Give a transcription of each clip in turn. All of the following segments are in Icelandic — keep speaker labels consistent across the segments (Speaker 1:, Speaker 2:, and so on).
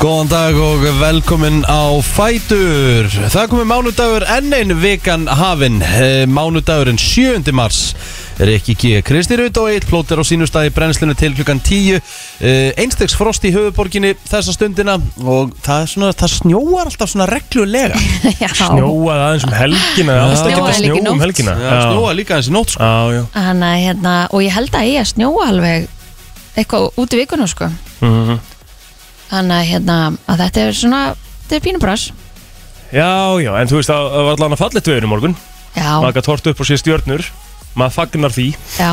Speaker 1: Góðan dag og velkomin á Fætur Það er komið mánudagur enn ein vikan hafin Eh, Mánudagurinn 7. mars Rikki G. Kristirut og eitt plótir á sínustagi brennslunni til klukkan 10 Eh, Einstegs frost í höfuborginni þessa stundina og það, er svona, það snjóar alltaf svona reglulega
Speaker 2: Já,
Speaker 3: Snjóaði aðeins um helgina Það ást ekki að
Speaker 2: Snjóaði líka í
Speaker 3: snjóa um
Speaker 2: nótt.
Speaker 3: helgina
Speaker 1: Það snjóar líka eins í nótt sko.
Speaker 3: Já, já
Speaker 2: Hanna, hérna, og ég held að ég að snjóa alveg eitthvað út í vikunum sko.
Speaker 3: Mhm.
Speaker 2: Þannig að, hérna, að þetta er svona, þetta er pínubras.
Speaker 3: Já, já, en þú veist að það var allan að fallit veður í morgun
Speaker 2: Já,
Speaker 3: Maður gætt hort upp og sé stjörnur Maður fagnar því
Speaker 2: já.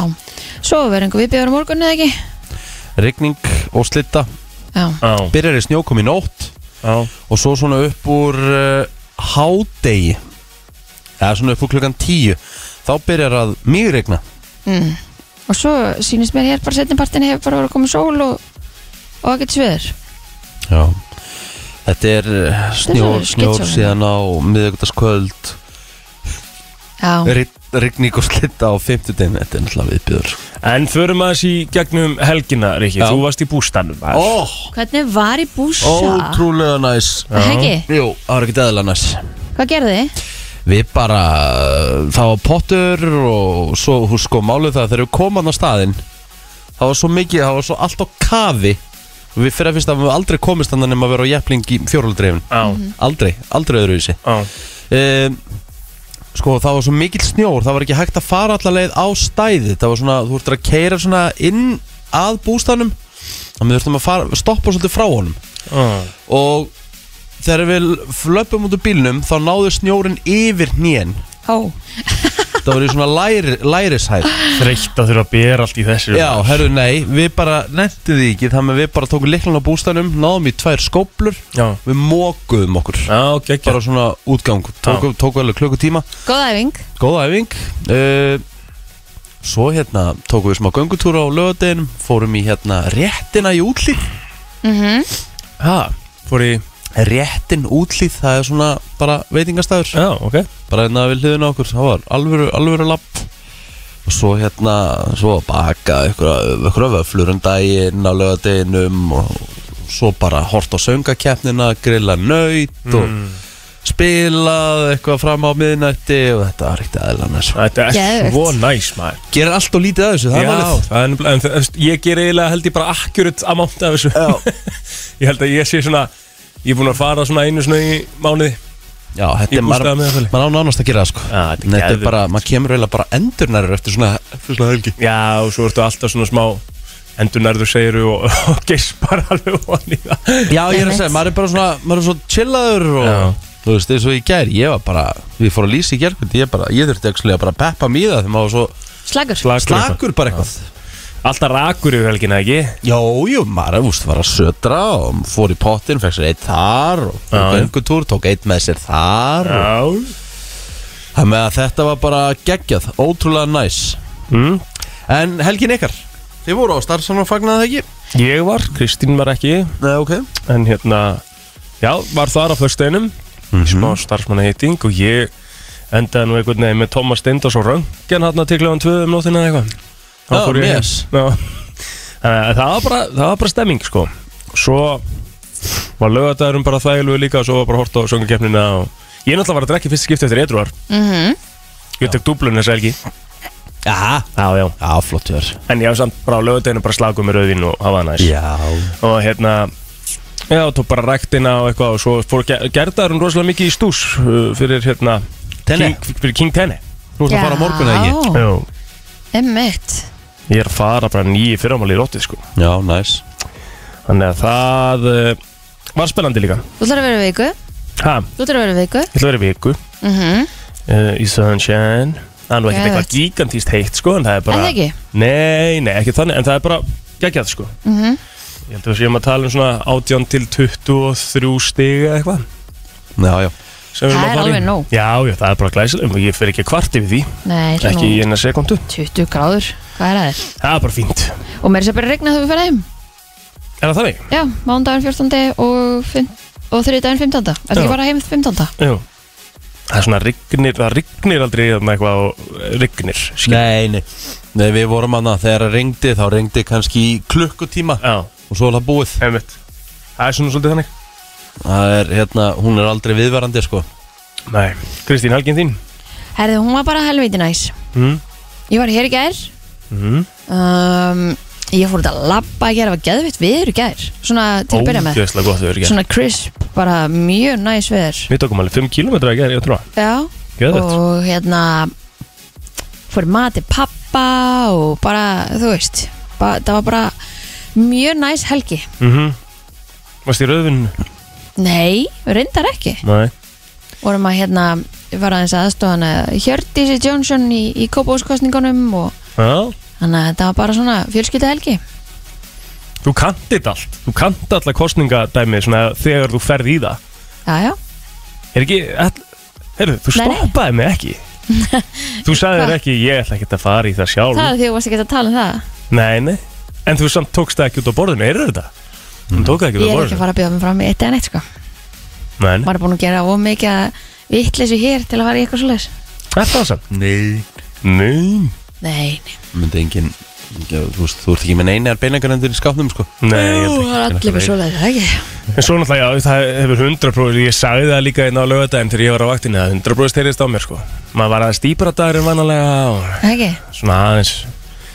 Speaker 2: Svo verður einhver viðbjöður morgun eða ekki?
Speaker 1: Rigning og slitta
Speaker 2: Já,
Speaker 3: Já,
Speaker 1: Byrjar í snjókom í nótt
Speaker 3: já,
Speaker 1: og svo svona upp úr uh, hádegi eða svona upp úr klukkan 10 þá byrjar að mjög regna
Speaker 2: Mm. og svo sýnist mér hér bara setnipartin hefur bara verið að koma sól og, og að geta sviður.
Speaker 1: Já Þetta er eh, snjór,
Speaker 2: Þetta er
Speaker 1: snjór
Speaker 2: skitsjónin.
Speaker 1: síðan á miðugtaskvöld
Speaker 2: Já,
Speaker 1: Rigning og slitta á 50 daginn Þetta er náttúrulega viðbjör
Speaker 3: En förum aðeins í gegnum helgina, Rikki
Speaker 1: Já.
Speaker 3: Þú varst í bústanum maður.
Speaker 1: oh,
Speaker 2: hvernig var í búsa?
Speaker 1: Ótrúlega næs
Speaker 2: Það ekki?
Speaker 1: Jú, það var ekki eðla næs
Speaker 2: Hvað gerði þið?
Speaker 1: Við bara, eh, það var pottur og svo hú sko málið það þegar við komum á staðinn það var svo mikið, það var svo allt á kafi og við fyrir að finnst að við aldrei komist þannig nema að vera á jepling í fjórhaldreifin
Speaker 3: Já,
Speaker 1: aldrei, aldrei öðruvísi
Speaker 3: já,
Speaker 1: um, sko það var svo mikill snjór það var ekki hægt að fara alla leið á stæði það var svona, þú ert að keira svona inn að bústanum þannig við þurftum að fara, stoppa svolítið frá honum
Speaker 3: já
Speaker 1: og þegar við flöppum út úr bílnum þá náðu snjórin yfir hnén
Speaker 2: Ó,
Speaker 1: það var í svona læri, lærishæð
Speaker 3: Þreytt að þurfa að bera allt í þessu
Speaker 1: já, herru, nei, við bara nefntið því ekki, þannig að við bara tókum liklan á bústanum náðum í tvær skóplur
Speaker 3: Já,
Speaker 1: við mókuðum okkur
Speaker 3: já, geggja
Speaker 1: bara svona útgang, tókum, tókum alveg klukkutíma
Speaker 2: góð æfing.
Speaker 1: Góð æfing uh, Svo hérna tókum við smá göngutúra á lögadeginum Fórum í hérna réttina í útlýð
Speaker 2: Mm
Speaker 3: Já, fór í
Speaker 1: Réttin útlýð, það er svona bara veitingastæður
Speaker 3: Já, ok
Speaker 1: Bara hérna við hliðina á okkur, það var alvöru, alvöru lapp Og svo hérna, svo baka ykkur, ykkur vöflur um daginn á lögadeginum Og svo bara hort á söngakeppnina, grilla naut
Speaker 3: Mm.
Speaker 1: Og spilað eitthvað fram á miðnætti Og þetta var ekkert aðeinslega næs
Speaker 3: Þetta er
Speaker 2: Geðvegt.
Speaker 3: svo næs maður
Speaker 1: Gerir allt og lítið að þessu, það er
Speaker 3: Já,
Speaker 1: málið
Speaker 3: það er nefnilega- en þú veist, ég ger eiginlega held ég bara akkurat amount af þessu
Speaker 1: Já.
Speaker 3: Ég held að ég sé svona Ég er búin að fara svona einu svona í mánuði
Speaker 1: Já, þetta
Speaker 3: Í
Speaker 1: er maður,
Speaker 3: bústaða meðaltali.
Speaker 1: maður á nánast að gera það sko
Speaker 3: Já, þetta er
Speaker 1: Þetta er
Speaker 3: geðveikt.
Speaker 1: bara, maður kemur eiginlega bara endurnærir eftir svona, eftir svona helgi
Speaker 3: Já, og svo ertu alltaf svona smá Endurnærðu segiru og, og geispar alveg von í það
Speaker 1: Já, ég er að segja, maður er bara svona, maður er svona chillaður og
Speaker 3: Já.
Speaker 1: Þú veist, eins og ég gær, ég var bara, við fórum að lýsa í gerkvöldi, ég bara, ég þurfti ekki að bara peppa mig í það þegar maður var svo
Speaker 2: Slagur.
Speaker 3: Slakur
Speaker 1: slakur bara eitthvað
Speaker 3: Alltaf rakur yfir helgina, ekki?
Speaker 1: Jó, jú, maður, þú veist, var að södra og fór í pottin, fekk sér eitt þar og fór
Speaker 3: Já.
Speaker 1: göngutúr, tók eitt með sér þar og-
Speaker 3: Já
Speaker 1: Það með að þetta var bara geggjað, ótrúlega næs
Speaker 3: mm.
Speaker 1: En helgin ykkar, þið voru á starfsanum og fagnaði það ekki?
Speaker 3: Ég var, Kristín var ekki
Speaker 1: Nei, ok
Speaker 3: En hérna, já, var þar á föstudinum
Speaker 1: mm
Speaker 3: Smá starfsmanna heiting Og ég endaði nú einhvern veginn með Thomas Steindos og Röngen Hanna til kljóðan tvö um nóttina eða eitthvað Þá
Speaker 1: Já,
Speaker 3: fór ég heim.
Speaker 1: mes.
Speaker 3: Já. Þannig að það var bara, það var bara stemming, sko Svo var lögadagurinn bara þægilegu líka og Svo var bara hort á söngakeppnina og... Ég náttúrulega var að drekja fyrst skipti eftir Edruar
Speaker 2: Mhm.
Speaker 3: Ég tek dúblun þessa helgi
Speaker 1: Já,
Speaker 3: Já, já
Speaker 1: já, flott hjör
Speaker 3: En ég hafði samt bara á lögadaginu bara slaguð með rauðin og hafa það næs
Speaker 1: Já
Speaker 3: Og hérna Já, tók bara ræktina og eitthvað Og svo fór ger gerðarinn rosalega mikið í stús uh, Fyrir hérna
Speaker 1: Tenni.
Speaker 3: King, Fyrir King Tenni
Speaker 1: Þú ert að fara á morgun eða ekki?
Speaker 2: Já, emmitt.
Speaker 3: Ég er að fara bara nýju fyrramáli í róttið sko
Speaker 1: Já, næs
Speaker 3: Þannig að það uh, var spennandi líka
Speaker 2: Þú ætlar að vera í viku.
Speaker 3: Ha,
Speaker 2: Þú ætlar að vera í viku.
Speaker 3: ég ætla að vera í viku
Speaker 2: Mm
Speaker 3: uh, Í Sunshine Það er nú ekkert
Speaker 2: Geðvegt.
Speaker 3: eitthvað gigantíst heitt sko En það er
Speaker 2: Er
Speaker 3: bara
Speaker 2: það ekki?
Speaker 3: Nei, nei, ekki þannig En það er bara geggjað sko
Speaker 2: Mm -hmm.
Speaker 3: Ég held að við séum að tala um svona 18 til 23 stig eða eitthvað
Speaker 1: Já, já
Speaker 3: sem
Speaker 2: Það
Speaker 3: við erum að
Speaker 2: er
Speaker 3: fara í.
Speaker 2: alveg nóg.
Speaker 3: Já, já, það er bara glæsileg Ég fer ekki að kvart yfir því
Speaker 2: Nei, það er
Speaker 3: Ekki í
Speaker 2: nú
Speaker 3: eina sekundu
Speaker 2: 20 gráður. Hvað er að þér?
Speaker 3: Það er bara fínt
Speaker 2: Og mér er sér bara að regna þegar við fara heim.
Speaker 3: Er það þannig?
Speaker 2: Já, mándaginn 14. og, fim- og þriðdaginn 15. Er
Speaker 3: Já.
Speaker 2: ekki bara heim 15.
Speaker 3: Jú Það er svona rignir, það rignir aldrei þarna eitthvað og eh, rignir skil.
Speaker 1: Nei, nei Nei, við vorum annað þegar það ringdi Þá ringdi kannski í klukkutíma
Speaker 3: Já,
Speaker 1: Og svo var það búið
Speaker 3: einmitt Það er svona svolítið þannig
Speaker 1: Það er, hérna, hún er aldrei viðverandi, sko
Speaker 3: Nei, Kristín, helgin þín
Speaker 2: Herði, hún var bara helviti næs
Speaker 3: mm.
Speaker 2: Ég var hér í gær
Speaker 3: Mm.
Speaker 2: um, Ég fór út að labba í gær Það var geðvitt viður í gær Svona til að byrja með
Speaker 3: Ógeðslega gott við erum
Speaker 2: Svona crisp, bara mjög næs viður
Speaker 3: Við tókum alveg 5 km að gera, ég trúa
Speaker 2: Já
Speaker 3: Gjöðvett
Speaker 2: Og hérna Fór í mat til pappa Og bara, þú veist ba, Það var bara mjög næs helgi
Speaker 3: Mhm. Varst í rauðvinn?
Speaker 2: Nei, reyndar ekki
Speaker 3: Nei
Speaker 2: vorum að hérna var aðeins aðstofan að Hjördísi Jónsson í, í kópáskostningunum og
Speaker 3: Já
Speaker 2: þannig að þetta var bara svona fjölskylda helgi
Speaker 3: Þú kannt þetta allt Þú kannt alla kostningadæmi svona þegar þú ferð í það
Speaker 2: já, já,
Speaker 3: Er ekki all... Heyrðu, þú
Speaker 2: Nei, nei.
Speaker 3: stoppaði mig ekki Þú sagði þér
Speaker 2: Hvað?
Speaker 3: ekki Ég ætla ekki að fara í það sjálf
Speaker 2: það er því að þú varst ekki að tala um það
Speaker 3: Nei, nei En þú samt tókst það ekki út á borðinu Heyrðu þetta? Þú tók það ekki út
Speaker 2: ég er ekki að
Speaker 3: á borðinu
Speaker 2: fara að bjóða mig fram í eitt eða neitt sko
Speaker 3: Nei, nei
Speaker 2: maður er búin að gera of mikið vittleysu hér til að fara í eitthvað svoleiðis
Speaker 3: Það er það samt
Speaker 1: Nei
Speaker 3: Nei
Speaker 2: nei, nei,
Speaker 1: Myndi engin, engin þú, veist, þú ert ekki með neinar beinagrendir í skápnum, sko
Speaker 3: Nei, ég held
Speaker 2: Jú,
Speaker 3: ekki.
Speaker 2: það er allir með svoleiðis, það ekki
Speaker 3: En svo náttúrulega, já, það hefur 100 Ég sagði það líka einn á lögadaginn þegar ég var á vaktinni að 100 bróð á mér, sko Maður var aðeins dýpra dagur en vanalega og
Speaker 2: Það ekki,
Speaker 3: svona aðeins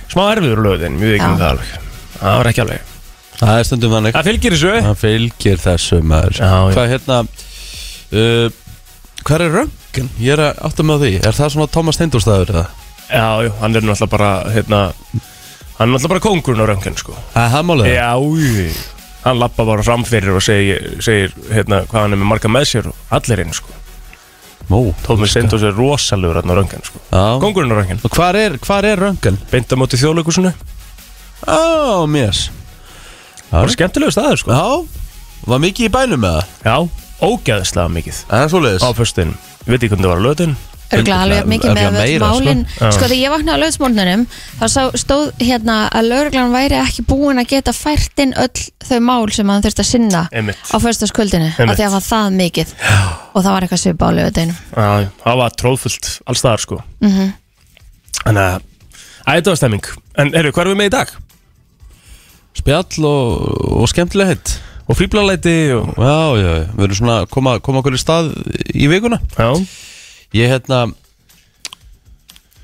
Speaker 3: smá erfiður löðin, mjög ekki um
Speaker 2: Já.
Speaker 3: það alveg það var ekki alveg,
Speaker 1: Það er stundum þannig
Speaker 3: það fylgir þessu
Speaker 1: Það fylgir þessu maður
Speaker 3: Já, já.
Speaker 1: Hvað hérna uh, Hvað er röngin? Ég er að átta með því Er það svona Thomas Steindorstaður eða?
Speaker 3: já, jú, hann er náttúrulega bara hérna, hann er náttúrulega bara kóngurinn á röngin sko.
Speaker 1: Það er það málið
Speaker 3: já, jú, hann lappa bara fram fyrir og segir, segir hérna, hvað hann er með marga með sér og allir inn sko.
Speaker 1: Mó
Speaker 3: Tómi Steindós er rosalegur hann á röngin sko.
Speaker 1: Já
Speaker 3: kóngurinn á röngin,
Speaker 1: Og hvað er, hvað er röngin?
Speaker 3: beint á móti þjóðleikusinu
Speaker 1: Ó, mér
Speaker 3: bara skemmtilegu staður sko.
Speaker 1: Já Var mikið í bænum með það?
Speaker 3: já, ógeðslega mikið
Speaker 1: Það er svoleiðis
Speaker 3: á föstin, veit ekki hvernig það var að löðin
Speaker 2: örgulega alveg jafn mikið
Speaker 1: Örugglega
Speaker 2: með öll
Speaker 1: meira, sko.
Speaker 2: málin
Speaker 3: Já.
Speaker 2: sko þegar ég vaknaði á löðsmórnunum þá sá- stóð hérna að lögreglan væri ekki búin að geta fært inn öll þau mál sem hann þurfti að sinna
Speaker 3: Einmitt.
Speaker 2: á föstaskvöldinu, af
Speaker 3: Einmitt.
Speaker 2: því að það var það mikið og það var eitthvað svipa á lögadeinum
Speaker 3: Já, já, það var tróðfullt alls staðar sko -hmm. Þannig að að Þetta var stemming En heyrðu, hvað erum við með í dag?
Speaker 1: Spjall og, og skemmtileg hitt
Speaker 3: Og fríblalæti og
Speaker 1: Já, já, já Við erum svona að koma, koma okkur í stað í vikuna
Speaker 3: Já,
Speaker 1: Ég hérna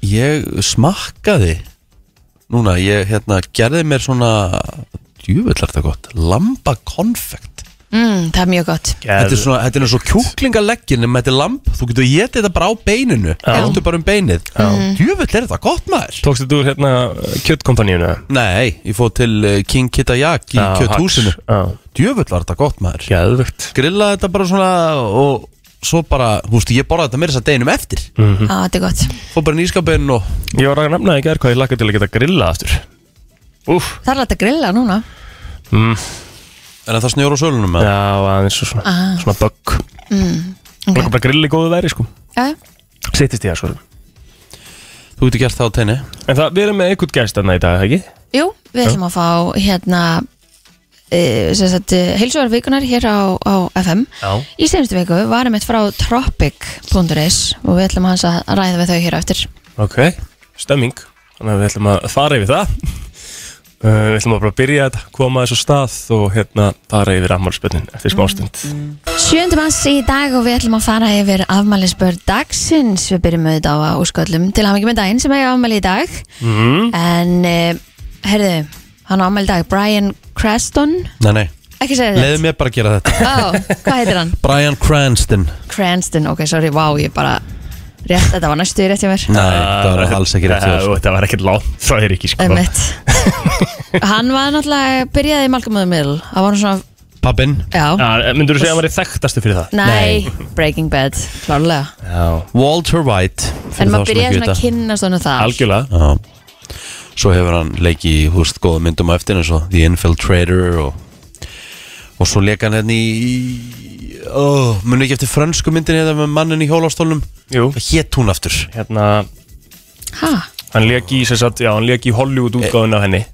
Speaker 1: Ég smakkaði Núna, ég hérna gerði mér svona Djúvillar það gott Lambakonfekt
Speaker 2: mm, það er mjög gott
Speaker 1: Þetta er svona, þetta er svo kjúklingaleggin nema þetta er lamb, þú getur getið þetta bara á beininu Þetta er bara um beinið Djúvill er þetta gott maður
Speaker 3: Tókstu þetta úr hérna kjöttkompaníuna
Speaker 1: Nei, ég fóð til eh, King Kitayak í kjöthúsinu
Speaker 3: Já,
Speaker 1: Djúvill var þetta gott maður
Speaker 3: geðvögt
Speaker 1: Grillaði þetta bara svona og svo bara, þú veist, ég borðaði þetta meira þess að deginum eftir
Speaker 2: á, þetta er gott,
Speaker 1: Fóð bara nýskapin og
Speaker 3: Ég var að nefna í gerð hvað ég lakka til að geta grilla aftur Úf
Speaker 2: það er alltaf grilla núna
Speaker 3: mm.
Speaker 1: En það snjór á sölunum eða?
Speaker 3: Já, aðeins og svona,
Speaker 2: Ah. Mm,
Speaker 3: svona bögg
Speaker 2: ok.
Speaker 3: okay. Lakka bara að grilla í góðu veri sko
Speaker 2: ja,
Speaker 3: Sittist í það sko
Speaker 1: Þú getur gert það á tenni
Speaker 3: En það, við erum með einhvern gæst þarna í dag, ekki?
Speaker 2: jú, við ætlum að fá hérna e, sem sagt, heilsugarvikunar hér á, á FM
Speaker 3: Já
Speaker 2: í semstu viku varum eitt frá tropic.is og við ætlum hans að ræða við þau hér á eftir
Speaker 3: Ok, stemming Þannig að við ætlum að fara yfir það Uh, Við ætlum að bara byrja þetta, koma þessu stað og hérna fara yfir ammálspönnin eftir smástund
Speaker 2: Sjöndum hans í dag og við ætlum að fara yfir afmælisbörn dagsins Við byrjum auðvitað á úrsköllum til hafingi með daginn sem eiga afmæli í dag
Speaker 3: mm.
Speaker 2: En, uh, herðu, hann á afmæli í dag, Brian Creston
Speaker 1: Nei, nei,
Speaker 2: Ekki segja
Speaker 1: leiði
Speaker 2: þetta
Speaker 1: mér bara að gera þetta
Speaker 2: Ó, hvað heitir hann?
Speaker 1: Brian Cranston Nei,
Speaker 2: Cranston, ok, sorry, vá, ég bara Rétt, þetta var næstu í rétt hjá mér
Speaker 1: það var alls ekki rétt hjá þér.
Speaker 3: Þetta var ekkert látt frá þér ekki sko
Speaker 2: Einmitt Hann var náttúrulega, byrjaði í Malcolm in the Middle Það var nú svona,
Speaker 1: Pappinn
Speaker 2: já,
Speaker 3: Myndur þú segja að maður er þekktastu fyrir það?
Speaker 2: nei, Breaking Bad, klárlega
Speaker 3: Já,
Speaker 1: Walter White fyrir
Speaker 2: En
Speaker 1: þá
Speaker 2: maður
Speaker 1: sem
Speaker 2: byrjaði
Speaker 1: ekki
Speaker 2: svona
Speaker 1: vita.
Speaker 2: að kynna svona það
Speaker 3: algjörlega
Speaker 1: Já. Svo hefur hann leikið í húst góða myndum á eftir eins og The Infiltrator og, og svo leik hann hérna í oh, Munu ekki eftir frönsku myndin hérna með mannin í hjólastólnum
Speaker 3: Jú,
Speaker 1: Hvað hétt hún aftur?
Speaker 3: hérna,
Speaker 2: Ha,
Speaker 3: hann lék í, sem sagt, já, hann lék í Hollywood útgáðun af henni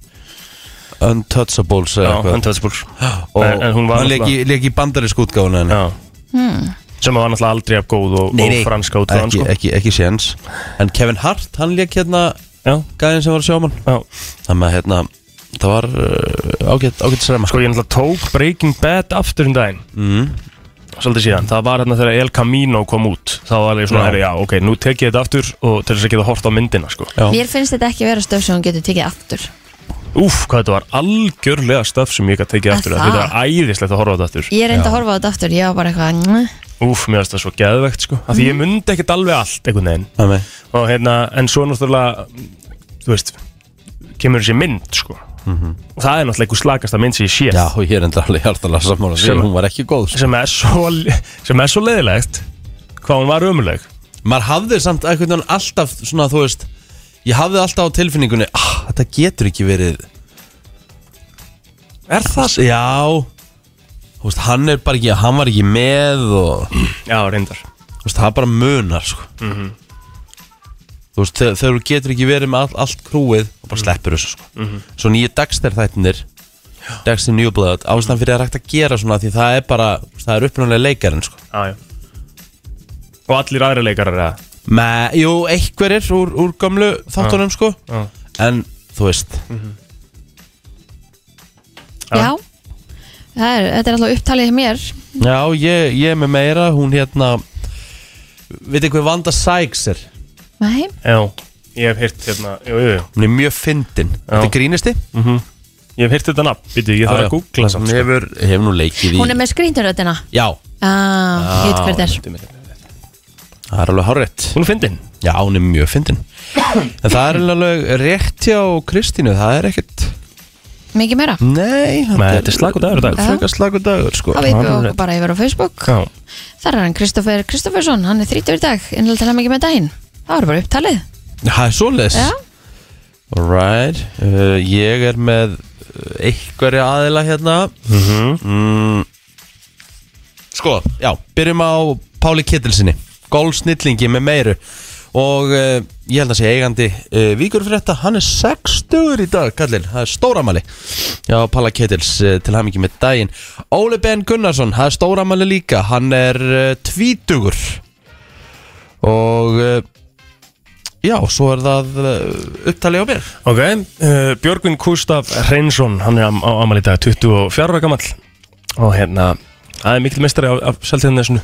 Speaker 1: Untouchables
Speaker 3: Já,
Speaker 1: eða eitthvað
Speaker 3: Untouchables
Speaker 1: Og
Speaker 3: En- en hún var
Speaker 1: hann leik í, leik í bandarísku útgáfuna henni
Speaker 3: Já
Speaker 2: Hmm.
Speaker 3: Sem var náttúrulega aldrei af góð og, og franska útgáðan
Speaker 1: ekki,
Speaker 3: sko
Speaker 1: ekki, ekki séns En Kevin Hart, hann leik hérna
Speaker 3: Já,
Speaker 1: gæðin sem var sjáman
Speaker 3: já
Speaker 1: Þannig að hérna það var uh, ágætt, ágætt srema
Speaker 3: Sko ég náttúrulega tók Breaking Bad aftur um daginn
Speaker 1: mm.
Speaker 3: Svolítið síðan, það var hérna þegar El Camino kom út Þá var ég svona,
Speaker 1: Já.
Speaker 3: herri, já, ok, nú tek ég þetta aftur Og til þess að geta hort á myndina, sko
Speaker 1: Já.
Speaker 2: Mér finnst þetta ekki vera stöf sem hún getur tekið aftur
Speaker 3: Úff, hvað þetta var algjörlega stöf sem ég gæti tekið
Speaker 2: Er
Speaker 3: aftur
Speaker 2: það?
Speaker 3: Þetta var æðislegt að horfa á þetta aftur
Speaker 2: Ég reyndi að horfa á þetta aftur, ég var bara eitthvað "Njö."
Speaker 3: Úff, mér finnst það svo geðvegt, sko Af því
Speaker 2: Mhm.
Speaker 3: ég myndi ekkert alveg allt, einhvern veginn
Speaker 1: Það með
Speaker 3: og hérna, en svo náttúrulega þú veist, kemur þessi mynd sko, og það er náttúrulega einhver slagasta mynd sem ég sé,
Speaker 1: Já, og ég er enda alveg hjartalega sammála því
Speaker 3: Sem-
Speaker 1: hún var ekki góð sko.
Speaker 3: sem er svo sem er svo leiðilegt hvað hún var ömuleg
Speaker 1: Maður hafði samt einhvern veginn alltaf svona, þú veist Ég hafði alltaf á tilfinningunni ah, Þetta getur ekki verið
Speaker 3: Er það?
Speaker 1: Já Þú veist, hann er bara ekki, hann var ekki með og
Speaker 3: Já, reyndar
Speaker 1: þú veist, það bara munar sko. Þú veist, þegar, þegar þú getur ekki verið með all, allt krúið og bara sleppur þessu sko. Svo nýju dagstær þættinir Dagstær nýjublöð Ástæðan fyrir að rægt að gera svona því það er bara, þú veist, það er upprunalega leikarinn sko.
Speaker 3: Já, já Og allir aðri leikarar eða
Speaker 1: Með, jú, einhverjir úr, úr gamlu þáttunum sko.
Speaker 3: Já.
Speaker 1: En, þú veist
Speaker 3: Já.
Speaker 2: Já Það er, Þetta er alltaf upptalið hjá mér
Speaker 1: Já, ég, ég er með meira, hún hérna Veit hver Vanda Sykes er?
Speaker 2: Nei,
Speaker 3: Já, ég hef heyrt hérna Jú, jú, jú
Speaker 1: Hún er mjög fyndin
Speaker 3: Já.
Speaker 1: Þetta er grínisti
Speaker 3: Ég hef heyrt þetta nafn Býtu, ég þarf
Speaker 1: Já, já.
Speaker 3: að googla samt
Speaker 1: Hún hefur, hefur nú leikið í
Speaker 2: hún er með skrýnturöddina
Speaker 1: Já,
Speaker 2: Ah, ég veit hver þetta er
Speaker 3: sko.
Speaker 1: það er alveg hárétt
Speaker 3: Hún er fyndin
Speaker 1: Já, hún er mjög fyndin En það er alveg rétt hjá Kristínu Það er ekkert
Speaker 2: Mikið meira
Speaker 1: Nei,
Speaker 3: Nei, þetta er slakur dagur í dag.
Speaker 1: Frekar slagur dagur, sko
Speaker 2: Það veitum við
Speaker 3: Já,
Speaker 2: okkur
Speaker 3: rétt.
Speaker 2: bara yfir á Facebook
Speaker 3: Já
Speaker 2: Þar er hann Kristoffer Kristoffersson, hann er 30 í dag Innlega tala mikið með daginn Það var bara upptalið
Speaker 1: Það er svoleiðis
Speaker 2: Já,
Speaker 1: Alright uh, Ég er með uh, einhverja aðila hérna mm. Sko, já, byrjum á Páli Kittilsinni Golfsnillingi með meiru Og uh, ég held að sé eigandi uh, Víkur fyrir þetta, hann er 60 í dag Kallinn, það er stóramali Já, Pála Kittils uh, til hann með daginn Óli Ben Gunnarsson, það er stóramali líka Hann er uh, tvítugur Og uh, Já, svo er það uh, upptalið á mér
Speaker 3: Ok, uh, Björgvin Kústaf Hreinsson, hann er am- á amal í dag 24 ára gamall og hérna, það er mikil mestari af, af seltíðanesinu.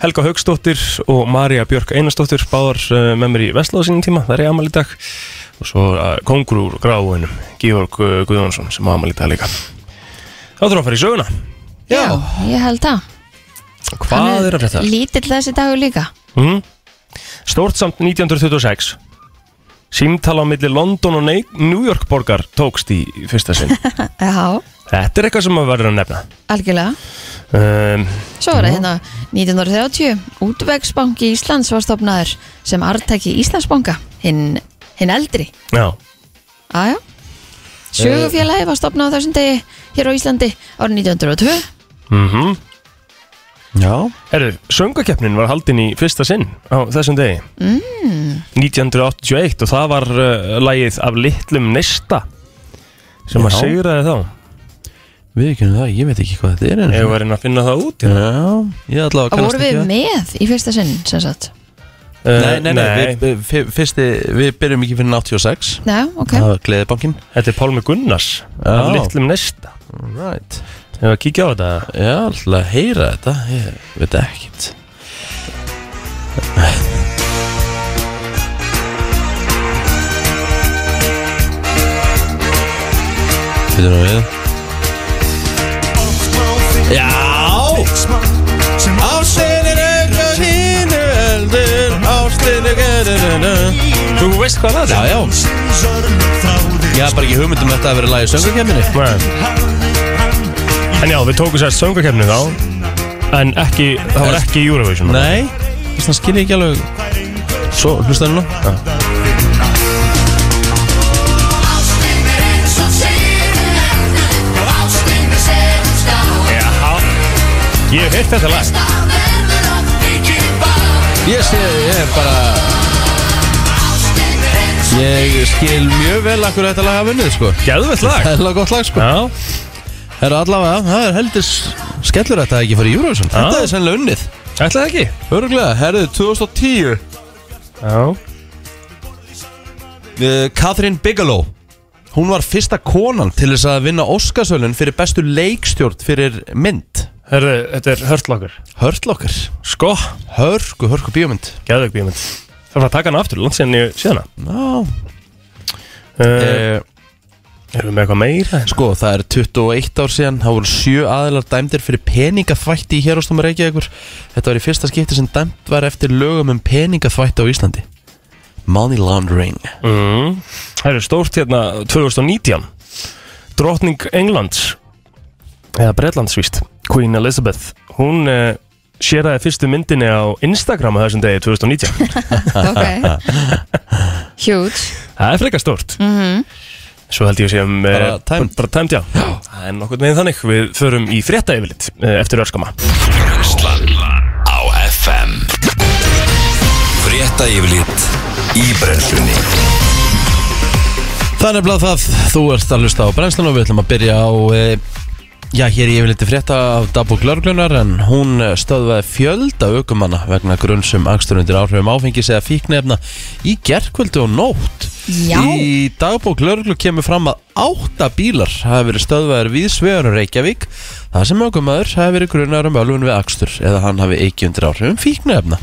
Speaker 3: Helga Haugsdóttir og Marja Björk Einarsdóttir báðar uh, með mér í Vestlóða sínum tíma, það er í amal í dag og svo uh, kongur úr gráinum, Georg uh, Guðjónsson sem á amal í dag líka. Þá þurfum við að fara í söguna.
Speaker 2: ég held það
Speaker 3: Hvað er að frétta?
Speaker 2: Lítill þessi dagur líka
Speaker 3: Mm. Stórt samt 1926 Símtala á milli London og Ney- New York borgar tókst í fyrsta sinn
Speaker 2: Já,
Speaker 3: Þetta er eitthvað sem maður verður að nefna
Speaker 2: algjörlega
Speaker 3: um,
Speaker 2: Svo var það hérna 1930 Útvegsbanki Íslands var stofnaður sem artæki Íslandsbanka hinn, hinn eldri
Speaker 3: Já,
Speaker 2: Aja. Sögufélagi var stofnað á þessum degi hér á Íslandi árið 1902
Speaker 3: mhm
Speaker 1: Já
Speaker 3: Herru, söngakeppnin var haldin í fyrsta sinn á þessum degi mm. 1981 og það var uh, lagið af litlum nesta sem að
Speaker 1: Já.
Speaker 3: sigraði þá
Speaker 1: Við kynum það, ég veit ekki hvað þetta er en
Speaker 3: Ef við erum að finna það út hérna.
Speaker 1: Já, ég ætla að
Speaker 2: og
Speaker 1: kannast
Speaker 2: voru við
Speaker 1: ekki að-
Speaker 2: með í fyrsta sinn sem sagt
Speaker 3: uh,
Speaker 1: Nei, nei, nei, við, við, fyr- fyrsti, við byrjum ekki fyrir 86
Speaker 2: Já, ok
Speaker 1: Það var Gleðibankin
Speaker 3: Þetta er Pálmi Gunnars
Speaker 1: Já.
Speaker 3: af litlum nesta
Speaker 1: Right
Speaker 3: Ef við að kíkja á þetta
Speaker 1: Já, ætla að heyra þetta, ég veit ekkert Þetta er nú við Já Ástin er auðvitað hínu eldur Ástin er gerðinu
Speaker 3: Þú veist hvað það
Speaker 1: Já, já Ég haf bara ekki hugmynd um að þetta að vera lagið söngakemminni
Speaker 3: Nei. En já, við tókum sér söngakeppni þá En ekki, það var ekki Eurovision
Speaker 1: Nei, þess vegna skil ég ekki alveg Svo, hlusta núna Já.
Speaker 3: Já, ég hef hitt þetta lag
Speaker 1: Ég sé, ég er bara Ég skil mjög vel akkur þetta lag að vunnið, sko
Speaker 3: Gæðvett lag
Speaker 1: Það er alveg gott lag, sko
Speaker 3: Já,
Speaker 1: Það er allavega, það er heldur s- Skellur þetta að ekki fara í Eurovision Þetta er sennilega unnið
Speaker 3: ætlaði ekki
Speaker 1: Örglega, herðu, 2010
Speaker 3: Já
Speaker 1: uh, Catherine eh, Bigelow Hún var fyrsta konan til þess að vinna Óskarsölun fyrir bestu leikstjórn fyrir mynd
Speaker 3: Hörðu, þetta er hörtlokkar
Speaker 1: Hörlokkar
Speaker 3: Sko,
Speaker 1: Hörku, hörku bíómynd
Speaker 3: geðveik bíómynd Það var að taka hana aftur, langt síðan ég síðan hana
Speaker 1: Ná
Speaker 3: uh,
Speaker 1: e,
Speaker 3: Erum við með eitthvað meira? hérna?
Speaker 1: Sko, það er 21 ár síðan Það voru sjö aðilar dæmdir fyrir peningaþvætti í hérastum Reykjavíkur Þetta var í fyrsta skipti sem dæmt var eftir lögum um peningaþvætti á Íslandi Money laundering
Speaker 3: Mm. Það eru stórt hérna 2019 Drottning Englands eða Bretlandsvíst Queen Elizabeth Hún uh, séraði fyrstu myndinni á Instagram á þessum degi 2019
Speaker 2: ok Huge
Speaker 3: Það er frekar stórt Svo held ég sem
Speaker 1: Bara tæmt.
Speaker 3: eh, bara tæmt já. Það er nokkuð meginn þannig Við förum í frétta yfirlit eh, eftir örskama
Speaker 4: Brenslan á FM Frétta yfirlit í brenslunni
Speaker 1: Þannig að það, þú ert að hlusta á brennslan og við ætlum að byrja á e, Já, hér ég vil eitthvað frétta af Dabúk Lörglunar en hún eh, stöðvaði fjölda aukumanna vegna grunnsum akstur undir áhrifum áfengis eða fíknefna í gerkvöldu og nótt
Speaker 2: Já.
Speaker 1: Í Dabúk Lörglu kemur fram að átta bílar hafi verið stöðvaðir við Svegarun Reykjavík þar sem aukumaður hafi verið grunnar um ölfun við akstur eða hann hafi ekki undir áhrifum fíknefna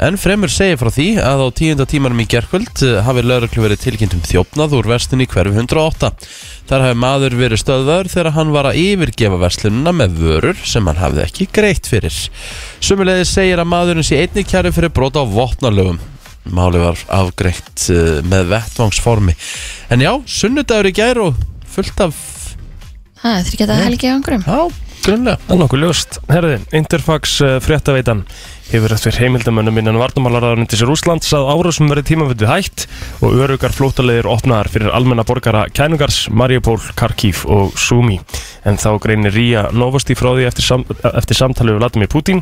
Speaker 1: En fremur segir frá því að á tíunda tímanum í gerkvöld hafi lauröklu verið tilkynnt um þjófnað úr verslinni hverfi 108. Þar hafi maður verið stöðvaður þegar hann var að yfirgefa verslununa með vörur sem hann hafði ekki greitt fyrir. Sumulegði segir að maðurinn sé einnig kæri fyrir brota á vopnalögum. Máli var afgreitt eh, með vettvangsformi. En já, sunnudagur í gær og fullt af,
Speaker 2: Það er þryggjata helgi á einhverjum
Speaker 1: já, grunnlega.
Speaker 3: Það er nokkuð ljóst. Herði, Interfax uh, fréttaveitan hefur eftir heimildamönnum innan vartamálaráðunindis Rúslands að árásum verið tímafundið hætt og örugar flótaleigir opnaðar fyrir almenna borgara Kænungars, Mariupol, Karkív og Sumi. En þá greinir Ría Novosti frá því eftir, sam eftir samtali við Vladimir Putin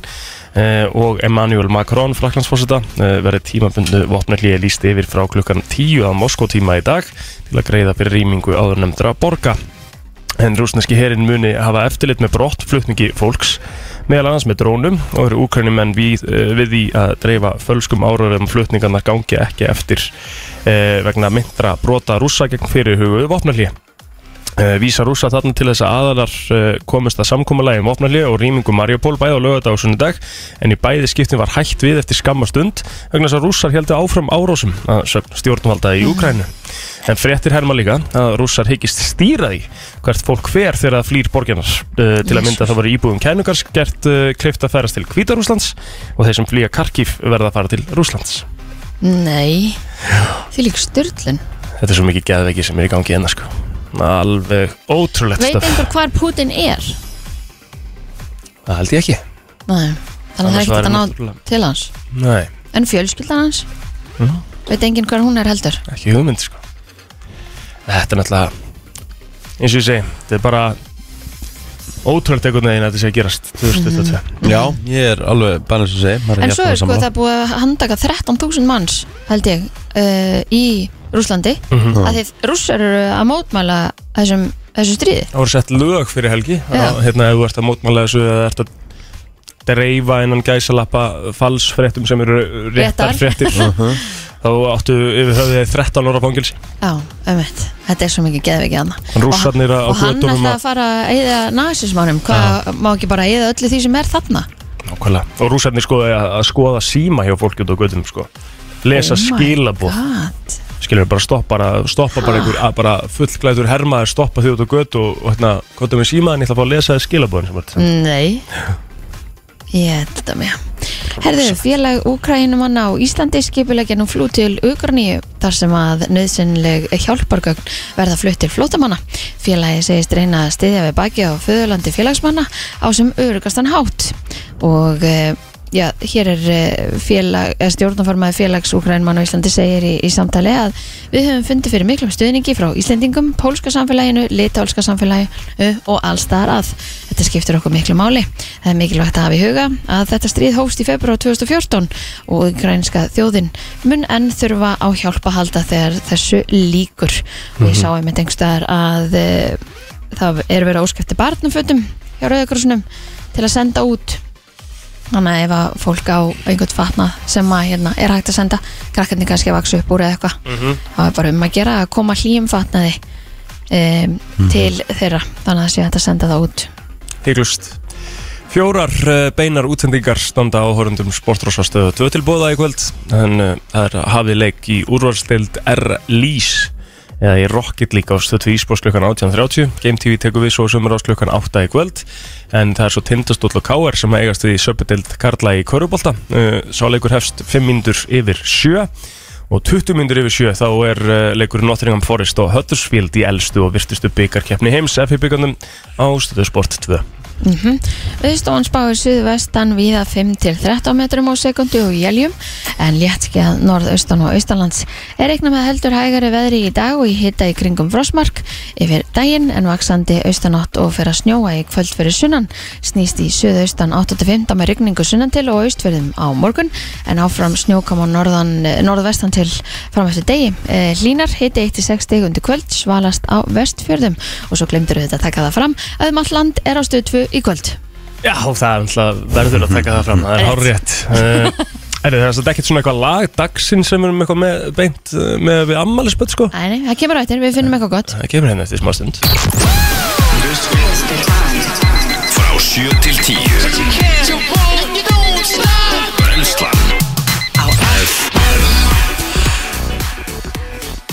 Speaker 3: uh, og Emmanuel Macron, fraklandsforseta, uh, verið tímafundið vopnarlíði líst yfir frá klukkan 10 að Moskótíma í dag til að greiða fyrir rýmingu áður nefndra borga en rúsneski herin muni hafa eftirlit með brottflutningi fólks meðal annars með drónum og eru úkrænumenn við, eh, við því að dreifa fölskum áraðum flutningarnar gangi ekki eftir eh, vegna myndra brota rússa gegn fyrirhuguðu vopnarlíu. Eh, Vísa rússa þarna til þess að aðalar eh, komist að samkommalagi um vopnarlíu og rýmingu Mariupol bæði á lögadag og sunnudag en í bæði skiptin var hætt við eftir skamma stund vegna þess að rússar heldu áfram árásum að sögn stjórnvalda í Úkrænu. En fréttir herma líka að rússar hyggist stýra því hvert fólk fer þegar það flýr borginar. Uh, til að mynda það voru íbúðum kænugars gert uh, kleift að ferast til Hvítarúslands og þeir sem flýja Karkíf verða að fara til Rúslands.
Speaker 2: Nei Því lík styrlun
Speaker 3: Þetta er svo mikið geðveiki sem er í gangi hérna sko. Alveg ótrúlegt
Speaker 2: Veit
Speaker 3: stöf.
Speaker 2: einhver hvar Putin er?
Speaker 3: Það held ég ekki.
Speaker 2: Nei Þannig að það er
Speaker 3: Annars
Speaker 2: ekki
Speaker 3: væri
Speaker 2: að ná
Speaker 3: náttúrulega-
Speaker 2: til hans
Speaker 3: Nei,
Speaker 2: En fjölskyldan hans? Veit enginn hver hún er heldur?
Speaker 3: ekki hugmynd sko. Þetta er náttúrulega, eins og ég segi, þetta er bara ótrúlegt einhvern veginn að þetta sé að gerast 2022.
Speaker 1: Já, ég er alveg bara eins og segi. maður
Speaker 2: En svo er
Speaker 1: hjartanlega
Speaker 2: sko
Speaker 1: sammála.
Speaker 2: það er búið að handtaka 13.000 manns held ég uh, í Rúslandi mm
Speaker 3: Mhm.
Speaker 2: -hmm. að þið rússar eru að mótmæla þessum, þessu stríði
Speaker 3: Það voru sett lög fyrir helgi
Speaker 2: Já.
Speaker 3: á, hérna ef þú ert að mótmála þessu eða ert að dreifa innan gæsalappa falsfréttum sem eru réttar
Speaker 2: Réttar. Mhm.
Speaker 3: fréttir þá áttu yfir höfðið 13 ára fangilsi
Speaker 2: Já, umveitt, þetta er svo mikið geðvikið hann
Speaker 3: Rússarnir á
Speaker 2: Og hann
Speaker 3: götunum
Speaker 2: ætlaði
Speaker 3: að-
Speaker 2: að fara að eyða nasismánum Hvað má ekki bara eyða öllu því sem er þarna?
Speaker 3: Nákvæmlega. og rússarnir sko að að skoða síma hjá fólki út á götunum sko lesa
Speaker 2: Oh my
Speaker 3: skilabóð
Speaker 2: God.
Speaker 3: skilur bara stoppa, bara- stoppa bara einhver að bara fullglæður hermaður stoppa því út á götu og, og hérna hvað er með símaðin ég ætla að fá að lesa skilabóðin sem er
Speaker 2: Nei Ég þetta mér Herðu, félag Úkrænumanna á Íslandi skipulegja nú flú til Ukarníu þar sem að nöðsynleg hjálpargögn verða flutt til flótamanna. Félagi segist reyna að styðja við baki á föðurlandi félagsmanna á sem örugastan hátt og eh, Já, hér er eh, félag, eh, stjórnarformaði félags Úkrænmann á Íslandi segir í, í samtali að við höfum fundið fyrir miklum stuðningi frá Íslendingum, pólska samfélaginu, litálska samfélaginu og allstaðar að. Þetta skiptir okkur miklu máli. Það er mikilvægt að hafa í huga að þetta stríð hófst í februar 2014 og ukrænska þjóðin mun enn þurfa á hjálp að halda þegar þessu líkur. Og ég sá einmitt einhverstaðar að eh, það er verið óskæfti barnafötum hjá Rauðakrossunum til að senda út Þannig að ef að fólk á einhvern fatna sem að hérna er hægt að senda krakkarnir kannski að vaksa upp úr eða eitthvað þá er bara um að gera að koma hlýjum fatnaði um, til þeirra þannig að það sé hægt að senda það út
Speaker 3: Hygglust Fjórar eh, beinar útsendingar standa á horundum sportrósastöðu tvö tilbúða í kvöld en eh, það er hafið leik í úrvalstild R-Lís eða í Rocket League á stöðu íspors klukkan 18.30 Game TV tekur við svo sömur ás klukkan 8 í kvöld en það er svo tindastóll og káar sem eigast við í söpudeld Karla í Körubólta sáleikur hefst 5 mínútur yfir 7 og 20 mínútur yfir 7 þá er eh, leikur Nottingham Forest og Huddersfield í elstu og virtustu byggarkeppni heims FI byggandum á stöðu sport 2
Speaker 2: Mhm. Viðstofan spáir suðvestan viða 5 til 13 metrum á sekundu og jæljum en léttskjað norðaustan og austanlands er eignar með heldur hægari veðri í dag og í hita í kringum frosmark yfir daginn en vaksandi austanátt og fyrir að snjóa í kvöld fyrir sunnan snýst í suðaustan 8-15 með rigningu sunnan til og austfyrðum á morgun en áfram snjókam á norðan, eh, norðvestan til fram eftir degi Eh, hlínar hiti 1-6 stegundi kvöld svalast á vestfjörðum og svo glemdur við þetta að taka það fram að um allt land er á stöð 2 í kvöld
Speaker 3: Já, það er alltaf verður að taka það fram Það er hár rétt Er það satt ekkert svona eitthvað lag Dagsin sem er um eitthvað með, beint eh, með við ammælisböld sko
Speaker 2: Æ, nei, það kemur á eftir, við finnum eitthvað gott
Speaker 3: Það kemur hérna eftir smá stund
Speaker 4: Frá 7 til 10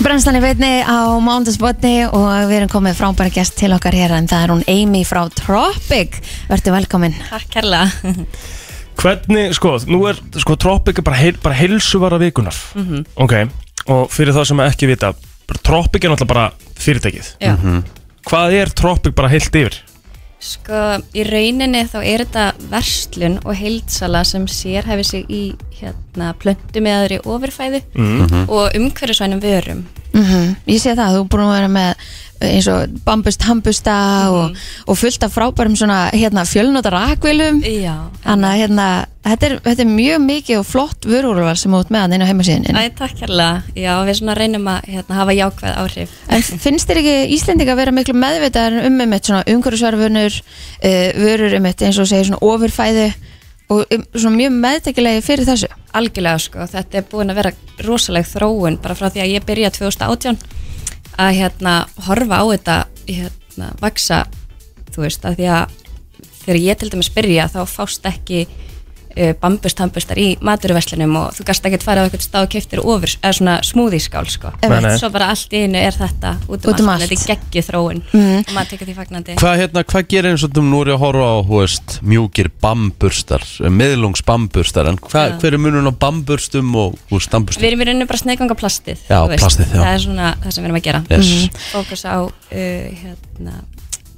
Speaker 4: Brennslan
Speaker 2: Brennslan í veitni á mándagsbotni og við erum komið frábæra gest til okkar hér en það er hún Amy frá Tropic Vertu velkomin
Speaker 5: Takk kærlega
Speaker 3: Hvernig, sko, nú er sko, Tropic er bara, heil, bara heilsuvara vikunar Ok, og fyrir það sem ekki vita bara Tropic er náttúrulega bara fyrirtækið
Speaker 5: Já,
Speaker 3: Hvað er Tropic bara heilt yfir?
Speaker 5: sko í rauninni þá er þetta verslun og heildsala sem sérhæfi sig í hérna plöntum eða aðri ofurfæðu og umhverfisvænum vörum
Speaker 2: mm Ég sé það, þú er búin að vera með eins og bambust, hambusta og, og fullt af frábærum svona hérna, fjölnóta rakvilum
Speaker 5: Já,
Speaker 2: Þannig að hérna, þetta er, þetta er mjög mikið og flott vörúrval sem út með hann inn á heimasíðin
Speaker 5: Æ, takk kærlega Já, við svona reynum að hérna, hafa jákvæð áhrif
Speaker 2: En finnst þér ekki Íslendinga að vera miklu meðvitaðar um um eitt svona umhverfisverfunur, uh, vörur um eitt eins og segir svona ofurfæðu og um, svona mjög meðtekilegi fyrir þessu?
Speaker 5: Algjörlega sko, þetta er búin að vera rosaleg þróun bara frá því að ég byrja 2018 að hérna horfa á þetta hérna, vaksa, þú veist, að því að þegar ég til dæmis byrja þá fást ekki uh, bambustambustar í maturverslinum og þú gast ekkert farið á eitthvað stáð og keftir ofur, eða svona smúðískál sko.
Speaker 2: Einmitt.
Speaker 3: Nei, nei.
Speaker 5: Svo bara allt í einu er þetta út um,
Speaker 2: Út um
Speaker 5: allt,
Speaker 2: allt.
Speaker 5: þetta er geggið þróun mm. og maður tekur því fagnandi.
Speaker 1: Hvað hérna, hvað gerir eins og þú nú er ég að horfa á, hú veist, mjúkir bamburstar, meðlungs bamburstar, en hva,
Speaker 5: Já.
Speaker 1: hver er munun á bamburstum og, hú veist, bamburstum?
Speaker 5: Við erum í rauninu bara að sneðganga plastið
Speaker 1: Já,
Speaker 5: þú veist.
Speaker 1: plastið, já.
Speaker 5: Það er svona það sem við erum að gera
Speaker 1: Yes.
Speaker 2: Mhm.
Speaker 5: Fókus á uh, hérna,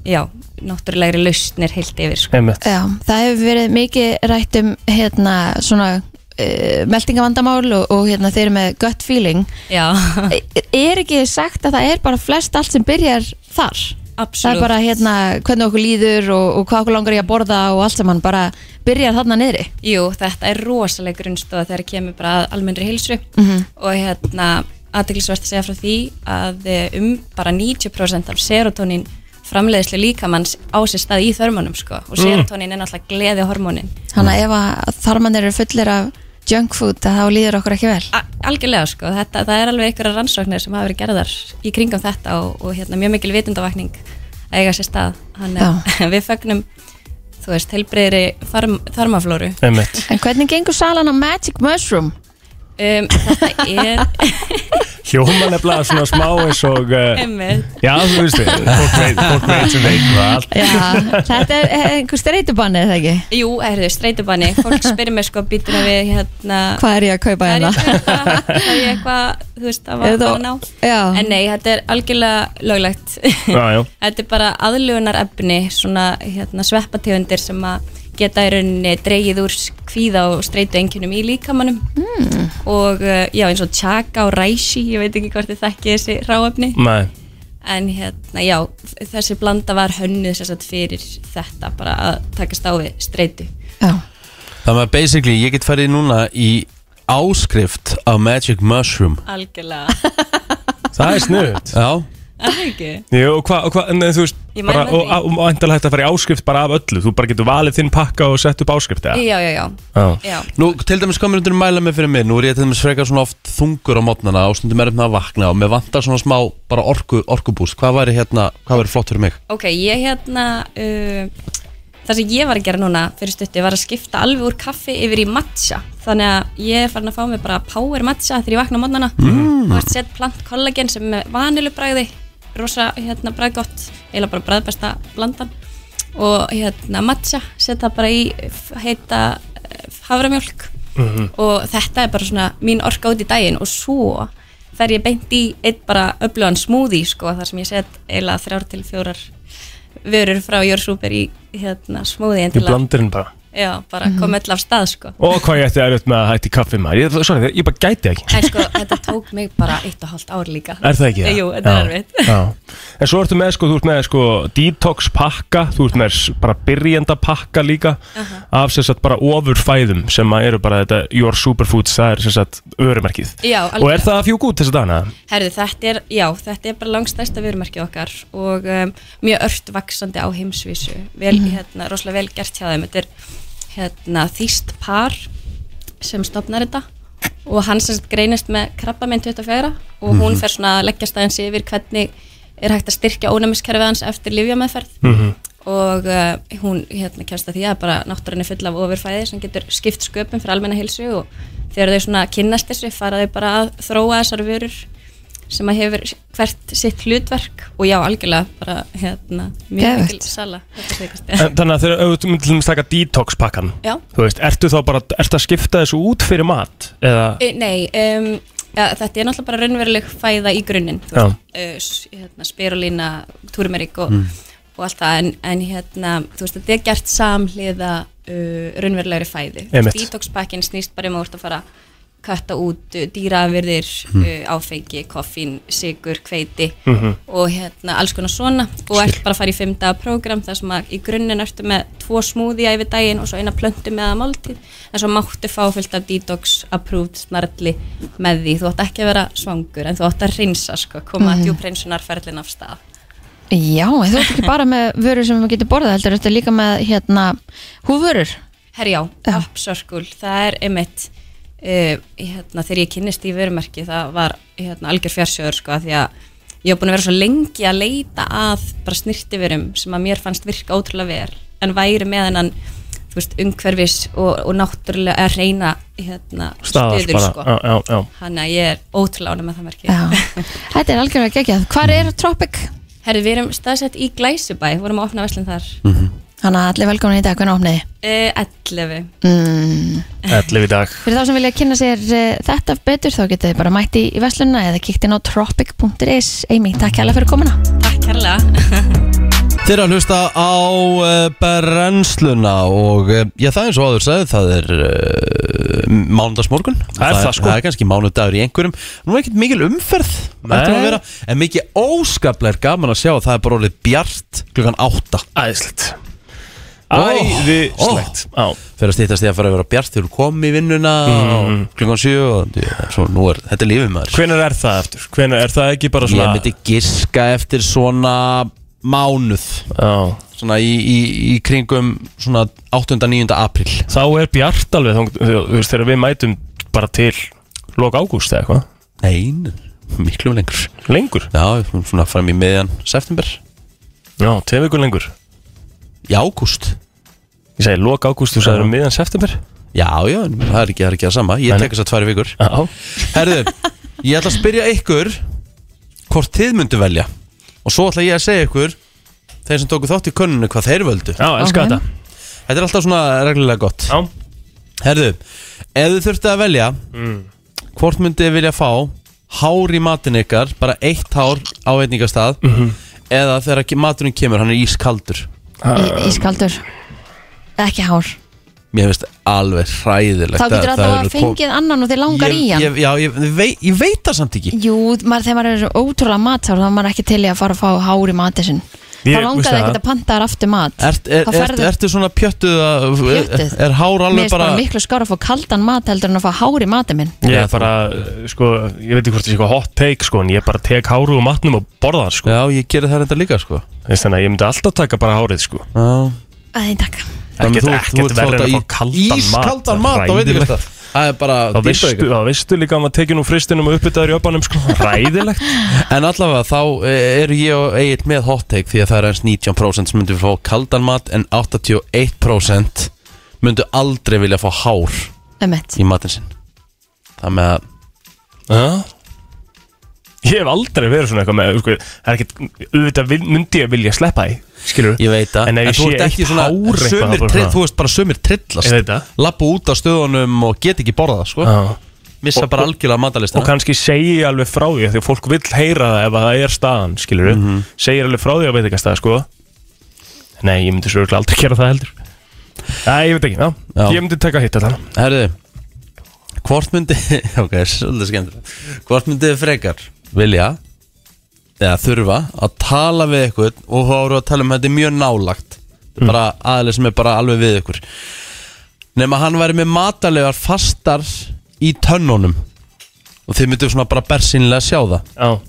Speaker 5: Já, náttúrulegri lausnir heilt yfir sko.
Speaker 3: Einmitt
Speaker 2: Já, það hefur verið mikið rætt um hérna svona uh, meldingavandamál og, og hérna þeir eru með gut feeling.
Speaker 5: Já,
Speaker 2: Er, er ekki sagt að það er bara flest allt sem byrjar þar? Það er
Speaker 5: absolutt
Speaker 2: bara hérna hvernig okkur líður og, og hvað okkur langar í að borða og allt sem hann bara byrjar þarna niðri.
Speaker 5: Jú, þetta er rosaleg grunnstóð þegar kemur bara að almennri heilsu
Speaker 2: Mhm.
Speaker 5: -hmm. og hérna aðteglisvert að segja frá því að eh, um bara 90% af serotonin framleiðislu líkamanns á sér stað í þörmunum sko og serotonin er náttúrulega gleðihormónin
Speaker 2: Þannig að ef að þarmannir eru fullir af junk food að þá líður okkur ekki vel.
Speaker 5: A- algjörlega sko, þetta, það er alveg einhverja rannsóknir sem hafa verið gerðar í kringum þetta og, og hérna, mjög mikil vitundavakning að eiga sér stað Hann, við fögnum, þú veist, helbreyðri þarm, þarmaflóru
Speaker 3: Einmitt
Speaker 2: En hvernig gengur salan á Magic Mushroom?
Speaker 5: um, þetta er
Speaker 3: Hjóma nefnilega svona smá eins og uh,
Speaker 5: einmitt,
Speaker 3: Já, þú veist þið, fólk veit, fólk veit sem veit hvað allt
Speaker 2: Já, þetta er einhver streytubanni eða ekki?
Speaker 5: jú, erðu, streytubanni fólk spyrir mig sko, býtur við hérna
Speaker 2: Hvað er ég að kaupa
Speaker 5: er
Speaker 2: hérna?
Speaker 5: ég eitthvað, er ég eitthvað þú veist, að
Speaker 2: Er
Speaker 5: var
Speaker 2: þetta-
Speaker 5: að ná
Speaker 2: Já.
Speaker 5: en nei, þetta er algjörlega löglegt
Speaker 3: Já, já
Speaker 5: Þetta er bara aðlugunar efni, svona hérna, sveppategundir sem að geta í rauninni dreigið úr kvíða og streitu enginum í líkamannum mm. og uh, já eins og tjaka og ræsi, ég veit ekki hvort þið þekki þessi ráefni
Speaker 3: Nei,
Speaker 5: en hérna já, þessi blanda var hönnuð sem sagt fyrir þetta bara að takast á við streitu
Speaker 2: Já.
Speaker 1: Þannig að basically, ég get farið núna í áskrift af Magic Mushroom.
Speaker 5: Algjörlega,
Speaker 3: það er snuðut
Speaker 1: Já,
Speaker 5: er það ekki?
Speaker 3: Jú, og hvað, hva, en þú veist,
Speaker 5: Ég mæli
Speaker 3: bara,
Speaker 5: með
Speaker 3: og,
Speaker 5: því.
Speaker 3: og, og endala hægt að fara í áskrift bara af öllu þú bara getur valið þinn pakka og sett upp áskrift eða?
Speaker 5: já, já, já,
Speaker 3: Já.
Speaker 5: já.
Speaker 1: Nú, til dæmis hvað mér undir mæla mig fyrir mig Nú er ég til dæmis frekar svona oft þungur á mótnana og stundum er með að vakna og mér vantar svona smá bara orku, orkubúst Hvað væri hérna, hvað væri flott fyrir mig?
Speaker 5: Ok, ég hérna uh, Það sem ég var að gera núna fyrir stutti var að skipta alveg úr kaffi yfir í matcha Þannig að ég er farin að fá mig bara power matcha þegar ég vakna á mótnana mm. Og sett plant kollagen sem er með vanilubræði Rosa hérna bræðgott, eiginlega bara bræðbesta blandan Og hérna matcha, setja bara í f- heita eh, haframjólk Og þetta er bara svona mín orka út í daginn Og svo fer ég beint í eitt bara öflugan smoothie sko Þar sem ég set eiginlega þrjár til fjórar vörur frá Jórsúper í hérna, smúðin
Speaker 3: í
Speaker 5: til að
Speaker 3: blandirinn bara
Speaker 5: já, bara koma öll af stað sko.
Speaker 3: og hvað ég ætti að auðvitað með að hætti kaffi maður ég, sorry, ég bara gæti ekki
Speaker 5: En sko, þetta tók mig bara eitt og hálft ár líka
Speaker 3: Er það ekki það?
Speaker 5: Jú, þetta
Speaker 3: Já,
Speaker 5: er erfitt
Speaker 3: Já. En svo ertu með, sko, þú ert með sko, detox pakka, þú ert með s- bara byrjenda pakka líka af sem sagt bara ofurfæðum sem að eru bara þetta Your Superfoods, það er sem sagt örumerkið.
Speaker 5: Já,
Speaker 3: Og er það að fjúk út þess að dana?
Speaker 5: Herðu, þetta er, já, þetta er bara langstæsta vörumarkið okkar og um, mjög ört vaksandi á heimsvísu vel, hérna, rosalega vel gert hjá þeim þetta er hérna, þýst par sem stopnar þetta og hann sem sagt greinist með krabbaminn 24 og hún
Speaker 3: Mhm.
Speaker 5: fer svona að leggja staðins yfir hvernig er hægt að styrkja ónæmiskerfið hans eftir livjameðferð og uh, hún hérna kemst að því að bara náttúrunni full af ofurfæði sem getur skipt sköpum fyrir almenna heilsu og þegar þau svona kynnast þessu fara þau bara að þróa þessar vörur sem að hefur hvert sitt hlutverk og já, algjörlega bara hérna, mjög
Speaker 2: Geðvegt.
Speaker 5: mikil sala þetta er sveikast.
Speaker 3: En, þannig að þegar auðvitað myndum við taka detox pakkan,
Speaker 5: Já.
Speaker 3: þú veist, ertu þá bara, ertu að skipta þessu út fyrir mat? Eða,
Speaker 5: E, Nei, um, ja, þetta er náttúrulega bara raunveruleg fæða í grunninn þú
Speaker 3: Já.
Speaker 5: veist, eh, s- hérna, spirulína, turmerik og, og allt það en, en hérna, þú veist, þetta er gert samhliða uh, raunverulegri fæði Þú
Speaker 3: Einmitt.
Speaker 5: veist, detoxpakkin snýst bara um að úrst að fara að katta út uh, dýraafyrðir, uh, áfengi, koffín, sigur, hveiti og hérna alls konar svona og ert bara að fara í fimm daga prógram þar sem að í grunninn ertu með tvo smúðja yfir daginn og svo eina plöntu með að máltíð en svo máttu fá fullt af detox approved snarli með því þú átt ekki að vera svangur en þú átt að hreinsa sko, koma mm -hmm. djúpreinsunarferlin af stað
Speaker 2: Já, en þú ert ekki bara með vörur sem maður getur borðað heldur, þetta er líka með hérna húfurur
Speaker 5: Herjá,
Speaker 2: Já.
Speaker 5: Up Circle, það er einmitt uh, hérna, þegar ég kynnist í vörumerki það var hérna, algjör fjársjóður sko, af því að ég hef búin að vera svo lengi að leita að bara snirtiverum sem að mér fannst virka ótrúlega vel en væri með hennan þú veist, umhverfis og, og náttúrulega að reyna hérna,
Speaker 3: staðar
Speaker 5: stöður
Speaker 3: bara,
Speaker 5: sko.
Speaker 3: já, já, já.
Speaker 5: Þannig að ég er ótrúlega ánægð með það merki
Speaker 2: Já, þetta er algjörlega geggjað Hvar er Tropic?
Speaker 5: Herri, við erum staðsett í Glæsubæ, vorum að opna verslun þar
Speaker 3: Mhm.
Speaker 2: Þannig að allir velkomin í dag, hvernig opniði?
Speaker 5: uh, 11
Speaker 2: Mm.
Speaker 3: 11 í dag.
Speaker 2: Fyrir þá sem vilja kynna sér uh, þetta betur þá getið þið bara mætt í, í verslunna eða kíkt inn á tropic.is Amy, takk hérlega fyrir komuna
Speaker 5: Takk kærlega
Speaker 1: Þeir eru að hlusta á uh, brennsluna og uh, já, það er eins og áður sagði, það er uh, mánudagsmorgun
Speaker 3: Það er það, sko.
Speaker 1: Það er kannski mánudagur í einhverjum Nú er ekkert mikil umferð
Speaker 3: Nei.
Speaker 1: ætti nú að vera, En mikið óskaplega er gaman að sjá að það er bara orðið bjart klukkan átta
Speaker 3: Æðislegt.
Speaker 1: Ó,
Speaker 3: Æðislegt. Já.
Speaker 1: Fyrir að stýttast því að fara að vera bjart þegar þú komið í vinnuna og klukkan sjö og já, svo nú er, þetta er lífið maður
Speaker 3: Hvenær er það eftir? Hvenær er það ekki bara
Speaker 1: Ég
Speaker 3: svona?
Speaker 1: myndi giska eftir svona mánuð
Speaker 3: Já.
Speaker 1: svona í, í, í kringum svona 8. 9. apríl
Speaker 3: þá er bjart alveg þang, þú þú veist, þegar við mætum bara til lok ágúst eða eitthvað
Speaker 1: Nein, miklu lengur
Speaker 3: lengur,
Speaker 1: Já, svona fram í miðjan september
Speaker 3: já, tvei vikur lengur
Speaker 1: Í ágúst
Speaker 3: ég segi lok ágúst, þú sagður um miðan september
Speaker 1: Já, já, en það er ekki, það er ekki að sama Ég
Speaker 3: Nei,
Speaker 1: tek þess að tvær vikur
Speaker 3: já,
Speaker 1: Herðu, ég ætla að spyrja ykkur hvort þið myndu velja og svo ætla ég að segja ykkur þeir sem tóku þátt í könnunu hvað þeir völdu
Speaker 3: já,
Speaker 2: Ok.
Speaker 3: elska þetta
Speaker 1: Þetta er alltaf svona reglulega gott
Speaker 3: já,
Speaker 1: Herðu, ef þið þurftu að velja
Speaker 3: Mm.
Speaker 1: hvort myndið þið vilja fá hár í matin ykkar, bara eitt hár á einingastað
Speaker 3: Mhm.
Speaker 1: eða þegar ke- maturinn kemur, hann er ískaldur
Speaker 2: í,
Speaker 1: um,
Speaker 2: Ískaldur, ekki hár
Speaker 1: Mér finnst alveg hræðilegt
Speaker 2: Þá getur
Speaker 1: að-
Speaker 2: alltaf
Speaker 1: eru
Speaker 2: að fengið annan og þið
Speaker 1: kom-
Speaker 2: langar í
Speaker 1: ég,
Speaker 2: hann
Speaker 1: ég, Já, ég, vei, ég veit það samt ekki
Speaker 2: Jú, maður, þegar maður er ótrúlega matár þá er maður ekki til í að fara að fá hár í matið sinn þá
Speaker 3: Ég- veist
Speaker 2: langaði
Speaker 3: það.
Speaker 2: ekkert að panta þar aftur mat
Speaker 1: Ert, er,
Speaker 2: Þá
Speaker 1: er,
Speaker 2: færðu-
Speaker 1: ertu svona pjöttuð að,
Speaker 2: Pjöttuð?
Speaker 1: Er hár
Speaker 2: Mér
Speaker 1: alveg
Speaker 2: finnst bara
Speaker 1: bara
Speaker 2: miklu skára að fá kaldan mat heldur en að fá hár í matið minn
Speaker 3: Ég
Speaker 1: Já,
Speaker 3: er bara, sko, ég veit ekki hvort það sé eitthvað hot take, sko, en ég bara tek háru og matnum og borða það, sko.
Speaker 1: Já, ég gerði það reynda líka sko
Speaker 3: Þess vegna, ég myndi alltaf taka bara hárið, sko.
Speaker 1: Já
Speaker 2: Æ, takk
Speaker 1: Þannig
Speaker 3: Ekkert,
Speaker 1: þú- þú ert
Speaker 3: ekkert verður
Speaker 1: svolítið
Speaker 3: að
Speaker 1: í
Speaker 3: fá kaldan mat.
Speaker 1: Ískaldan mat, þá veit ég
Speaker 3: Hræðilegt.
Speaker 1: þetta Það er bara
Speaker 3: Þá veistu,
Speaker 1: dýrbreykur.
Speaker 3: þá veistu líka að maður tekið nú fristinum og uppbyttaður í öpanum, sko. Ræðilegt.
Speaker 1: En allavega, þá eh, eru ég og Egil með hot take Því að það er eins 19% sem myndu fá kaldan mat En 81% myndu aldrei vilja fá hár
Speaker 2: Emmett
Speaker 1: í matinn sinn Það með að
Speaker 3: Já. Ég hef aldrei verið svona eitthvað með, sko, það er ekkert, auðvitað vil- myndi ég vilja sleppa því, skilur
Speaker 1: Ég veit að
Speaker 3: En ef ég
Speaker 1: þú
Speaker 3: sé
Speaker 1: ert ekki
Speaker 3: eitt hár eitthvað, þá
Speaker 1: sumir
Speaker 3: bara
Speaker 1: tri-
Speaker 3: svona-
Speaker 1: Þú veist bara sumir
Speaker 3: Ég veit það.
Speaker 1: trillast Lappu út af stöðunum og get ekki borða það sko.
Speaker 3: Já.
Speaker 1: Missa
Speaker 3: Og-
Speaker 1: bara
Speaker 3: og-
Speaker 1: algjörlega
Speaker 3: og
Speaker 1: matalistina
Speaker 3: kannski segi ég alveg frá því því að fólk vill heyra það ef að það er staðan skilur mm
Speaker 1: Mhm.
Speaker 3: -hmm. segir alveg frá því að veit ekki að staða sko nei, ég myndi svo örugglega aldrei gera það heldur nei, ég veit ekki, já,
Speaker 1: Já.
Speaker 3: ég myndi taka hitt þetta
Speaker 1: Herðu Hvort myndi Ok, svolítið skemmt Hvort myndi þið frekar vilja eða þurfa að tala við ykkur og þá voru að tala um þetta er mjög nálagt Þetta er bara aðeins sem er bara alveg við ykkur nema hann væri með matalegar fastar í tönnunum og þið myndu svona bara bersinlega sjá það
Speaker 3: já,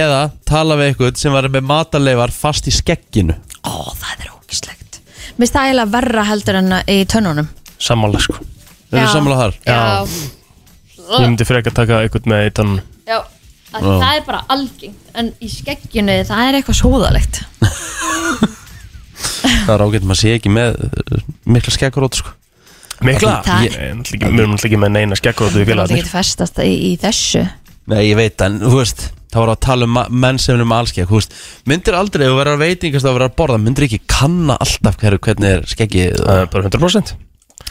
Speaker 1: eða tala við ykkur sem væri með matalegar fast í skegginu
Speaker 2: Ó, það er ógislegt Mér finnst það eiginlega verra heldur en að- í tönnunum
Speaker 3: sammála sko
Speaker 1: Við erum
Speaker 2: Já.
Speaker 1: samlega þar
Speaker 3: Já. ég myndi frekar taka einhvern með eitt annan
Speaker 2: Já, að það er bara algengt En í skegginu það er eitthvað svoðalegt
Speaker 1: Það er ágætt maður sé ekki með uh, mikla skeggrót sko.
Speaker 3: mikla,
Speaker 2: Það-
Speaker 3: Ég- ég er náttúrulega ekki- við erum náttúrulega ekki með neina skekkurótu í sko.
Speaker 2: Það er alltaf
Speaker 3: félagarnir
Speaker 2: ekki festast í, í þessu
Speaker 1: Nei, ég veit, en þú veist Það voru að tala um ma- menn sem er með allskegg þú veist, Myndir aldrei, ef þú verður að veitingast að verður að borða Myndir ekki kanna alltaf hverju hvernig er skeggið
Speaker 3: Það er bara 100%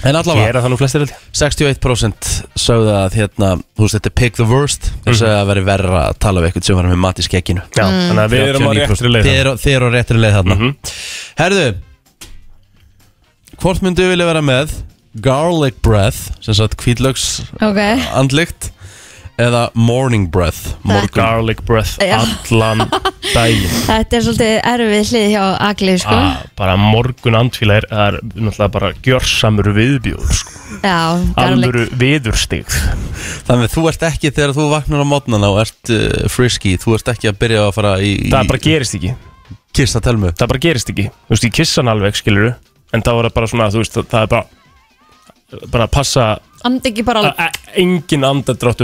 Speaker 1: En allavega,
Speaker 3: gera það nú
Speaker 1: Mm.
Speaker 3: flestir held ég
Speaker 1: 61% sögðu að hérna, þú veist, þetta er pick the worst Þeir
Speaker 3: Mhm.
Speaker 1: sögðu að veri verra að tala við eitthvað sem var með mat í skegginu
Speaker 3: já, þannig að við erum á
Speaker 1: 39%.
Speaker 3: réttri leið Mhm.
Speaker 1: Þið eru- Þið eru á réttri leið þarna Herðu Hvort myndu vilja vera með Garlic breath, sem sagt kvítlöks
Speaker 2: Ok
Speaker 1: andlikt Eða morning breath morgun-
Speaker 3: garlic breath
Speaker 2: Já.
Speaker 3: allan daginn
Speaker 2: Þetta er svolítið erfið hlið hjá Agli sko
Speaker 3: að bara morgun andfíla er, er náttúrulega bara gjörsamur viðbjóður sko.
Speaker 2: Já, garlic
Speaker 3: alvöru viðurstig
Speaker 1: Þannig að þú ert ekki þegar þú vaknar á mótnana og ert uh, frisky, þú ert ekki að byrja að fara í, í
Speaker 3: það bara gerist ekki
Speaker 1: kista telmu
Speaker 3: það bara gerist ekki, þú veist ég kissa hann alveg skilur en það var bara svona, þú veist það, það er bara bara að passa
Speaker 2: Andi ekki bara
Speaker 3: að
Speaker 2: alveg
Speaker 3: að engin andadráttu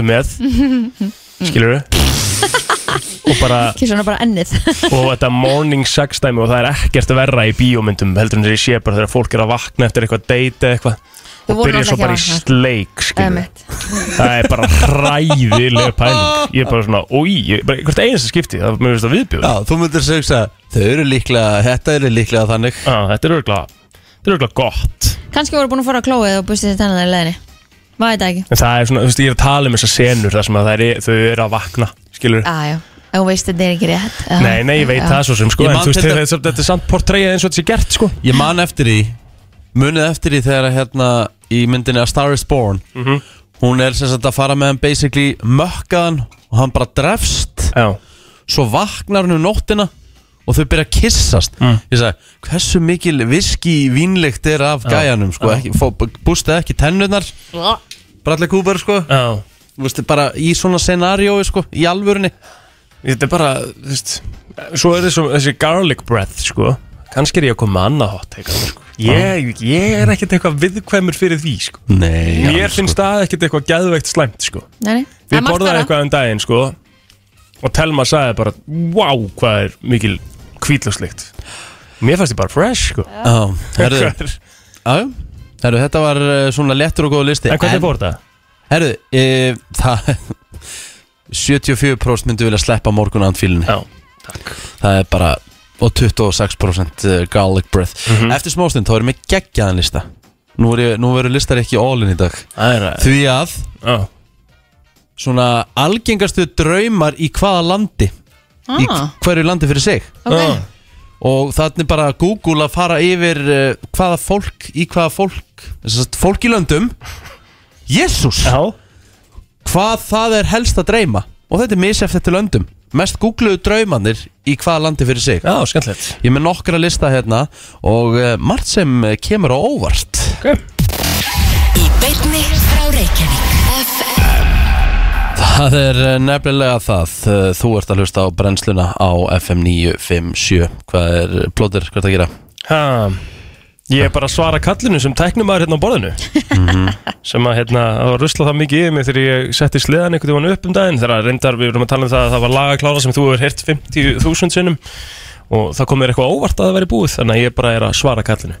Speaker 3: með skilur og bara,
Speaker 2: Kissa hana bara ennið
Speaker 3: og þetta morning sex dæmi og það er ekkert verra í bíómyndum heldur en þegar ég sé bara þegar fólk er að vakna eftir eitthvað date eða eitthvað
Speaker 2: Þú
Speaker 3: og
Speaker 2: voru
Speaker 3: byrja svo
Speaker 2: náttúrulega
Speaker 3: bara í
Speaker 2: ekki að vakna.
Speaker 3: sleik skilur
Speaker 2: Emmett
Speaker 3: Það er bara hræðilega pæling Ég er bara svona, ói, ég- bara hvert einasta skipti Það mér finnst það viðbjóð
Speaker 1: Já, þú myndir segja að þau eru líklega, þetta eru líklega þannig
Speaker 3: ah, Þetta er örgla, þetta er örgla gott
Speaker 2: Kanski voru búin að fara að klóið og bustið þetta hennar í leiðinni Maður þetta ekki
Speaker 3: En það er svona, þú veist, ég er að tala um þessar senur þar sem að það er, þau eru að vakna Skilur,
Speaker 2: Ah, Já, já Ef hún veist þetta er ekki rétt já.
Speaker 3: nei, nei, ég veit
Speaker 2: Já.
Speaker 3: það svo sem sko
Speaker 1: Ég
Speaker 3: En
Speaker 1: man
Speaker 3: þú veist,
Speaker 1: til
Speaker 3: þetta,
Speaker 1: dæ-
Speaker 3: þetta, þetta er samt portreyið eins og þetta sé gert sko
Speaker 1: Ég man eftir því, munið eftir því þegar að, hérna í myndinni A Star is Born
Speaker 3: Mhm.
Speaker 1: hún er sem sagt að fara með hann basically mökkaðan og hann bara drefst
Speaker 3: Já,
Speaker 1: svo vaknar hann um nóttina og þau byrja að kyssast
Speaker 3: Mm.
Speaker 1: ég sagði, hversu mikil viski vínlegt er af gæjanum sko, ekki, fó, bústaði ekki tennurnar Bradley Cooper sko
Speaker 3: já
Speaker 1: Þú veist, bara í svona scenaríói sko, í alvörunni
Speaker 3: Þetta er bara, þú veist Svo er þessu, þessi garlic breath sko Kannski er ég að koma með annað hot take, sko. ég, ég er ekkert eitthvað viðkvæmur fyrir því sko.
Speaker 1: Nei,
Speaker 3: Mér finnst það ekkert eitthvað geðveikt slæmt sko.
Speaker 2: Nei, nei Það er
Speaker 3: Við
Speaker 2: margt
Speaker 3: borðaði
Speaker 2: verra.
Speaker 3: eitthvað um daginn sko Og Telma sagði bara Wow, hvað er mikil kvítlöfslikt Mér fannst ég bara fresh sko
Speaker 1: Já, herðu,
Speaker 3: En
Speaker 1: já, já. herðu, þetta var eh, svona léttur og góð listi
Speaker 3: hvernig fór það?
Speaker 1: Herðu, e, það 74% myndu vilja sleppa morgun andfílinni
Speaker 3: Já,
Speaker 1: Það er bara, og 26% eh, garlic breath Eftir smástund, þá erum við geggjaðan lista Nú, er ég, nú verður listar ekki all in í dag
Speaker 3: það er að
Speaker 1: Því að,
Speaker 3: Já,
Speaker 1: svona algengastu draumar í hvaða landi Í
Speaker 2: Ah.
Speaker 1: hverju landi fyrir sig
Speaker 2: Ok.
Speaker 3: Ah,
Speaker 1: og þannig bara Google að fara yfir uh, hvaða fólk, í hvaða fólk sagt, fólk í löndum Jésús,
Speaker 3: Já.
Speaker 1: hvað það er helst að dreyma og þetta er misjæft eftir löndum mest googluðu draumannir í hvaða landi fyrir sig
Speaker 3: Já, skemmtilegt
Speaker 1: Ég er með nokkra lista hérna og eh, margt sem eh, kemur á óvart
Speaker 3: okay.
Speaker 6: Í beinni frá Reykjavík FM
Speaker 1: Það er eh, nefnilega það Eh, Þú ert að hlusta á brennsluna á FM 957 Hvað er plóður, hvað er það að gera?
Speaker 3: ha, Ég er bara að svara kallinu sem tæknum maður hérna á borðinu sem að hérna, það var rusla það mikið yfir mig þegar ég setti sleðan einhvern veginn upp um daginn þegar að reyndar við vorum að tala um það að það var lagaklára sem þú hefur heyrt 50.000 sinnum og það kom mér eitthvað óvart að það væri búið þannig að ég bara er að svara kallinu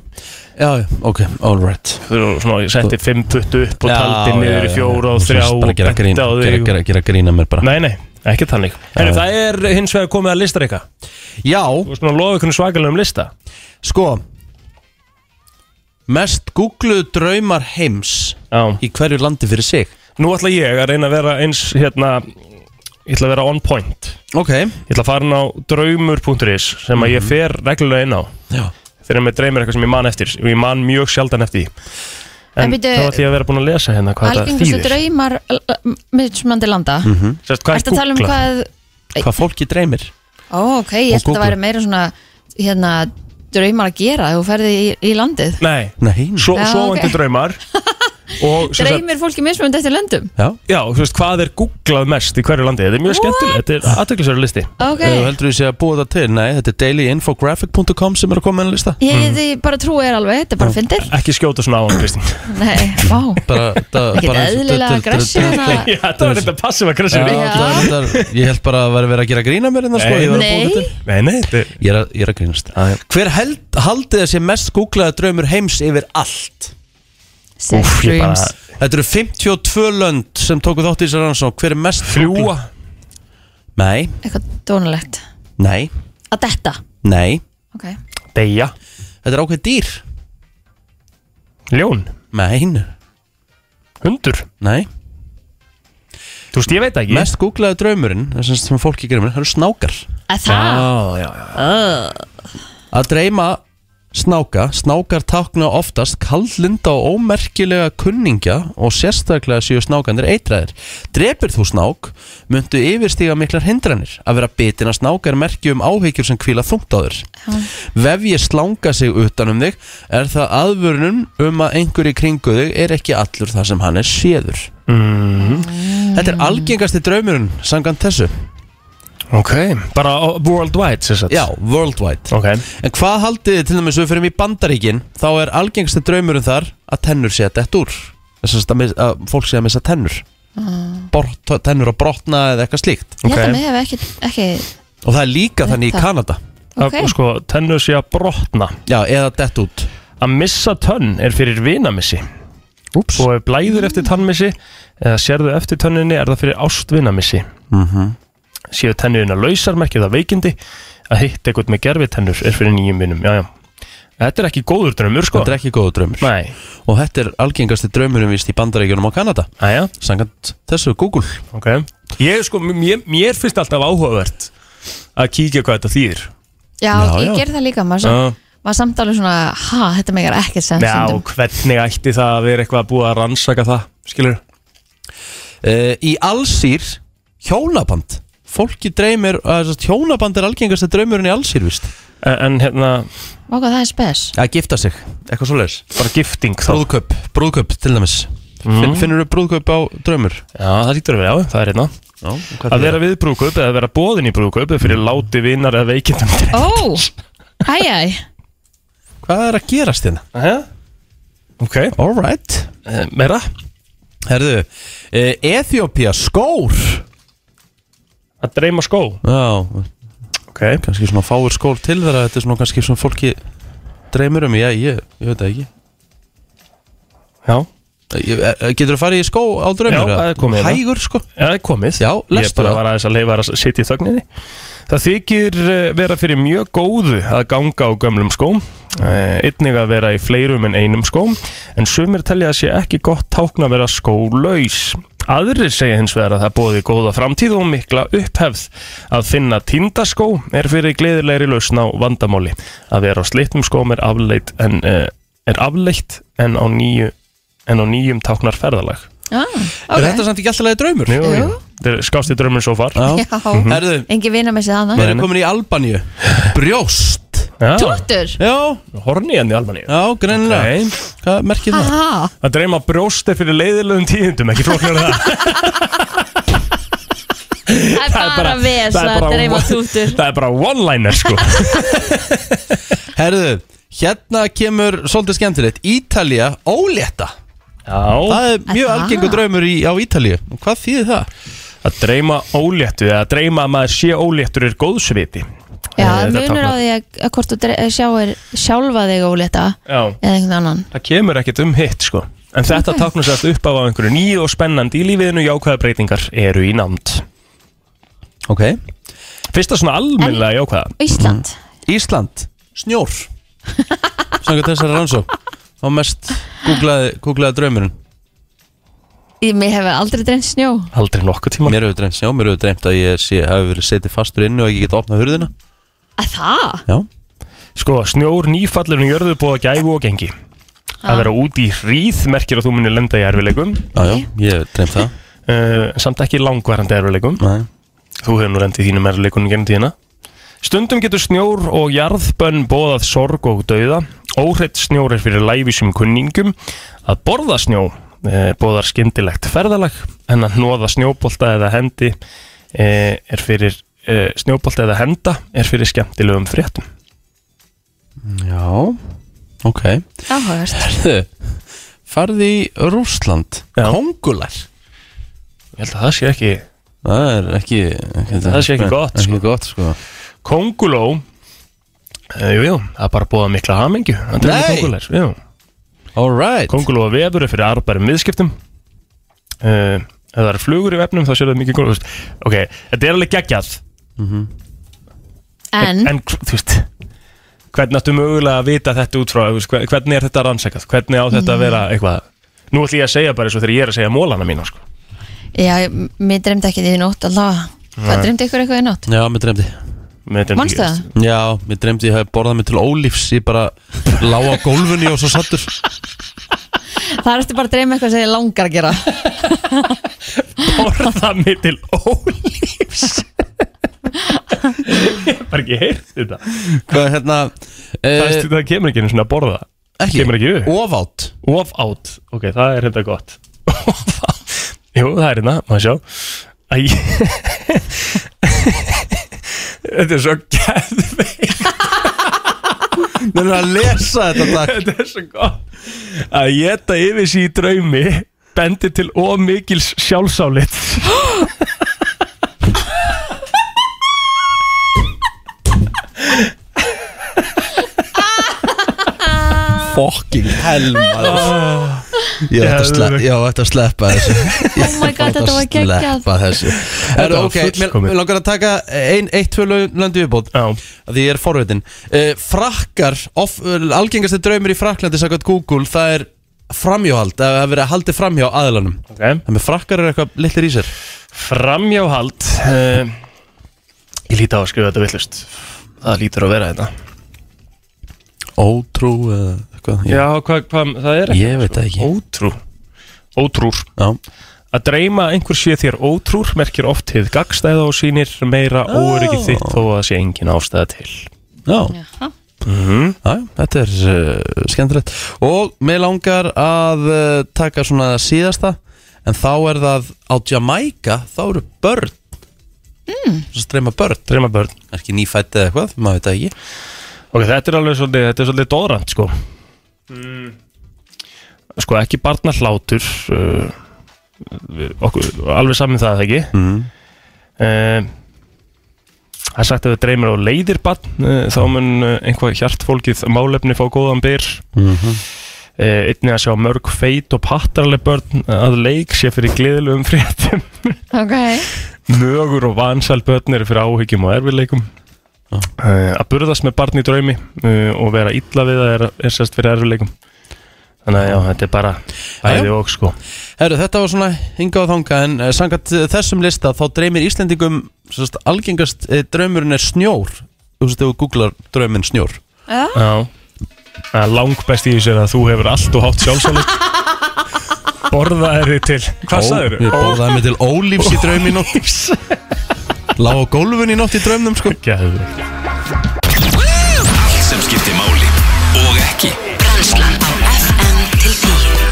Speaker 1: Já, já, ok, alright
Speaker 3: Þegar svona, ég setti 5.20 upp og taldi niður í fjóra og þrjá
Speaker 1: Bara
Speaker 3: og
Speaker 1: gera grín,
Speaker 3: benti á þig
Speaker 1: gera,
Speaker 3: og-
Speaker 1: gera, gera grín að mér bara
Speaker 3: Nei, nei, ekki þannig En það er hins vegar komið að listar eitthvað
Speaker 1: Já,
Speaker 3: Þú veist maður að lofa einhvern svakalegum lista
Speaker 1: sko Mest googluðu draumar heims
Speaker 3: Já
Speaker 1: Í hverju landi fyrir sig
Speaker 3: Nú ætla ég að reyna að vera eins hérna Ég ætla að vera on point
Speaker 1: Ok,
Speaker 3: Ég ætla að fara inn á draumur.is sem að ég fer reglulega inn á
Speaker 1: já
Speaker 3: þegar mér dreymir eitthvað sem ég man eftir og ég man mjög sjaldan eftir því En,
Speaker 2: En bíddu,
Speaker 3: þá ætla ég að vera búin að lesa hérna hvað þetta
Speaker 2: Algengustu
Speaker 3: þýðir
Speaker 2: draumar Mismandi landa
Speaker 3: Sérst, hvað
Speaker 2: Ertu að tala um
Speaker 3: Google?
Speaker 2: hvað
Speaker 1: Hvað fólki dreymir
Speaker 2: Ó, ok,
Speaker 1: Og
Speaker 2: ég held að
Speaker 1: Google.
Speaker 2: það væri meira svona hérna, draumar að gera þegar þú ferði í, í landið
Speaker 3: Nei,
Speaker 1: Nei,
Speaker 3: svo,
Speaker 2: Já,
Speaker 3: sovandi
Speaker 2: ok.
Speaker 3: draumar og, sem sagt,
Speaker 2: Dreymir fólki mismönd eftir löndum
Speaker 1: já
Speaker 3: Já, þú veist, hvað er googlað mest í hverju landi Þetta er mjög skemmtileg, þetta er aðtöklisverðu listi
Speaker 2: Ok,
Speaker 1: Ef Þú heldur þú sé að búa það til? Nei, þetta er dailyinfographic.com sem er að koma með enn lista
Speaker 2: ég geti bara trú er alveg, þetta er bara fyndir
Speaker 3: Ekki skjóta svona á hann, Kristín
Speaker 2: Nei, vá
Speaker 1: bara, það,
Speaker 2: Ekkert
Speaker 1: bara eins og-
Speaker 2: eðlilega
Speaker 1: þetta- þetta-
Speaker 2: aggressive
Speaker 1: þetta-
Speaker 2: hana.
Speaker 3: Já, það var þetta passífa
Speaker 1: Já,
Speaker 3: aggressive
Speaker 2: Já.
Speaker 1: það var reyndar- Ég held bara að vera verið að gera grína mér en það sko
Speaker 3: Nei.
Speaker 1: Ég var að búa
Speaker 2: Nei.
Speaker 1: þetta til.
Speaker 3: Nei, nei, þetta er
Speaker 1: Ég er að, ég er að grínast Hver held, haldið þessi mest googlaða draumur heims yfir allt?
Speaker 2: Sex
Speaker 3: Úff, ég bara-
Speaker 2: dreams
Speaker 1: Þetta eru 52 lönd sem tóku þátt í þessar rannsók Hver er mest
Speaker 3: Fljúa
Speaker 1: Nei,
Speaker 2: Eitthvað dónalegt
Speaker 1: nei,
Speaker 2: Að detta
Speaker 1: nei
Speaker 2: Ok,
Speaker 3: Deyja
Speaker 1: Þetta er ákveð dýr
Speaker 3: Ljón
Speaker 1: Nei,
Speaker 3: Hundur
Speaker 1: nei
Speaker 3: Þú veist, ég veit það ekki
Speaker 1: Mest googlaða draumurinn, þessum sem fólki gerir mér, það eru snákar
Speaker 2: að það
Speaker 3: já, já
Speaker 1: Að dreyma snáka, snákar tákna oftast kaldlinda og ómerkilega kunningja og sérstaklega séu snákanir eitræðir. Drepir þú snák, myndu yfirstíga miklar hindranir. Að vera bitin að snáka er merki um áhyggjur sem kvíla þungt á þér. Vef ég slanga sig utan um þig, er það aðvörunum um að einhver í kringu þig er ekki allur það sem hann er séður.
Speaker 3: Mhm.
Speaker 1: Þetta er algengasti draumurinn, samkvæmt þessu.
Speaker 3: Ok Bara á- worldwide, sér satt
Speaker 1: Já, worldwide.
Speaker 3: Ok
Speaker 1: En hvað haldið þið til dæmis ef við fyrir í bandaríkin þá er algengsta draumurinn þar að tennur sé að dett úr þess að, mis- að fólk sé að missa tennur Bort, tennur að brotna eða eitthvað slíkt
Speaker 2: Ah. Ég held
Speaker 3: Ok.
Speaker 2: að mig hef ekki, ekki
Speaker 1: og það er líka þannig í
Speaker 2: Þetta.
Speaker 1: Kanada
Speaker 2: Ok,
Speaker 3: Að, Sko, tennur sé að brotna
Speaker 1: Já, eða dett út
Speaker 3: Að missa tönn er fyrir vinamissi
Speaker 1: Úps
Speaker 3: Og ef blæður eftir tannmissi Eða sérðu eftir tönninni er það fyrir ástvinamissi
Speaker 1: mm -hmm.
Speaker 3: Séu tennurina lausar, merkir það veikindi Að hitt eitthvað með gerfi er fyrir nýjum vinum Já, já Þetta er ekki góður drömmur, sko
Speaker 1: Þetta er ekki góða draumur
Speaker 3: Nei,
Speaker 1: og þetta er algengasti draumurinn vist í bandaríkjunum á Kanada
Speaker 3: aðja
Speaker 1: Sangat þessu Google
Speaker 3: Ok Ég sko, mér, mér finnst alltaf áhugavert að kíkja hvað þetta þýðir
Speaker 2: já,
Speaker 1: Já, já. Ah.
Speaker 2: ég ger það líka Maður,
Speaker 3: Já.
Speaker 2: uh. maður samtalið svona, ha, þetta megar ekkert sem
Speaker 3: Já, og
Speaker 2: stundum
Speaker 3: hvernig ætti það að vera eitthvað að búa að rannsaka það, skilur
Speaker 1: uh, Í allsýr hjónaband Fólki dreymir, að þess að hjónaband er algengasti draumurinn í allsýr vist
Speaker 3: En, en hérna,
Speaker 2: Vá hvað það er spes
Speaker 1: Að gifta sig, eitthvað svoleiðis
Speaker 3: bara gifting þá
Speaker 1: Brúðkaup, brúðkaup til dæmis Finn, Finnur þú brúðkaup á draumur?
Speaker 3: Já, það lítur að vera, já, það er hérna
Speaker 1: Já, um
Speaker 3: Að vera við brúðkaup eða að vera bóðin í brúðkaup eða fyrir láti vinar eða veikindum
Speaker 2: Ó, æj, æj
Speaker 1: Hvað er að gerast hérna?
Speaker 3: Aha. Ok,
Speaker 1: Alright
Speaker 3: eh, meira
Speaker 1: Herðu, e Ethiopia skór
Speaker 3: Að dreyma skó
Speaker 1: Já,
Speaker 3: Ok,
Speaker 1: kannski svona fáir skór til þeirra Þetta er svona kannski svona fólki dreymir um Já, ég, ég veit það ekki
Speaker 3: já,
Speaker 1: Ég- e- e- Getur þú farið í skó á draumur?
Speaker 3: Já, það er komið hérna.
Speaker 1: Hægur sko
Speaker 3: Já, það er komið
Speaker 1: Já,
Speaker 3: Ég
Speaker 1: lestu
Speaker 3: bara
Speaker 1: það.
Speaker 3: var aðeins að leifa að sitja í þögninni Það þykir eh, vera fyrir mjög góðu að ganga á gömlum skóm eh, einnig að vera í fleirum en einum skóm en sumir telja að sé ekki gott tákn að vera skólaus Aðrir segja hins vegar að það bóði góða framtíð og mikla upphefð að finna tindaskó er fyrir gleðilegri lausn á vandamáli að vera á slittum skóm er afleitt en, eh, er afleitt en á nýju en á nýjum táknar ferðalag
Speaker 2: ah,
Speaker 1: Er þetta
Speaker 2: okay.
Speaker 1: samt ekki alltaf leið draumur? Mhm.
Speaker 3: Jú, jú.
Speaker 2: Jú.
Speaker 3: skásti drömmin svo far
Speaker 2: Já,
Speaker 1: Herðu,
Speaker 2: engi vina með sér
Speaker 1: við
Speaker 2: þannig
Speaker 1: erum komin í Albaníu Brjóst
Speaker 2: Tóttur
Speaker 1: Já,
Speaker 3: Horni enn í Albaníu
Speaker 1: já, greinilega
Speaker 3: Nei.
Speaker 1: Hvað merkir það?
Speaker 2: Aha,
Speaker 3: Að dreyma brjósti fyrir leiðilegum tíðindum Ekki flóknar en það
Speaker 2: það er bara ves
Speaker 3: það er
Speaker 2: að
Speaker 3: bara-
Speaker 2: dreima tóttur
Speaker 3: Það er bara one-liner sko
Speaker 1: Herðu, hérna kemur svolítið skemmtilegt Ítalía ólétta
Speaker 3: Já
Speaker 1: Það er mjög
Speaker 2: Aha.
Speaker 1: algengur draumur í, á Ítalíu Og Hvað þýðir það?
Speaker 3: Að dreyma óléttu Eða að dreyma að maður sé óléttur er góðsviti
Speaker 2: Já,
Speaker 3: Eh, þetta
Speaker 2: munur á
Speaker 3: táknar-
Speaker 2: því að, að hvort þú dre- sjáir sjálfa þig ólétta
Speaker 3: Já
Speaker 2: eða einhvern annan
Speaker 3: Það kemur ekkert um hitt sko En þetta okay. táknast allt upp á að einhverju nýju og spennandi í lífiðinu jákvæða breytingar eru í námt
Speaker 1: Ok
Speaker 3: Fyrsta svona almennilega jákvæða
Speaker 2: Ísland,
Speaker 3: Mm.
Speaker 1: Ísland, snjór Sannkvæmt þessari rannsó Þá mest googlaði, googlaði draumurinn
Speaker 2: ég, mér hefur aldrei dreymt snjó
Speaker 3: Aldrei nokkuð tíma
Speaker 1: Mér hefur dreymt snjó, mér hefur dreymt að ég sé, hafi verið setið fastur inn og ekki geta opnað hurðina
Speaker 2: Að það?
Speaker 1: Já,
Speaker 3: Sko, snjór nýfallir um jörðu búið að gæfu og gengi Að vera úti í hríð merkir að þú munir lenda í erfileikum
Speaker 1: já, já, ég hef dreymt það
Speaker 3: uh, Samt ekki langvarandi erfileikum
Speaker 1: Nei.
Speaker 3: Þú hefur nú rendið þínum erfileikunum gennum tíðina Stundum getur snjór og jarðbönn bóðað sorg og dauða Óhreitt snjór er fyrir læfisum kunningum Að borða snjó uh, bóðar skyndilegt ferðalag En að hnoða snjóbolta eða hendi uh, er fyrir uh, snjóbolta eða henda er fyrir skemmtilegum fréttum
Speaker 1: Já, ok
Speaker 2: Áhugast
Speaker 1: Herðu, farði í Rússland
Speaker 3: Já.
Speaker 1: Kongular
Speaker 3: Ég held að það sé ekki
Speaker 1: Það er ekki, ekki
Speaker 3: Það sé ekki gott,
Speaker 1: ekki
Speaker 3: sko.
Speaker 1: gott sko.
Speaker 3: Konguló eh, Jú, jú, það er bara búið mikla hamingju Það er
Speaker 1: Nei!
Speaker 3: kongulær jú.
Speaker 1: All right
Speaker 3: Konguló að vefur er fyrir arbærum viðskiptum uh, Ef það eru flugur í vefnum þá séu það mikið konguló Ok, þetta er alveg geggjað
Speaker 2: En,
Speaker 3: En, hv- þú veist Hvernig áttu mögulega að vita þetta út frá þú veist, hve- Hvernig er þetta rannsakað Hvernig á þetta að vera
Speaker 2: Mm.
Speaker 3: eitthvað Nú ætlum ég að segja bara eins og þegar ég er að segja mólana mína sko.
Speaker 2: já, ég- mér dreymdi ekki því í nótt allavega Hvað dreymdi ykkur eitthvað í nótt?
Speaker 1: Já, mér dreymdi
Speaker 3: Mér þetta er
Speaker 2: Manstu
Speaker 3: mikið-
Speaker 2: það?
Speaker 1: Já, mér dreymdi ég hafi borðað mig til ólífs Ég bara lá á gólfunni og svo sattur
Speaker 3: Mm.
Speaker 2: Það er eftir bara að dreyma eitthvað sem ég langar að gera
Speaker 3: Borða mig til ólífs Ég hef bara ekki heyrt þetta
Speaker 1: Hvað er hérna
Speaker 3: Það, veist,
Speaker 1: eh,
Speaker 3: það kemur ekki einu svona að borða kemur ekki upp.
Speaker 1: Ofátt
Speaker 3: Off out, ok, það er hérna gott Off out Jú, það er hérna, maður sjá Æ Þetta er svo geðveik
Speaker 1: Mér er að lesa þetta takk
Speaker 3: Þetta er svo gott Að geta yfir sig í draumi Bendi til ómikils sjálfsálit
Speaker 1: Fucking hell maður. Ég ætti að, sle ég ætti að sleppa þessu Oh
Speaker 2: my god, þetta var geggjað.
Speaker 1: Sleppa þessu Herru,
Speaker 3: var
Speaker 1: ok, mér
Speaker 3: fullkomið.
Speaker 1: mér langar að taka ein, eitt, tvö lög- löndi viðbót
Speaker 3: Já,
Speaker 1: að því ég er forvitin uh, frakkar, of, uh, algengasti draumur í Fraklandi sagðat Google, það er framhjóhald, það er verið að haldi framhjá aðlanum
Speaker 3: ok
Speaker 1: þannig að frakkar eru eitthvað litlir í sér
Speaker 3: Framjáhald uh, Ég líti á að skrifa þetta villust Það lítur að vera hérna. þetta
Speaker 1: ótrú eða eitthvað
Speaker 3: Já, hvað, hvað, það er
Speaker 1: Ég veit það ekki.
Speaker 3: Ótrú Ótrúr
Speaker 1: Já.
Speaker 3: Að dreyma að einhver sé þér ótrúr merkir oft hið gagstæða og sýnir meira oh. óryggi þitt þó að sé engin ástæða til
Speaker 1: Já.
Speaker 3: Mhm.
Speaker 1: Já, þetta er uh, skemmtilegt og mig langar að uh, taka svona síðasta en þá er það á Jamaica þá eru börn mm. svo streyma börn,
Speaker 3: Dreyma börn
Speaker 1: ekki nýfætt eða eitthvað maður veit það ekki
Speaker 3: Ok, þetta er alveg svolítið, þetta er svolítið dóðrand sko Mm. Sko ekki barna hlátur uh, við- okkur, Alveg saman það ekki mm.
Speaker 1: Mhm.
Speaker 3: Það er sagt að við dreymir á leiðir barn uh, þá mun uh, einhvað hjartfólkið málefni fá góðan byr mm
Speaker 1: Mhm.
Speaker 3: einnig að sjá mörg feit og pattarleg börn að leik sé fyrir gleðilegum fréttum
Speaker 2: Ok
Speaker 3: Mögur og vansæl börn eru fyrir áhyggjum og erfiðleikum
Speaker 1: Já.
Speaker 3: uh, Að burðast með barn í draumi uh, og vera illa við það er, er sérst fyrir erfiðleikum Þannig að já, þetta er bara
Speaker 1: já.
Speaker 3: æði og sko
Speaker 1: Herru, þetta var svona hingað og þanga en uh, sangat uh, þessum lista þá dreymir Íslendingum sérst, algengast uh, draumurinn er snjór þú veist, ef þú googlar drauminn snjór
Speaker 3: Ah. Já Það er langbest í þessu er að þú hefur allt og hátt sjálfsálit Borðaði þið til Hvað sagður
Speaker 1: Ég borðaði mig til ólífs í draumi í nótt Lá á gólfun í nótt í draumnum sko
Speaker 3: Gæður
Speaker 4: Allt sem skiptir máli og ekki
Speaker 6: Brennslan á FM til 10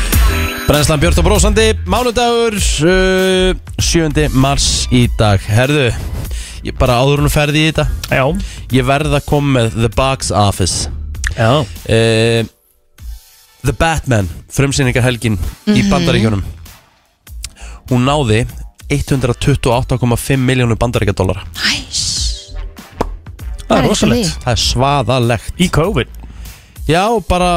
Speaker 1: Brennslan Björn og Brósandi Mánudagur uh, 7. mars í dag Herðu, ég bara áður hún ferði í þetta
Speaker 3: Já
Speaker 1: Ég verð að koma með The Box Office
Speaker 3: Já
Speaker 1: uh, The Batman frumsýningar helgin í bandaríkjunum Hún náði 128,5 miljónu bandaríkjadólara
Speaker 2: Næs
Speaker 3: Það er rosalegt.
Speaker 1: Það er svaðalegt
Speaker 3: Í COVID
Speaker 1: Já, bara,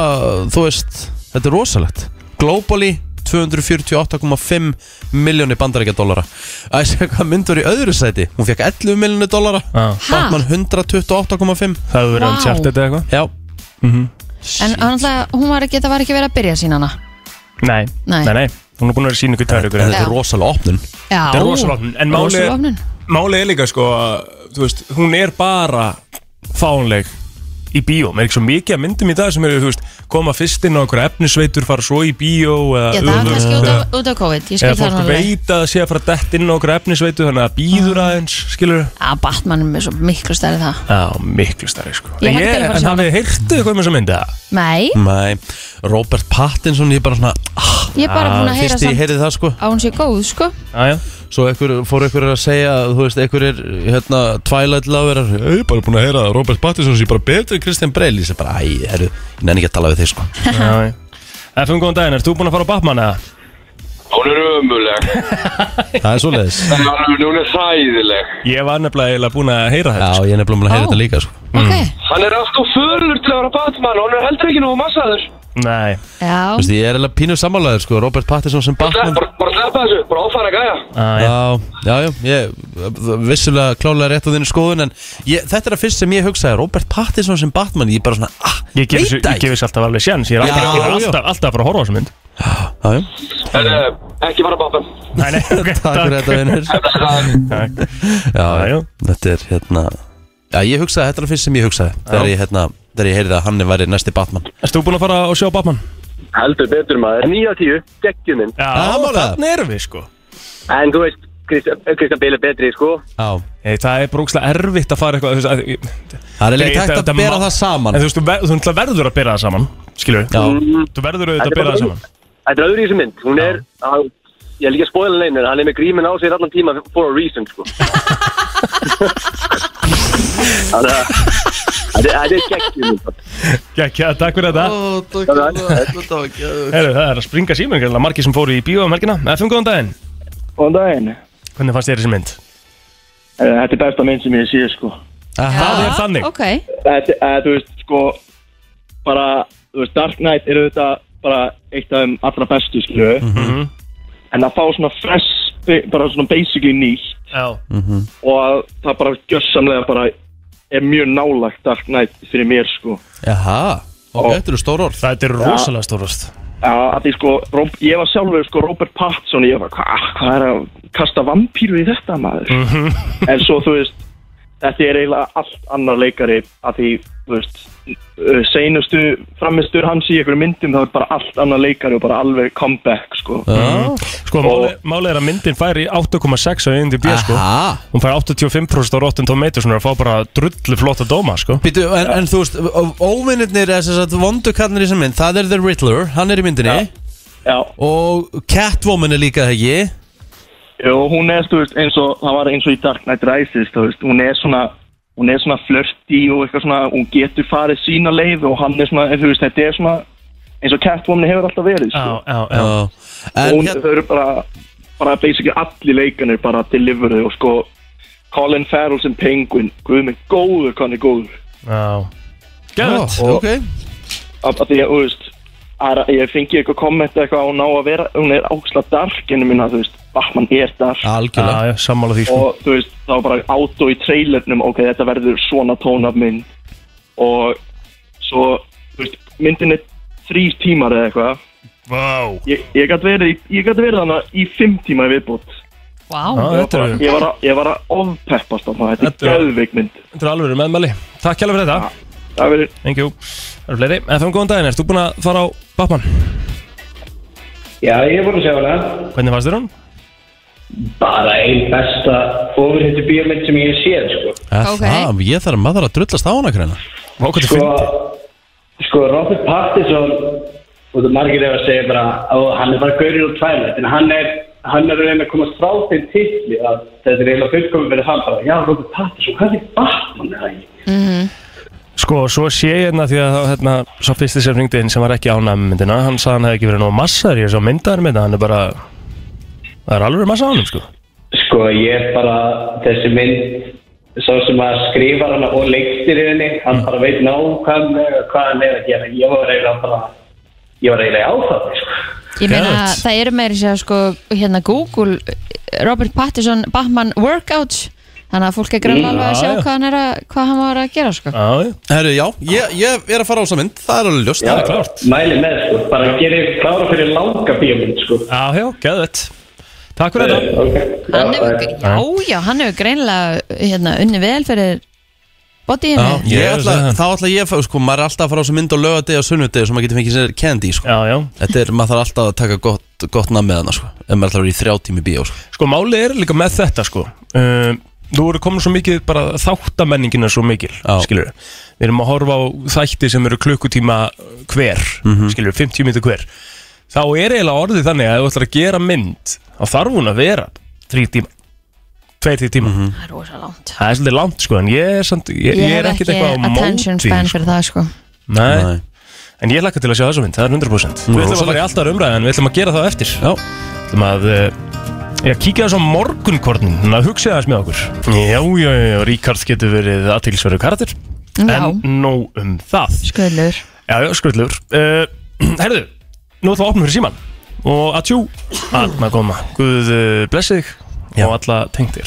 Speaker 1: þú veist, þetta er rosalegt Globally 248,5 miljóni bandaríkjadólara Það er hvað myndur í öðru sæti Hún fekk 11 miljóni dólara
Speaker 3: Það
Speaker 1: Batman 128,5
Speaker 3: hefur
Speaker 2: Vá.
Speaker 3: verið Uncharted eða eitthvað
Speaker 1: Já,
Speaker 2: En annarlega, hún var ekki, það var ekki verið að byrja sína hana
Speaker 3: Nei
Speaker 2: Nei.
Speaker 3: Nei, nei Hún er búin að vera sín ykkur tæri ykkur
Speaker 1: þetta
Speaker 2: Já.
Speaker 1: er rosalega opnun
Speaker 2: Já,
Speaker 3: Þetta er rosalega opnun, en málið-
Speaker 2: Rosalega opnun.
Speaker 3: Máli er líka sko að Þú veist Hún er bara Fánleg Í bíó Mér er ekki svo mikið að myndum í dag Sem eru þú veist Koma fyrst inn á einhverja efnisveitur Fara svo í bíó eða
Speaker 2: Já, það var
Speaker 3: öfugt,
Speaker 2: kannski út
Speaker 3: eða-
Speaker 2: af- út af COVID Ég skil
Speaker 3: Eða
Speaker 2: það
Speaker 3: fólk
Speaker 2: náttúrulega
Speaker 3: veit að það sé að fara dætt inn á okkur efnisveitu Þannig að það býður
Speaker 2: Ah.
Speaker 3: aðeins, skilur
Speaker 2: Já, Batman er með svo miklu stærri en það
Speaker 3: Já, miklu stærri sko
Speaker 2: Ég
Speaker 3: En
Speaker 2: held ég að fara að sjá
Speaker 3: en hafið þið heyrtu eitthvað með þessa myndi það?
Speaker 2: Nei,
Speaker 1: Nei, Robert Pattinson, ég er bara svona ah,
Speaker 2: ég er bara búin að heyra
Speaker 1: Fyrst ég
Speaker 2: samt
Speaker 1: heyrði það sko
Speaker 2: að hún sé góð, sko
Speaker 3: Já, já
Speaker 1: Svo ekkur, fór ykkur að segja, þú veist, ykkur er hérna, Twilight Loverar Ég er bara búin að heyra að Robert Pattinson sé bara betur en Christian Bale Ég sé bara, æ, herru, ég nenni ekki að tala við þig sko
Speaker 3: já. FM, góðan daginn, ert þú búin að fara á Batman eða?
Speaker 7: Hún er ömuleg.
Speaker 1: Það er svoleiðis
Speaker 7: Hún er sæðileg.
Speaker 3: Ég var nefnilega eiginlega búin að heyra
Speaker 1: Já,
Speaker 3: þetta sko.
Speaker 1: ég er nefnilega búin að heyra
Speaker 2: Ó.
Speaker 1: þetta líka sko
Speaker 3: Mm.
Speaker 2: Ok,
Speaker 7: Hann er allt og fölur til að vera Batman. Hún er heldur ekki nú massaður.
Speaker 3: Nei,
Speaker 1: Þú
Speaker 2: já
Speaker 1: veist, ég er alveg pínu sammálaður sko, Robert Pattinson sem Batman
Speaker 7: Bara bara sleppa þessu. Bara áfæra gæja.
Speaker 3: ah, já.
Speaker 1: Já, já, já, ég vissulega klálega rétt á þínu skoðun en ég, þetta er að fyrst sem ég hugsaði, Robert Pattinson sem Batman, ég er bara svona, ah,
Speaker 3: Ég gef þessu-
Speaker 1: veit
Speaker 3: ég
Speaker 1: það
Speaker 3: gef þessu alltaf alveg sjans Ég er alltaf,
Speaker 1: Já,
Speaker 3: ég er
Speaker 1: já.
Speaker 3: alltaf, alltaf bara að horfa á þessu mynd
Speaker 1: Já, já,
Speaker 7: En eh, ekki fara Batman.
Speaker 3: Nei, nei, ok,
Speaker 1: takk fyrir þetta vinnur
Speaker 3: Takk.
Speaker 1: Já,
Speaker 3: Já, já.
Speaker 1: já, þetta er hérna Já, ég hugsaði, þetta er að fyrst sem ég hugsaði þegar ég, hérna, þegar ég heyrði að hann væri næsti Batman
Speaker 3: Ert þú búin að fara og sjá Batman?
Speaker 7: Heldur betur maður. 9 af 10. Geggjum minn.
Speaker 3: Já,
Speaker 1: það má það.
Speaker 3: þannig erum við sko
Speaker 7: En þú veist, Kristján Bale er betri, sko.
Speaker 1: Já,
Speaker 3: Ei, Það er brókslega erfitt að fara eitthvað þú veist, að-
Speaker 1: það er leitt hægt
Speaker 3: Þetta-
Speaker 1: að bera
Speaker 3: ma-
Speaker 1: það saman
Speaker 3: En þú veist, þú ver- þú náttúrulega verður að bera það saman Skilur
Speaker 1: Já,
Speaker 3: Þú verður auðvitað
Speaker 7: Þetta
Speaker 3: að
Speaker 7: er
Speaker 3: bera það
Speaker 7: bara-
Speaker 3: saman
Speaker 7: Þetta er öðru í þessu mynd. Hún er, að, ég er líka að spoila neina, en hann er með grímin á sér allan tíma for a reason, sko. Þannig að þetta er- þetta er geggjum minn.
Speaker 3: Gekja, takk fyrir þetta Heru, Það er að springa símur greinlega margir sem fóru í bíó um helgina FM, góðan daginn
Speaker 8: Góðan daginn.
Speaker 3: Hvernig fannst þér þessi mynd?
Speaker 8: Eh, Þetta er besta mynd sem ég sé, sko.
Speaker 3: Það er
Speaker 2: Já,
Speaker 3: þannig
Speaker 2: Ok,
Speaker 8: Þetta, eh, þú veist, sko, bara, þú veist, Dark Knight eru þetta bara eitt af þeim allra bestu, skilju.
Speaker 3: Mhm.
Speaker 8: En að fá svona fresh, bara svona basically nýtt
Speaker 3: Já,
Speaker 8: og að það bara gjössamlega bara er mjög nálagt Dark Knight fyrir mér, sko.
Speaker 1: Jaha,
Speaker 3: Oh.
Speaker 1: ok, þetta eru stór orð
Speaker 3: þetta er rosalega stórast
Speaker 8: Að að því, sko, Rob, ég var sjálfur, sko, Robert Pattinson, ég var, hvað hva er að kasta vampýru í þetta, maður? en svo þú veist þetta er eiginlega allt annar leikari að því, þú veist uh, seinustu framistur hans í einhverjum myndum þá er bara allt annar leikari og bara alveg comeback sko
Speaker 3: Sko, máli- málið er að myndin fær í 8,6 á einnig bíó sko
Speaker 1: Aha
Speaker 3: Hún fær 85% á Rotten Tomatoes Hún er að fá bara drullu flotta dóma sko
Speaker 1: Býtu, en, en þú veist, óvinnirnir eða þess að vondukarnir í sem mynd, það er The Riddler, hann er í myndinni
Speaker 8: já,
Speaker 1: og Catwoman er líka það ekki
Speaker 8: og hún er þú veist eins og það var eins og í Dark Knight Rises þú veist, hún er svona hún er svona flörti og eitthvað svona hún getur farið sína leið og hann er svona en þú veist, þetta er svona eins og Catwoman hefur alltaf verið sko.
Speaker 3: Já, já, já
Speaker 1: Já. En hérna-
Speaker 8: hún,
Speaker 1: hér,
Speaker 8: þau eru bara, bara basically allir leikanir bara delivery og sko Colin Farrell sem penguin, guð mig góður hvað hann er góður
Speaker 3: Já
Speaker 1: já,
Speaker 3: Gæðvægt.
Speaker 1: ok
Speaker 8: af af því að, þú veist að ég fengi eitthvað komment eitthvað hún á að vera, hún er áksla dark en ég minna, þú veist, Batman er dark
Speaker 1: Algjörlega
Speaker 3: Já, já, sammála því sko
Speaker 8: og þú veist, þá bara átó í trailernum ok, þetta verður svona tónaf minn og svo þú veist, myndin er þrýr tímar eða eitthvað,
Speaker 3: Vá
Speaker 8: ég, ég gæti verið í- ég gæti verið hana í fimm tíma í viðbútt
Speaker 2: wow
Speaker 3: Já, þetta er,
Speaker 8: Ég var, að, ég var að ofpeppast á maður, þetta
Speaker 3: Þetta
Speaker 8: er
Speaker 3: er-
Speaker 8: gæðveik mynd.
Speaker 3: þetta er alveg meðmæli Takk hjálpa fyrir þetta
Speaker 8: Það verður
Speaker 3: Thank you Það eru fleiri FM, góðan daginn, ert þú búin að fara á Batman?
Speaker 9: Já, ég er búin að sjá hana.
Speaker 3: Hvernig fannst þér hún?
Speaker 9: Bara einn besta ofurhættu bíómynd sem ég hef séð, sko.
Speaker 3: Ah.
Speaker 1: Eh,
Speaker 2: Ok.
Speaker 1: Það, ég þarf maður að drullast á hana greina
Speaker 3: Vá, hvað þið
Speaker 9: Sko,
Speaker 3: fyndi?
Speaker 9: sko Robert Pattinson, og það margir ef að segja bara, ó, hann er bara gaurið úr Twilight, en hann er, hann er að reyna að komast frá þeim titli að þetta er eiginlega fullkomið fyrir hann bara, já, Robert Pattinson, hvað er Batman eða ekki?
Speaker 3: Sko, svo sé ég hérna því að hérna, svo fyrsti sem ringdi inn sem var ekki ánæg með myndina, hann sagði hann hefði ekki verið nóg massar, ég er svo myndaður með það, hann er bara, það er alveg massa á hann, sko.
Speaker 9: Sko ég bara, þessi mynd, sá sem að skrifa hana og leikstir henni, hann bara veit nákvæmlega hvað hann er að gera. Ég var eiginlega bara, ég var eiginlega áfæðið, sko.
Speaker 2: Ég meina,
Speaker 3: Geðvegt.
Speaker 2: það eru meiri sér sko, hérna Google, Robert Pattinson, Batman Workouts Þannig að fólk er greinlega alveg að
Speaker 3: Mm. já,
Speaker 2: sjá
Speaker 3: já.
Speaker 2: hvað hann, er að, hvað hann var að gera sko.
Speaker 3: Já, já.
Speaker 1: Herru, já, ég, ég er að fara á þessa mynd Það er alveg ljóst
Speaker 3: er klárt.
Speaker 9: Mæli með, sko, bara gerir klára fyrir langa bíómynd, sko.
Speaker 3: Já, já, geðvett. Takk fyrir þetta.
Speaker 9: Ok, já,
Speaker 2: Hann hefur,
Speaker 9: það er-
Speaker 2: já, já, hann hefur greinlega hérna, unni vel fyrir bodyinu
Speaker 1: Ég
Speaker 3: Ég
Speaker 1: ætla,
Speaker 3: vissi það.
Speaker 1: þá ætla ég að fá, sko, maður er alltaf að fara á þessa mynd og lögadegi og sunnudegi svo maður getur fengið sér candy, sko
Speaker 3: Já, já.
Speaker 1: Þetta er, maður þarf alltaf að taka gott, gott nafn með hana, sko ef maður ætlar að vera í þrjá tími bíó, sko
Speaker 3: Sko málið er líka með þetta sko um, Nú eru komin svo mikið bara þáttamenningin er svo mikil,
Speaker 1: Já.
Speaker 3: skilur Við erum að horfa á þætti sem eru klukkutíma hver, mm 50 minnir hver Þá er eiginlega orðið þannig að ef þú ætlar að gera mynd þá þarf hún að vera þrý tíma Tveir, þrý tíma
Speaker 2: Það er rosa langt
Speaker 3: Það er svolítið langt sko en ég er, samt, ég, ég er
Speaker 2: hef
Speaker 3: ekkert eitthvað á
Speaker 2: attention
Speaker 3: móti
Speaker 2: span
Speaker 3: sko.
Speaker 2: fyrir það sko.
Speaker 3: Nei. En ég lakka til að sjá þessu mynd, það er 100% Við ætlum að fara í alltaf umræðan, við ætlum að gera það á eftir
Speaker 1: Já.
Speaker 3: ætlum að uh, já, kíkja þess á morgunkornin þannig að hugsa þess með okkur Já, já, já, já, Ríkard getur verið aðtilsverðu karakter
Speaker 2: Já,
Speaker 3: En nóg um það
Speaker 2: sköllur
Speaker 3: Já, já, skrullur uh, Herðu, nú ætlum við að opna fyrir síman og að tjú, alma góma Guð uh, blessi þig og alla tengdir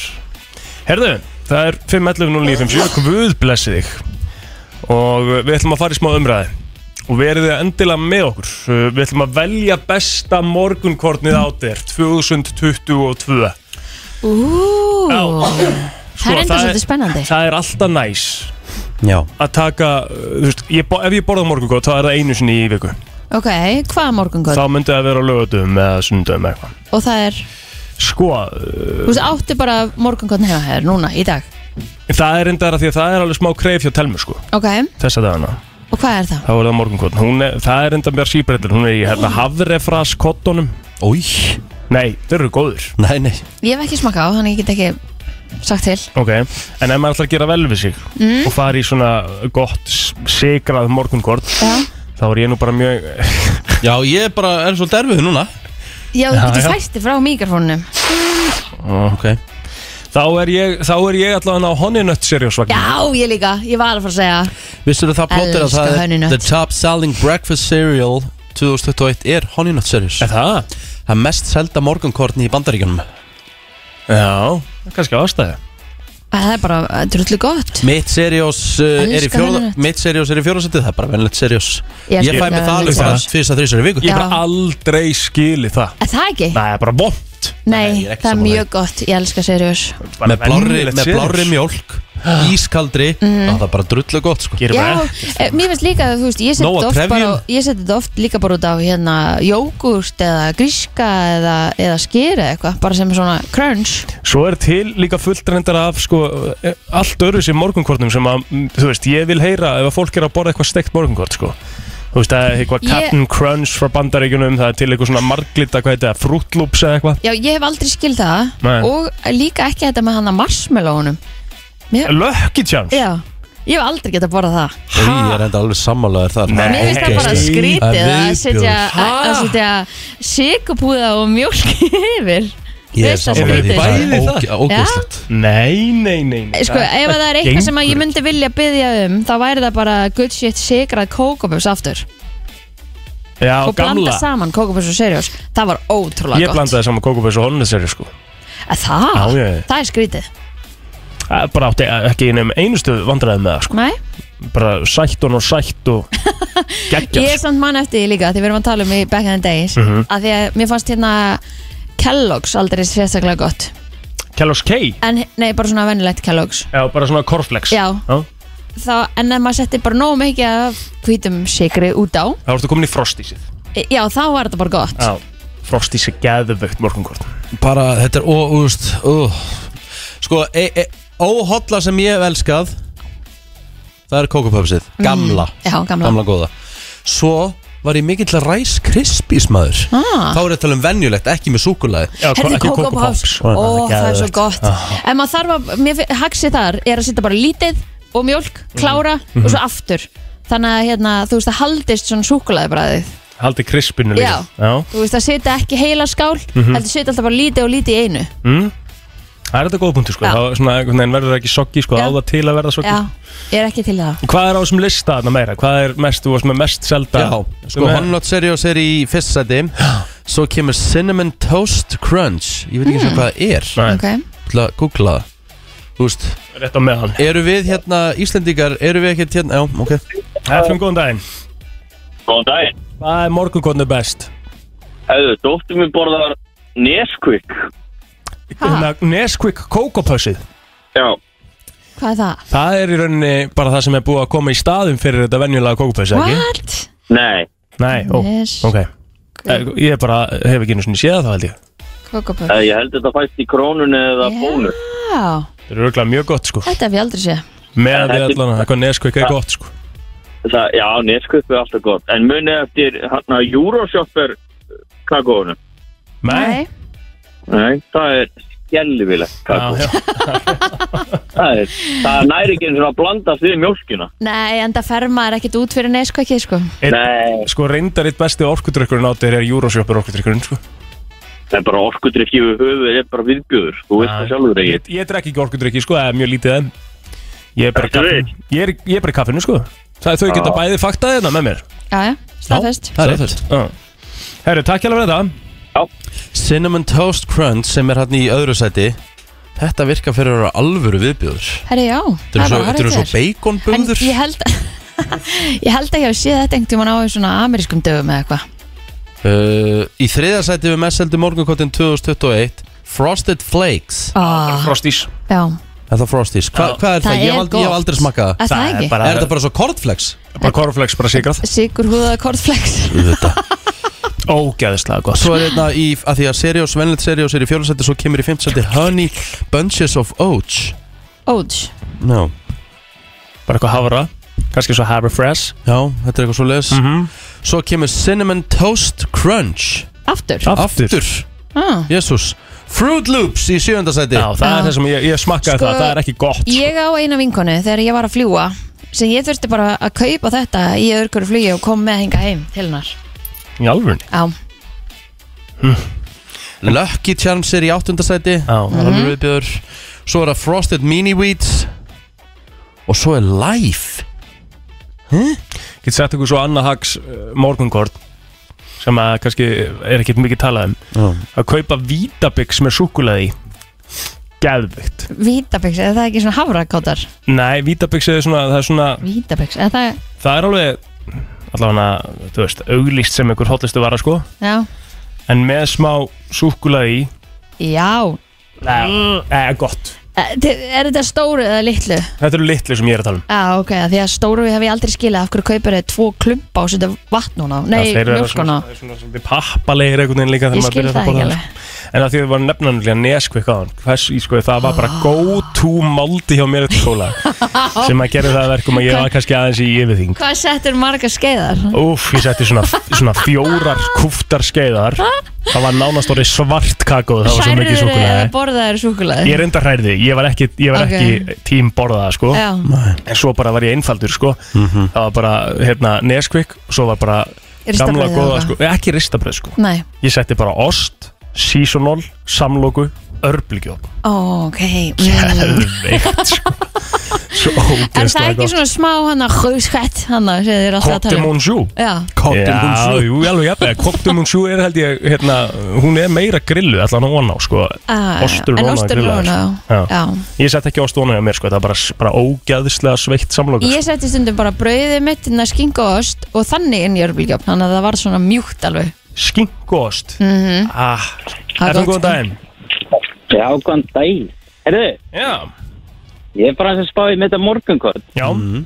Speaker 3: Herðu, það er 5.11.09.57 Guð blessi þig og uh, við ætlum að fara í smá umræði og verið þið endilega með okkur Uh, við ætlum að velja besta morgunkornið á þér 2022
Speaker 2: Ú,
Speaker 3: Já.
Speaker 2: það er
Speaker 3: Sko,
Speaker 2: enda svolítið spennandi
Speaker 3: það er alltaf næs
Speaker 1: Já,
Speaker 3: að taka, uh, þú veist, ég, bo- ef ég borða morgunkort þá er það einu sinni í viku
Speaker 2: Ok, hvað morgungöld?
Speaker 3: þá myndi það vera á lögutum eða sundum eða eitthvað
Speaker 2: Og það er,
Speaker 3: sko, uh,
Speaker 2: þú veist, átti bara morgungöld hefa hér núna, í dag
Speaker 3: það er endara því að það er alveg smá kreif hjá Telmu sko,
Speaker 2: Ok,
Speaker 3: þessa dagana
Speaker 2: og hvað er það?
Speaker 3: þá er það morgunkotn, hún er, það er enda mér síbreytir hún er í hérna hafrefras kottunum
Speaker 1: ói,
Speaker 3: nei, þeir eru góður
Speaker 1: nei, nei
Speaker 2: Ég hef ekki smakað á, þannig ég get ekki sagt til
Speaker 3: ok, en ef maður ætlar að gera vel við sig og fara í svona gott s- sigrað morgunkort
Speaker 2: Já,
Speaker 3: þá er ég nú bara mjög
Speaker 1: Já, ég bara er svo derfið núna
Speaker 2: já þú getur
Speaker 3: já.
Speaker 2: fært þig frá mikrofónunum
Speaker 1: Ok
Speaker 3: þá er ég, þá er ég allavega á Honey Nut Serious vagn
Speaker 2: Já, ég líka, ég var að fara að segja
Speaker 1: Vissur það plottir að
Speaker 2: Elska
Speaker 1: það
Speaker 2: Honey
Speaker 1: er
Speaker 2: Nut.
Speaker 1: The Top Selling Breakfast Cereal 2021 er Honey Nut Series
Speaker 3: er það?
Speaker 1: Það er mest selda morgunkorni í bandaríkjunum
Speaker 3: já, kannski ástæði
Speaker 2: Að Það er bara uh, drullu gott
Speaker 1: Mitt seriós uh, er í
Speaker 2: Elska
Speaker 1: fjóða
Speaker 2: Honey Nut.
Speaker 1: Mitt seriós er í fjóðasettið, það er bara venlegt seriós Ég,
Speaker 2: Ég elska
Speaker 1: fæ mig það
Speaker 2: Honey Nut
Speaker 1: alveg bara
Speaker 2: Series.
Speaker 1: fyrst að þrísar í viku
Speaker 3: ég
Speaker 2: Já.
Speaker 3: bara aldrei skili það
Speaker 2: Er það ekki?
Speaker 3: það er bara vond
Speaker 2: Nei,
Speaker 1: ég er ekki
Speaker 2: það er
Speaker 1: sammála
Speaker 2: mjög gott, ég elska seriós
Speaker 1: Með blárri, með blárri mjólk, ískaldri mm. Það er bara drullu gott sko
Speaker 3: Gerir
Speaker 2: Já,
Speaker 3: bara
Speaker 2: eh, mér finnst líka að þú veist, ég seti
Speaker 1: Nóg
Speaker 2: þetta
Speaker 1: af
Speaker 2: oft, bara,
Speaker 1: trefjum.
Speaker 2: á- ég seti þetta oft líka bara út á hérna jógurt eða gríska eða, eða skýri eða eitthvað, bara sem svona crunch.
Speaker 3: Svo er til líka fullt reyndar af sko, eh, allt öru sem morgunkortum sem að, mm, þú veist, ég vil heyra ef að fólk er að borða eitthvað steikt morgunkort sko. Þú veist, það er eitthvað
Speaker 2: Ég-
Speaker 3: Captain Crunch frá bandaríkjunum, það er til eitthvað svona marglita, hvað heitir það, Fruit Loops eða eitthvað
Speaker 2: Já, ég hef aldrei skild það
Speaker 3: Nei.
Speaker 2: og líka ekki þetta með hana marshmallowunum.
Speaker 3: Lucky Chance
Speaker 2: Já, ég hef aldrei getað borðað það.
Speaker 1: Í, Ég er enda alveg sammálaður þar
Speaker 3: Nei.
Speaker 2: Mér finnst það bara
Speaker 1: Ógeðslegt.
Speaker 2: skrítið
Speaker 1: Það er
Speaker 2: að setja,
Speaker 1: viðbjóður.
Speaker 2: að að setja sigupúða og mjólk yfir.
Speaker 1: Ég er
Speaker 2: Vissa
Speaker 1: sammálaður því
Speaker 2: skrítið.
Speaker 1: Það er
Speaker 3: Bæði það?
Speaker 1: óge- ógeðslegt
Speaker 3: Nei, nei, nei, nei
Speaker 2: Sko, ef það er eitthvað sem að ég
Speaker 3: gengur
Speaker 2: myndi vilja byggja um, þá væri það bara good shit sigrað kókobus aftur.
Speaker 3: Já,
Speaker 2: og blanda
Speaker 3: gamla
Speaker 2: saman kókupöss og serjós það var ótrúlega
Speaker 3: Ég
Speaker 2: gott
Speaker 3: blandaði saman kókupæs og honneseri sko.
Speaker 2: Að Það,
Speaker 3: Já, já, já.
Speaker 2: það er skrítið
Speaker 3: Það er Bara átti ekki einum einustu vandræði með það sko.
Speaker 2: Nei,
Speaker 3: Bara sætt og sætt og
Speaker 2: ég er
Speaker 3: geggjast
Speaker 2: samt mann eftir því líka því við erum að tala um í back in the days mm að því að mér fannst hérna Kellogg's aldrei sérstaklega gott
Speaker 3: Kellos K,
Speaker 2: en nei, bara svona venjulegt Kellogg's
Speaker 3: já, bara svona korflex
Speaker 2: Já.
Speaker 3: Já.
Speaker 2: Þá, en ef maður setti bara nógu mikið af hvítum sigri út á
Speaker 3: Þá ertu komin í frostísið
Speaker 2: e- já, þá var þetta bara gott
Speaker 3: Já Frosty sé geðvögt morgunkort
Speaker 1: bara þetta er ó, úst, ó. sko e, e, óhotla sem ég hef elskað það er kókupöpsið gamla,
Speaker 2: já, gamla.
Speaker 1: góða svo var ég mikill að ræs krispísmaður
Speaker 2: Ah.
Speaker 1: þá er þetta um venjulegt, ekki með súkulæði
Speaker 2: Herðu Coco Pops, ó það er Ah. svo gott En maður þarf að, mér finn- haxið þar er að setja bara lítið og mjólk, klára og svo aftur Þannig að hérna, þú veist að haldist svona súkulaði bræðið
Speaker 3: Haldi krispinu líka
Speaker 2: Já. Þú veist að setja ekki heila skál
Speaker 3: Mhm.
Speaker 2: heldur setja alltaf bara lítið og lítið í einu
Speaker 3: Mm. Það er þetta góða punktu sko
Speaker 2: Já.
Speaker 3: Það er svona einhvern veginn verður það ekki soggi sko
Speaker 2: Já.
Speaker 3: Á það til að verða soggi
Speaker 2: Já, ég er ekki til það
Speaker 3: Hvað er á þessum lista þarna meira? Hvað er mest, þú varst með mest selda?
Speaker 1: já, sko Hot Nuts Serios er í fyrst sæti svo kemur Cinnamon Toast Crunch ég veit ekki mm.
Speaker 2: Mm.
Speaker 1: hvað það er
Speaker 3: Nei.
Speaker 2: Ok,
Speaker 1: til að googla það Þú veist,
Speaker 3: Rétt á meðan
Speaker 1: eru við hérna Íslendingar, eru við ekkert hérna, já, ok
Speaker 3: Eflum góðan daginn
Speaker 10: Góðan daginn.
Speaker 3: Hvað er morgunkotnu best?
Speaker 10: Hefðu, dóttir mér borðar Nesquik.
Speaker 3: Hérna, Nesquik kókopössið
Speaker 10: Já.
Speaker 2: hvað er það?
Speaker 3: Það er í rauninni bara það sem er búið að koma í staðum fyrir þetta venjulega kókopössið, ekki?
Speaker 2: What?
Speaker 10: Nei.
Speaker 3: Nei, ó,
Speaker 2: Nes-
Speaker 3: ok Eh, Ég bara hef ekki einu svona séð það held ég
Speaker 2: Coco Pops
Speaker 10: Eh, Ég held þetta fæst í krónunni eða bónus.
Speaker 2: Já,
Speaker 3: Það eru örgulega mjög gott sko
Speaker 2: þetta hef ég aldrei séð
Speaker 3: Með að við
Speaker 10: Þetta-
Speaker 3: allan að eitthvað Nesquik er gott sko
Speaker 10: Það, já, Nesquik er alltaf gott. En munið eftir hérna, hann að Euroshopper kakóinu.
Speaker 3: Nei,
Speaker 10: Nei, það er skelvilegt kakó.
Speaker 3: Já, já.
Speaker 10: það, er, það næri ekki eins og að blandast við mjólkina.
Speaker 2: Nei, en það fer maður ekkert út fyrir neiskvækið sko
Speaker 3: Einn-
Speaker 10: Nei.
Speaker 3: Sko reyndar eitt besti orkudrykkurinn á þér er Euroshopper orkudrykkurinn sko.
Speaker 10: Það er bara orkudrykk yfir höfuð, er bara viðbjöður. Þú veist það sjálfur
Speaker 3: Ég,
Speaker 10: ekki.
Speaker 3: ég drekki ekki orkudrykki sko, það er mjög lítið enn Ég er bara í
Speaker 10: Ertu
Speaker 3: kaffinu ég er, ég er bara í kaffinu sko Það er þau geta
Speaker 10: Já.
Speaker 3: bæði faktað hérna með mér
Speaker 2: Já, já, staðfest
Speaker 1: það er rétt
Speaker 3: Já. Herru, takk hjá fyrir þetta
Speaker 1: Cinnamon Toast Crunch sem er hérna í öðru sæti Þetta virka fyrir að vera alvöru viðbjóður
Speaker 2: Herri, já,
Speaker 1: Þetta eru
Speaker 2: það
Speaker 1: svo,
Speaker 2: er bara
Speaker 1: þetta eru svo
Speaker 2: hárrétt hjá þér. En
Speaker 1: baconbúður
Speaker 2: ég held Ég held að ég hef séð þetta einhvern tímann á í svona amerískum dögum eða eitthvað
Speaker 1: uh, Í þriða sæti við mest heldur morgunkottin 2021 Frosted Flakes
Speaker 2: ah,
Speaker 3: Frostís
Speaker 2: Já,
Speaker 1: Er það Frosties? Hva, hvað er það?
Speaker 2: Það
Speaker 1: Ég,
Speaker 2: er
Speaker 1: hef aldrei, ég hef
Speaker 2: gott.
Speaker 1: aldrei smakað það
Speaker 2: er það ekki?
Speaker 3: bara,
Speaker 1: Er þetta bara svo kornflex?
Speaker 3: bara korflex, bara sigrað
Speaker 2: Sigur húðaða kortflex
Speaker 3: Ógæðislega gott
Speaker 1: Svo er þetta í, að því að seriós, venlegt seriós er í fjóla sæti Svo kemur í fimmt sæti Honey Bunches of Oats
Speaker 2: Óts
Speaker 1: no.
Speaker 3: Bara eitthvað hafra, kannski svo hafra fresh
Speaker 1: Já, þetta er eitthvað svo les
Speaker 3: -hmm.
Speaker 1: Svo kemur Cinnamon Toast Crunch
Speaker 2: Aftur
Speaker 3: Aftur.
Speaker 2: ah.
Speaker 1: Jésús Fruit Loops í sjöunda sæti
Speaker 3: Já, það er
Speaker 2: Já.
Speaker 3: það sem ég, ég smakkaði
Speaker 2: Sko,
Speaker 3: það, það er ekki gott
Speaker 2: Ég á eina vinkonu þegar ég var að fljúa sem ég þurfti bara að kaupa þetta í örgur flugi og kom með hinga heim til hennar
Speaker 3: Í alvörni
Speaker 2: Já,
Speaker 1: Lucky Charms er í áttunda sæti
Speaker 3: Já,
Speaker 1: Það er alveg viðbjör Svo er það Frosted Mini Wheats Og svo er Life
Speaker 3: Get sett ykkur svo annað hags uh, morgunkort sem að kannski er ekkert mikið talað um
Speaker 1: Já.
Speaker 3: að kaupa vítabix með súkulaði geðvikt
Speaker 2: vítabix, er það ekki svona hafrakáttar?
Speaker 3: nei, vítabix er svona það er, svona,
Speaker 2: Vítabix, er það,
Speaker 3: það er alveg allavega, þú veist, auglýst sem einhver hotlistu vara sko,
Speaker 2: já
Speaker 3: en með smá súkulaði í
Speaker 2: Já,
Speaker 3: eða gott
Speaker 2: Eh, þi- er þetta stóru eða litlu?
Speaker 3: þetta eru litli sem ég er að tala um
Speaker 2: Já, ok, af því að stóru hef ég aldrei skilið af hverju kaupir þið tvo klumpa og setja vatn núna Nei,
Speaker 3: þeir eru
Speaker 2: mjölkuna
Speaker 3: svona- svona svona pappalegir einhvern veginn líka þegar
Speaker 2: Ég
Speaker 3: maður
Speaker 2: skil
Speaker 3: byrjar að
Speaker 2: það
Speaker 3: borða
Speaker 2: ekki
Speaker 3: það,
Speaker 2: alveg
Speaker 3: sko. en að því að við varum nefnanlega neskvik á hann hversu í sko það var bara
Speaker 2: Ah.
Speaker 3: go to maldi hjá mér eftir skóla sem að gera það að verkum að ég var kannski aðeins í yfirþing
Speaker 2: Hvað settur marga skeiðar?
Speaker 3: Úf, ég setti svona, svona fjórar kúftar skeiðar Það var nánast orðið svart kakó Það var svo mikið
Speaker 2: Hrærður eða
Speaker 3: súkulega
Speaker 2: borðaður súkulega?
Speaker 3: Ég reynda hrærði, ég var ekki, ég var
Speaker 2: Ok.
Speaker 3: ekki tím borðaða sko
Speaker 2: Já,
Speaker 3: En svo bara var ég einfaldur sko Það var bara, hérna, Nesquik Svo var bara gamla
Speaker 2: Ristabrauðið
Speaker 3: góða
Speaker 2: eða
Speaker 3: sko Ekki ristabröð sko
Speaker 2: nei,
Speaker 3: Ég setti bara ost, seasonal, samloku, örbulgjóð
Speaker 2: Ó, ok mm.
Speaker 3: Veikt sko Svo
Speaker 2: Er það
Speaker 3: ógeðslega
Speaker 2: ekki
Speaker 3: gott
Speaker 2: svona smá hann að hauskvætt hann að segja þér alltaf að
Speaker 3: Cote
Speaker 2: tala um?
Speaker 3: Monjou
Speaker 2: Já,
Speaker 3: Já,
Speaker 1: Cotton
Speaker 3: jú, alveg jafnveg Cote Monjou er held ég, hérna Hún er meira grillu, allan hún á sko
Speaker 2: Ah,
Speaker 3: Ostur
Speaker 2: en
Speaker 3: vona
Speaker 2: ostur
Speaker 3: grillaður.
Speaker 2: vona,
Speaker 3: Já.
Speaker 2: já
Speaker 3: Ég sett ekki ost vona hjá mér sko, það er bara, bara ógæðislega sveitt samlokur
Speaker 2: Ég setti stundum bara brauðið mitt inn að skinga og ost og þannig inn í örbílgjöfn þannig að það var svona mjúkt alveg
Speaker 3: Skink og ost ah,
Speaker 2: Mhm. Það er
Speaker 3: Er það
Speaker 2: gott,
Speaker 3: góðan
Speaker 2: sko.
Speaker 3: daginn?
Speaker 10: Já, góðan daginn. Herðu,
Speaker 3: Já,
Speaker 10: ég er bara að spá í með þetta morgunkort.
Speaker 3: já,
Speaker 1: Mhm.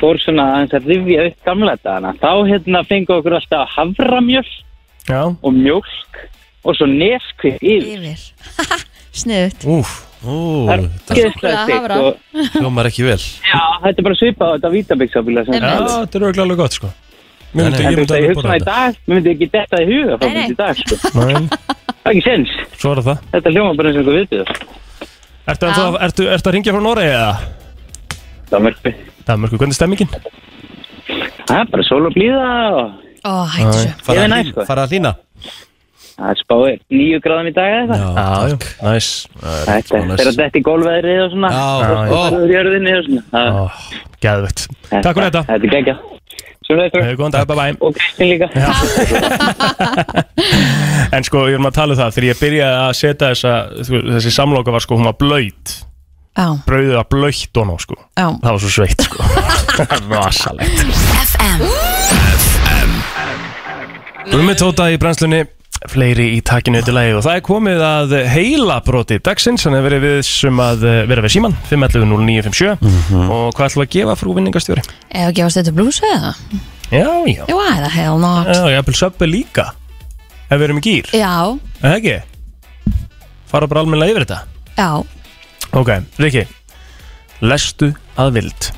Speaker 10: fór svona aðeins að rifja upp gamla dagana þá hérna fengið okkur alltaf haframjöl
Speaker 3: Já.
Speaker 10: og mjólk og svo neskvip yfir.
Speaker 2: Yfir. Sniðut.
Speaker 1: Úf, ú,
Speaker 10: Það er ógeðslega
Speaker 2: Súkkulaði,
Speaker 10: steikt
Speaker 2: hafra.
Speaker 10: og-
Speaker 1: hljómar ekki vel
Speaker 10: Já, þetta er bara svipað á þetta vítabixabíla sem
Speaker 3: Já, þetta er auðvitað alveg gott sko Mér myndi,
Speaker 10: En
Speaker 3: ég
Speaker 10: þú veist
Speaker 3: myndi
Speaker 10: að ég hugsa
Speaker 3: alveg
Speaker 10: það
Speaker 3: borða
Speaker 10: í dag, mér myndi ekki detta í huga frá
Speaker 2: Nei, nei.
Speaker 10: þetta í dag, sko.
Speaker 3: þetta
Speaker 10: Það er ekki sens.
Speaker 3: Nei, svo er það
Speaker 10: Þetta hljóma bara eins og eitthvað viðbjöður.
Speaker 3: Ertu, ennþá, ertu, ertu að ringja frá Noregi eða?
Speaker 10: Danmörku.
Speaker 3: Danmörku, hvernig er stemmingin?
Speaker 10: Það er bara sól og blíða og
Speaker 2: Ó, hættu svo.
Speaker 10: ég
Speaker 1: Fara
Speaker 10: er
Speaker 1: að
Speaker 10: næst,
Speaker 1: hlýna-
Speaker 10: sko.
Speaker 1: Fara að hlýna
Speaker 10: Það er spáið nýju gráðum í dag eða eitthvað.
Speaker 1: Já,
Speaker 3: Já, já, næs
Speaker 10: Þetta er þegar þetta er gólveðrið og svona.
Speaker 1: já,
Speaker 3: Já,
Speaker 1: ó,
Speaker 10: Það er jörðinni og svona. Það-
Speaker 3: Gæðvegt Takk fyrir þetta
Speaker 10: Þetta er geggja. Svo leiðis
Speaker 3: Hefur Góðan dag, bye bye
Speaker 10: og Kristinn líka.
Speaker 3: En sko, ég erum að tala um það Þegar ég byrjaði að setja þessa þú- Þessi samloka var sko, hún var blöyt
Speaker 2: Já,
Speaker 3: Brauðið var blöytt og ná sko
Speaker 2: já.
Speaker 3: Það var svo sveitt sko Rosalegt
Speaker 6: FM
Speaker 3: Gummi tóta í brennslunni Fleiri í takinu til lagi Og það er komið að heila broti dagsins Þannig að verið við sem að eh, vera við síman 511-0957 Og hvað ætlum við að gefa frú vinningastjóri?
Speaker 2: Eða gefast þetta blús eða?
Speaker 3: Já, já
Speaker 2: Jú, að það hell not.
Speaker 3: Já, ég ætlum söpbu líka Ef við erum í gýr
Speaker 2: Já,
Speaker 3: Er það ekki? Fara bara almennilega yfir þetta
Speaker 2: já.
Speaker 3: Ok, Riki Lestu að vild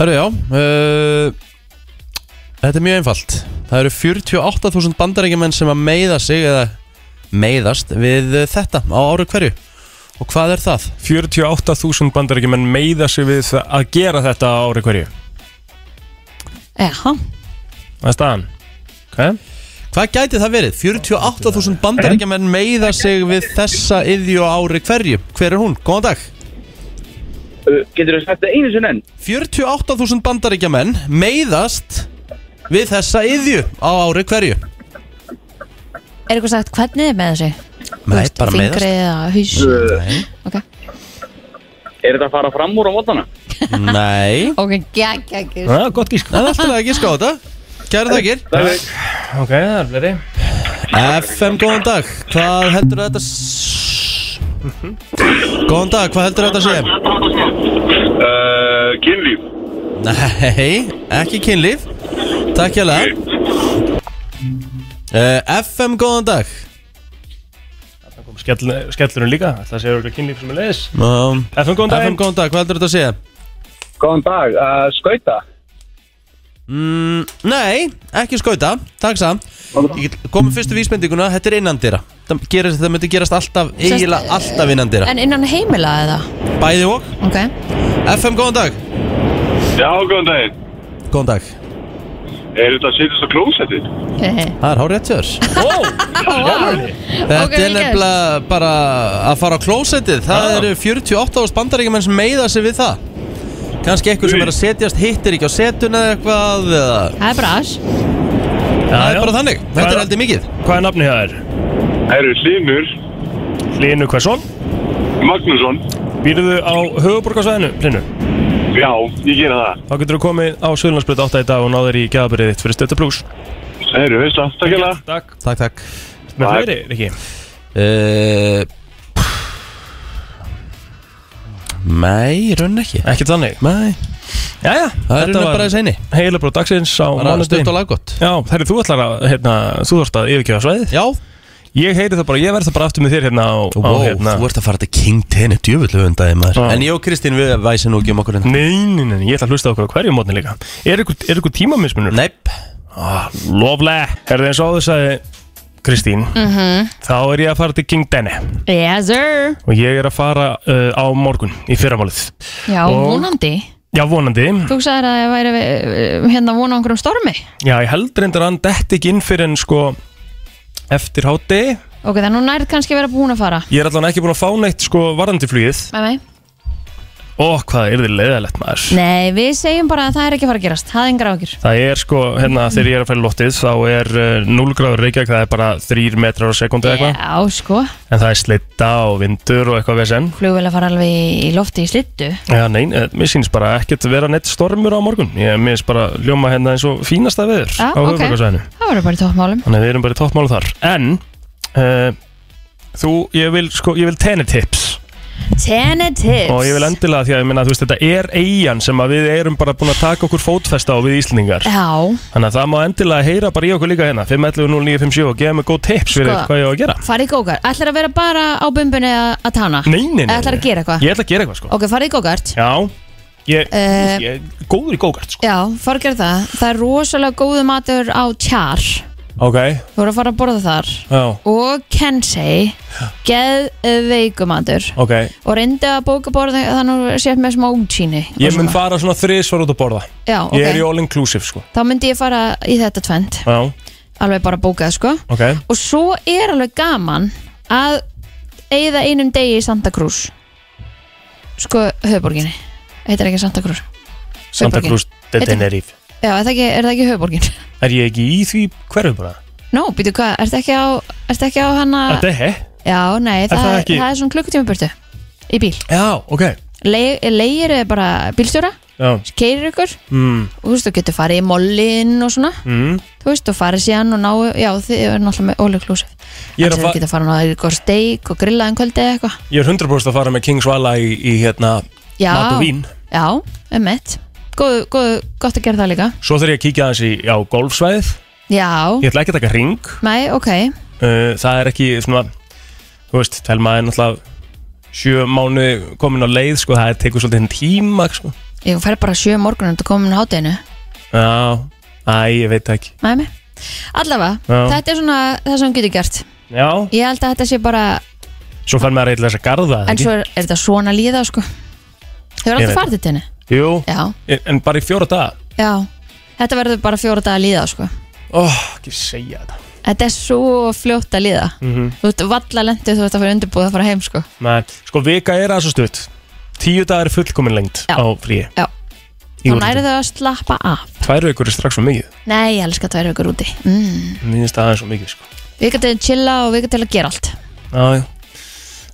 Speaker 1: Hörru, já uh, Þetta er mjög einfalt Það eru 48.000 bandarækjumenn sem að meiða sig eða meiðast við uh, þetta á áru hverju Og hvað er það?
Speaker 3: 48.000 bandaríkjumenn meiða sig við það- að gera þetta á ári hverju
Speaker 2: Já,
Speaker 3: Það er staðan Ok
Speaker 1: Hvað gæti það verið? 48.000 bandarækjumenn meiða sig við þessa yðju á ári hverju Hver er hún? Góðan dag
Speaker 10: Uh, Getur þú sagt það einu sinni enn?
Speaker 1: 48.000 bandarækjumenn meiðast við þessa yðju á ári hverju
Speaker 2: er eitthvað sagt hvernig þið með þessu?
Speaker 1: Nei, bara
Speaker 2: Fingri
Speaker 1: meiðast
Speaker 2: eða haus?
Speaker 1: Nei,
Speaker 10: Er þetta að fara fram úr á mótana?
Speaker 1: Nei.
Speaker 2: Ok, gegg, gegg.
Speaker 3: Það er gott gísk
Speaker 1: Það er alltaf að ekki skáta Kæra þakkir
Speaker 3: Ok, það er fleiri
Speaker 1: FM, góðan dag Hvað heldur þetta s- Góðan dag, hvað heldur þetta sé?
Speaker 7: Uh, kynlíf.
Speaker 1: Nei, ekki kynlíf Takk hjá lega FM, góðan dag
Speaker 3: Það kom skell, skellurinn líka Það séu auðvitað kynlíf sem er leiðis
Speaker 1: um,
Speaker 3: FM góðan
Speaker 1: FM,
Speaker 3: daginn
Speaker 1: góðan dag, hvað heldur þetta sé?
Speaker 9: Góðan dag, uh, skauta
Speaker 1: Mm, nei, ekki skauta, takk samt Ég get- Komum fyrstu vísbendinguna, þetta er innandýra Það, gerist, það myndi gerast alltaf, eiginlega alltaf innandýra
Speaker 2: En innan heimila eða?
Speaker 1: Bæði og
Speaker 2: Ok.
Speaker 1: FM, góðan dag
Speaker 7: Já, góðan daginn.
Speaker 1: Góðan dag,
Speaker 7: Er þetta að setjast á klósettið?
Speaker 1: það er hár rétt hjá þér
Speaker 2: Ok,
Speaker 1: Þetta er
Speaker 2: vel gert.
Speaker 1: nefnilega bara að fara á klósettið Það eru 48 ást bandaríkjumenn sem meiða sig við það Kanski einhver sem er að setjast hittir ekki á setuna eða eitthvað eða...
Speaker 2: Það er bara aðs.
Speaker 1: Það er bara þannig, þetta er heldur mikið
Speaker 3: Hvað er nafni hér?
Speaker 7: Herru, Hlynur
Speaker 3: Hlinu Hversson
Speaker 7: Magnússon.
Speaker 3: Býrðu á höfuborgarsvæðinu, Hlinu
Speaker 7: Já, ég gera það.
Speaker 3: Þá getur þú komið á Suðlandsbreyt 8 í dag og náður í gæðabrið þitt fyrir stötta pluss
Speaker 7: Herru, veist það. Takk hella.
Speaker 3: Takk
Speaker 1: Takk, takk
Speaker 3: Með fleiri, Riki
Speaker 1: uh, Nei, raun ekki
Speaker 3: Ekki þannig
Speaker 1: Nei,
Speaker 3: Jæja,
Speaker 1: það er
Speaker 3: þetta
Speaker 1: raun
Speaker 3: var
Speaker 1: bara þess eini
Speaker 3: heila brot dagsins á
Speaker 1: Bara
Speaker 3: mánudaginn
Speaker 1: stutt og laggott
Speaker 3: Já, herri, þú ætlar að, hérna, þú þarfst að yfirkjöfa svæðið
Speaker 1: Já,
Speaker 3: Ég heyri það bara, ég verð það bara aftur með þér hérna á, á
Speaker 1: wow,
Speaker 3: hérna
Speaker 1: þú ert að fara til King Tenni djöfullu undaði maður
Speaker 3: Já.
Speaker 1: En ég og Kristín við væsum nú ekki um okkur hérna
Speaker 3: Nei, nei, nei, ég ætla að hlusta á okkur á hverju mótni líka Er ykkur, er ykkur tímamismunur?
Speaker 1: Neip,
Speaker 3: Lofle Er það eins og áður sagði Kristín -hmm. Þá er ég að fara til King Denne
Speaker 2: Yes, sir.
Speaker 3: Og ég er að fara uh, á morgun í fyrramálið
Speaker 2: Já,
Speaker 3: Og-
Speaker 2: vonandi.
Speaker 3: Já, vonandi
Speaker 2: Þú sagðir að það væri eh, hérna vona okkur um stormi.
Speaker 3: Já, ég held reyndar að hann detti ekki inn fyrir en sko Eftir háti
Speaker 2: Ok, þannig hún nærð kannski að vera búin að fara.
Speaker 3: Ég er allan ekki búin að fá neitt sko varðandi flugið
Speaker 2: Nei, nei.
Speaker 3: Ó, hvað er þið leiðalegt maður
Speaker 2: Nei, við segjum bara að það er ekki að fara að gerast. Það er engar ákjör.
Speaker 3: Það er sko, hérna, þegar ég er að fæla loftið þá er uh, 0 gráður Reykjavík, það er bara 3 metrar á sekundu eða eitthvað
Speaker 2: Já, sko.
Speaker 3: En það er slitta og vindur og eitthvað vesen
Speaker 2: Flugvel að fara alveg í- í lofti í slittu.
Speaker 3: Já, nei, eh, mér sýnist bara ekkert vera neitt stormur á morgun Ég mér sýnist bara ljóma hérna eins og fínasta veður
Speaker 2: Já,
Speaker 3: á
Speaker 2: Ah, ok.
Speaker 3: höfuborgarsvæðinu
Speaker 2: Það verður bara í toppmálum.
Speaker 3: Þannig að við erum bara í eh, toppmálu þar En, uh, þú, ég vil, sko, ég vil tenni tips
Speaker 2: Tentative
Speaker 3: Og ég vil endilega því að ég minna að þetta er eigin sem að við erum bara búin að taka okkur fótfesta á við Íslendingar
Speaker 2: Já
Speaker 3: Þannig að það má endilega heyra bara í okkur líka hérna 511-0957 og gefa mig góð tips fyrir
Speaker 2: Sko.
Speaker 3: hvað ég á að gera
Speaker 2: Farið í go-kart Ætlar að vera bara á bumbunni að að tána?
Speaker 3: Nei, nei, nei, nei.
Speaker 2: Ætlar að gera eitthvað?
Speaker 3: Ég ætla að gera eitthvað sko
Speaker 2: Ok, farið í go-kart
Speaker 3: Já, ég,
Speaker 2: Eh.
Speaker 3: ég er góður í gókart sko
Speaker 2: Já, farið að gera það Það er rosalega góðu matur á tjar
Speaker 3: Ok,
Speaker 2: Þú voru að fara að borða þar
Speaker 3: já,
Speaker 2: Og Kensei Geðveikumatur
Speaker 3: ok
Speaker 2: Og reyndi að bóka borða þannig að þú sétt með smá útsýni og
Speaker 3: Ég mun
Speaker 2: svona.
Speaker 3: fara svona þrisvar út að borða
Speaker 2: Já, ok.
Speaker 3: Ég er í all inclusive sko
Speaker 2: Þá myndi ég fara í þetta tvend
Speaker 3: Já,
Speaker 2: Alveg bara bókað sko
Speaker 3: ok
Speaker 2: Og svo er alveg gaman að eigða einum degi í Santa Cruz Sko, höfuborginni Heitir ekki Santa Cruz
Speaker 3: Santa
Speaker 2: Höfuðborgin.
Speaker 3: Cruz de
Speaker 2: Heitir-
Speaker 3: Tenerife
Speaker 2: Já, er það ekki, er það ekki höfuborgin?
Speaker 3: Er ég ekki í því hverju bara?
Speaker 2: Nó, býtu hvað, ert ekki á, ert ekki á hana
Speaker 3: Þetta er he?
Speaker 2: Já, nei, það,
Speaker 3: það
Speaker 2: það,
Speaker 3: ekki-
Speaker 2: er svona klukkutíma burtu Í bíl
Speaker 3: Já, ok
Speaker 2: Leir er bara bílstjóra
Speaker 3: Já
Speaker 2: Keirir ykkur
Speaker 3: mm.
Speaker 2: og þú veist, þú getur farið í mollin og svona
Speaker 3: Mm.
Speaker 2: þú veist, þú farið síðan og náu já, þið er náttúrulega með all inclusive
Speaker 3: Ég er
Speaker 2: allir
Speaker 3: að
Speaker 2: fa
Speaker 3: fa-
Speaker 2: getur farið náðu ykkur steik og grillaðan kvöldi eða eitthvað
Speaker 3: Ég er 100% að fara með Kings Vala í, í hérna
Speaker 2: já,
Speaker 3: mat og vín
Speaker 2: já, emmett góð, góð, gott að gera það líka
Speaker 3: Svo þarf ég að kíkja aðeins í, á golfsvæðið
Speaker 2: já,
Speaker 3: Ég ætla ekki að taka ring
Speaker 2: mæ, ok
Speaker 3: uh, Það er ekki svona Þú veist, telma er náttúrulega Sjö mánu komin á leið sko, Það tekur svolítið en tíma sko.
Speaker 2: ég fer bara sjö morgunum til komin á hátinu
Speaker 3: Já, æ, ég veit það ekki
Speaker 2: mæ, mæ, allavega
Speaker 3: Já.
Speaker 2: þetta er svona það sem hún getur gert
Speaker 3: Já,
Speaker 2: ég held að þetta sé bara
Speaker 3: svo fann maður eitthvað þess að garða
Speaker 2: en
Speaker 3: ekki?
Speaker 2: svo er, er þetta svona líða, sko þau eru
Speaker 3: Ég
Speaker 2: alltaf
Speaker 3: veit
Speaker 2: farið til henni
Speaker 3: Jú,
Speaker 2: já,
Speaker 3: en- en bara í fjóra daga
Speaker 2: já, þetta verður bara fjóra daga líða, sko
Speaker 3: Ó, ekki segja þetta
Speaker 2: Þetta er svo fljótt að liða
Speaker 3: mm
Speaker 2: Þú ert valla lendið þú ert að fara undirbúið að fara heim sko
Speaker 3: Nei, sko vika er aðeins og stutt Tíu dagar er fullkomin lengt
Speaker 2: Já.
Speaker 3: á fríi
Speaker 2: Já.
Speaker 3: Í
Speaker 2: Þá
Speaker 3: úrslitum.
Speaker 2: nærið þau að slappa af
Speaker 3: Tvær vikur er strax svo mikið
Speaker 2: Nei, ég elska tvær vikur úti mm.
Speaker 3: Mér finnst það aðeins svo mikið sko
Speaker 2: Vika til að chilla og vika til að gera allt
Speaker 3: Já, já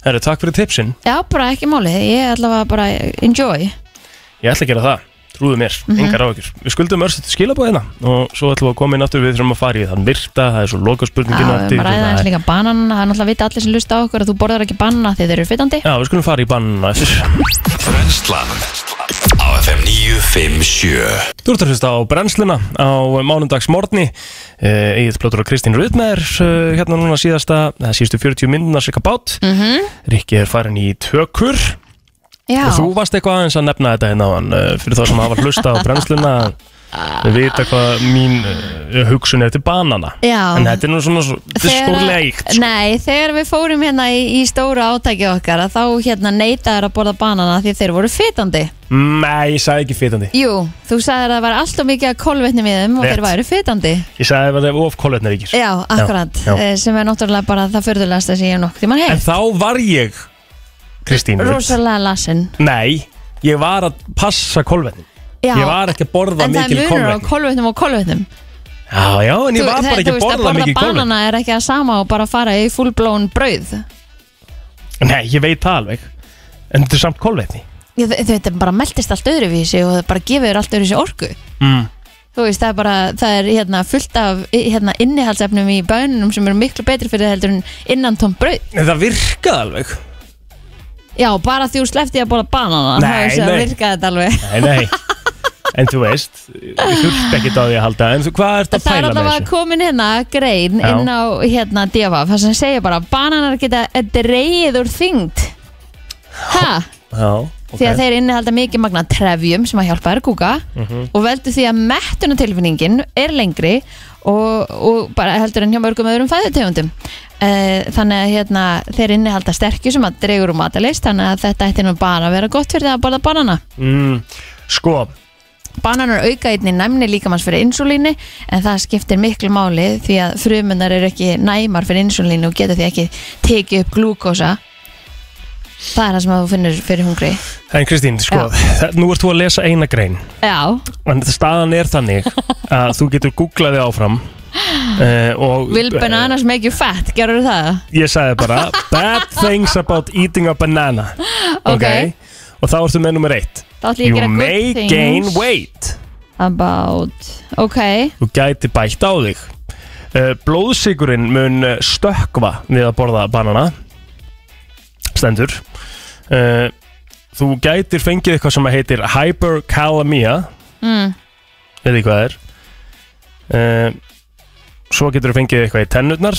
Speaker 3: Herru, takk fyrir tipsin
Speaker 2: Já, bara ekki máli, ég allavega bara enjoy
Speaker 3: Ég ætla að gera það Trúðu mér,
Speaker 2: Mhm.
Speaker 3: engar á ykkur Við skuldum örstu til skilabóð hérna Og svo ætlum við að koma inn aftur Við þurfum að fara í þann virta Það er svo loka
Speaker 2: Já,
Speaker 3: spurningin
Speaker 2: við erum að ræða eins líka bananana Það er náttúrulega vita allir sem lusta á okkur að þú borðar ekki banana þegar þeir eru fytandi
Speaker 3: Já, við skulum fara í banna eftir
Speaker 4: Brennslan Á FM 957
Speaker 3: Þú ert að hlusta á brennsluna á mánundagsmorni Egið Plótur og Kristín Rutmer hérna núna síðasta, eða síðustu 40 minnuna cirka bát
Speaker 2: mm
Speaker 3: Rikki er farin í tökur
Speaker 2: Já,
Speaker 3: og þú varst eitthvað aðeins að nefna þetta hérna á hann fyrir þá sem hafa hlusta á brennsluna að vita hvað mín uh, hugsun er til banana
Speaker 2: Já.
Speaker 3: en þetta er nú svona svo, sko. þetta er
Speaker 2: Þegar-
Speaker 3: stórlega eitt
Speaker 2: Nei, þegar við fórum hérna í, í stóra átæki okkar að þá hérna neytaður að borða banana því þeir voru fytandi
Speaker 3: Mm, Nei, ég sagði ekki fitandi
Speaker 2: Jú, þú sagðir að það var alltaf mikið að kolvetni með þeim og
Speaker 3: Rétt.
Speaker 2: þeir væru fytandi
Speaker 3: Ég sagði að það er of kóletnaríkir
Speaker 2: Já, akkurat,
Speaker 3: Já, já.
Speaker 2: Eh, sem er náttúrulega bara það förðulegast að sé ég nokkuð tímann
Speaker 3: En
Speaker 2: heyrt
Speaker 3: þá var ég Kristín Rut.
Speaker 2: Rosalega lasin
Speaker 3: Nei, ég var að passa kolvetnin
Speaker 2: Já.
Speaker 3: Ég var ekki að borða
Speaker 2: En það
Speaker 3: mikil
Speaker 2: er munur á
Speaker 3: kolvetni
Speaker 2: kolvetnum og kolvetnum
Speaker 3: Já, já, en ég var bara ekki að
Speaker 2: veist,
Speaker 3: borða
Speaker 2: Að
Speaker 3: mikil
Speaker 2: borða
Speaker 3: kolvetni
Speaker 2: banana er ekki að sama og bara fara í fullblón brauð
Speaker 3: Nei, ég veit það alveg En þetta er samt kolvetni
Speaker 2: Ég, þau, þetta bara meldist allt öðruvísi og það bara gefur þér allt öðruvísi orku
Speaker 3: mm.
Speaker 2: Þú veist, það er bara, það er hérna fullt af hérna innihaldsefnum í bönunum sem eru miklu betri fyrir það heldur en innan tóm brauð
Speaker 3: En það virkaði alveg
Speaker 2: Já, bara því þú sleppti að borða banana
Speaker 3: Nei,
Speaker 2: það
Speaker 3: nei.
Speaker 2: virkaði þetta alveg
Speaker 3: Nei, nei En þú veist, ég þurfti ekki á því að halda En þú, hvað ert
Speaker 2: Það
Speaker 3: að
Speaker 2: er
Speaker 3: pæla með
Speaker 2: allavega
Speaker 3: þessu?
Speaker 2: komin hérna grein
Speaker 3: Já.
Speaker 2: inn á hérna divaf það sem segir bara bananar geta dreigið úr þyngd ha,
Speaker 3: Já, ok
Speaker 2: því að þeir innihalda mikið magna trefjum sem að hjálpa þær að kúka
Speaker 3: Mhm.
Speaker 2: og veldu því að mettunatilfinningin er lengri og, og bara heldur en hjá mörgum öðrum fæðutegundum Eh, þannig að hérna, þeir innihalda sterkju sem að dreigur úr matalist þannig að þetta ætti nú bara að vera gott fyrir það að borða banana
Speaker 3: mm, Sko,
Speaker 2: Bananar auka einni næmni líkamanns fyrir insulíni en það skiptir miklu máli því að frumunnar eru ekki næmar fyrir insulíni og geta því ekki tekið upp glúkosa Það er það sem að þú finnur fyrir hungri
Speaker 3: en Kristín, sko það- Nú ert þú að lesa eina grein
Speaker 2: Já,
Speaker 3: En staðan er þannig að þú getur googlaði áfram uh, og
Speaker 2: will bananas make you fat, gerur það?
Speaker 3: ég sagði bara Bad things about eating a banana
Speaker 2: Ok.
Speaker 3: Og þá ertu með nummer eitt
Speaker 2: Þá ætlum ég að
Speaker 3: You
Speaker 2: gera good
Speaker 3: may
Speaker 2: things.
Speaker 3: gain weight
Speaker 2: About, ok,
Speaker 3: Þú gæti bætt á þig uh, eh, Blóðsigurinn mun eh, stökkva við að borða banana Stendur uh, Þú gætir fengið eitthvað sem heitir Hyperkalemia
Speaker 2: Mm.
Speaker 3: Við því hvað það er uh, Svo getur þú fengið eitthvað í tennurnar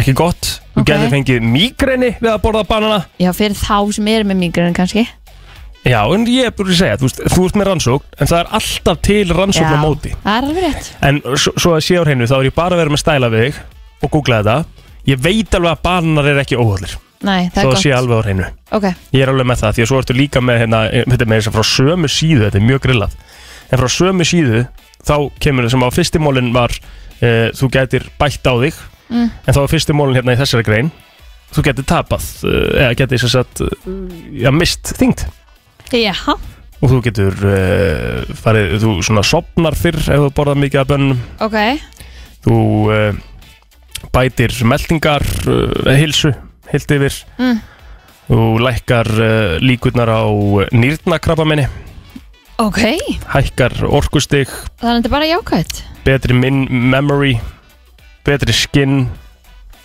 Speaker 3: Ekki gott Þú
Speaker 2: Ok.
Speaker 3: gætir fengið mígreni við að borða banana
Speaker 2: Já, fyrir þá sem eru með migræn kannski
Speaker 3: Já, en ég er búin að segja, þú veist, þú ert með rannsókn En það er alltaf til rannsókn á
Speaker 2: Já,
Speaker 3: móti
Speaker 2: Það er alveg rétt
Speaker 3: En svo, svo að sé á hreinu, þá er ég bara að vera með stæla við þig Og googla þetta Ég veit alveg að bananar er ekki óhullir
Speaker 2: Nei, það
Speaker 3: Þó
Speaker 2: er
Speaker 3: að sé
Speaker 2: gott
Speaker 3: alveg á hreinu
Speaker 2: Ok,
Speaker 3: Ég er alveg með það, því að svo ertu líka með hérna, þetta er með þess að frá sömu síðu, þetta er mjög grillað en frá sömu síðu, þá kemur það sem á fyrstimólin var uh, þú gætir bætt á þig
Speaker 2: Mm.
Speaker 3: en þá var fyrstimólin hérna í þessari grein þú gætir tapað, uh, eða gætir þess að, uh, já, mist þyngd
Speaker 2: já,
Speaker 3: og þú getur uh, farið, þú svona sopnar fyrr ef þú borðar mikið af bönnum
Speaker 2: ok
Speaker 3: þú uh, bætir meldingar uh, hilsu, hilt yfir
Speaker 2: mm.
Speaker 3: þú lækkar uh, líkurnar á nýrnakrabbamenni
Speaker 2: Ok,
Speaker 3: hækkar orkustig,
Speaker 2: þannig þetta er bara jákvætt
Speaker 3: betri min memory betri skinn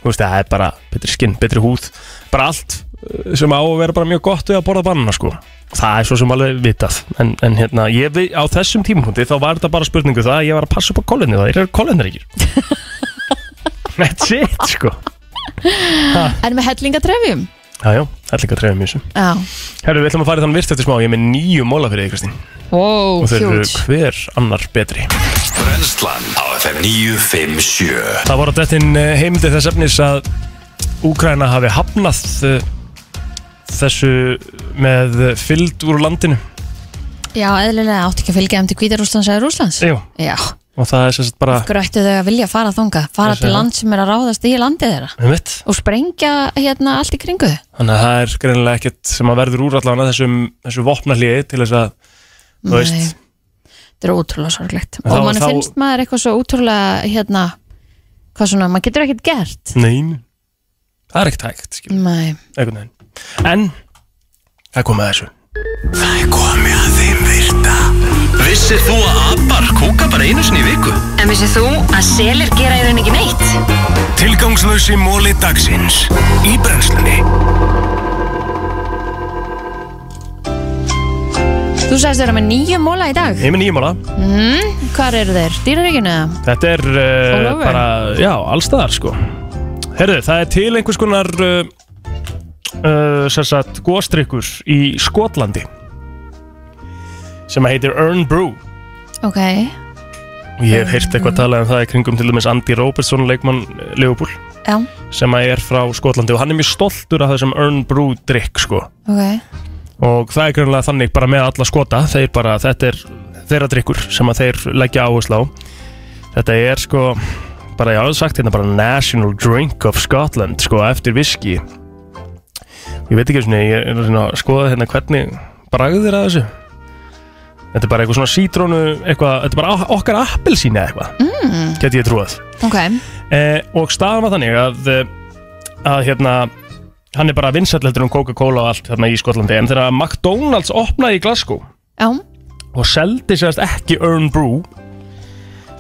Speaker 3: þú veist það er bara betri skinn, betri húð bara allt uh, sem á að vera bara mjög gott við að borða banana sko það er svo sem alveg vitað en, en hérna, ég, vi- á þessum tímapunkti þá var þetta bara spurningu það að ég var að passa upp á kólinni það er kólinnaríkir that's it sko
Speaker 2: En með hellingatrefjum
Speaker 3: jájá, það er líka að trefja mjög sem
Speaker 2: Já,
Speaker 3: herru, við ætlum að fara í þann virt eftir smá ég er með nýju móla fyrir þig Kristín
Speaker 2: ó,
Speaker 3: og þeir eru
Speaker 2: hjúts
Speaker 3: hver annar betri
Speaker 4: Brennslan á FM 957
Speaker 3: Það voru dættin heimildi eh, þess efnis að Úkraina hafi hafnað eh, þessu með fylgd úr landinu
Speaker 2: Já, eðlilega átti ekki að fylgja þeim til Hvítarúslands eða Rúslands
Speaker 3: Jú.
Speaker 2: Já,
Speaker 3: og það er sem sagt bara
Speaker 2: grættu þau að vilja fara þangað Fara
Speaker 3: Þessi,
Speaker 2: til
Speaker 3: já.
Speaker 2: land sem er að ráðast í landið þeirra
Speaker 3: einmitt.
Speaker 2: Og sprengja hérna allt í kringu þau
Speaker 3: um Þannig að það er greinilega ekkert sem að verður úr allan að þessum, þessu vopnarliði til þess að þú
Speaker 2: Nei.
Speaker 3: veist,
Speaker 2: Þetta er ótrúlega sorglegt
Speaker 3: En
Speaker 2: Og
Speaker 3: þá-
Speaker 2: mann
Speaker 3: þá-
Speaker 2: finnst maður eitthvað svo ótrúlega hérna, hvað svona, maður getur ekkert gert
Speaker 3: nein það er ekkert hægt, skilur,
Speaker 2: Nei,
Speaker 3: einhvern veginn en það er komið að þessu
Speaker 4: Það er komið að þeim virta Vissir þú að abar kúka bara einu sinni í viku?
Speaker 6: En vissið þú að selir gera í raun ekki neitt?
Speaker 4: Tilgangslösi móli dagsins Í brennslunni
Speaker 2: þú sagðist vera með nýju móla í dag
Speaker 3: Ég er með nýjumála,
Speaker 2: mm, Hvar eru þeir? Dýraríkinu? eða?
Speaker 3: þetta er
Speaker 2: All
Speaker 3: uh,
Speaker 2: over.
Speaker 3: bara, já, allstaðar sko Herðu, það er til einhvers konar uh, uh, sem sagt góstrykkur í Skotlandi sem að heitir Earn Brew
Speaker 2: Ok,
Speaker 3: og ég hef heyrt eitthvað talað um það í kringum til dæmis Andy Robertson, leikmann eh, Liverpool
Speaker 2: já,
Speaker 3: sem að er frá Skotlandi og hann er mjög stoltur af þessum Earn Brew drykk sko
Speaker 2: ok
Speaker 3: og það er greinlega þannig bara með alla skota þeir bara, þetta er þeirra drikkur sem að þeir leggja áherslu á þetta er sko bara ég hafði sagt hérna bara National Drink of Scotland sko eftir viski ég veit ekki svona ég er að reyna að skoða hérna hvernig bragðir að þessu þetta er bara eitthvað svona sítrónu eitthvað, þetta er bara ok- okkar appelsín eða eitthvað
Speaker 2: mm,
Speaker 3: geti ég trúað
Speaker 2: Ok,
Speaker 3: eh, og staðan var þannig að eh, að hérna hann er bara vinsætletur um Coca-Cola og allt þarna í Skotlandi en þegar McDonalds opnaði í Glasgow
Speaker 2: já,
Speaker 3: og seldi sérst ekki Earn Brew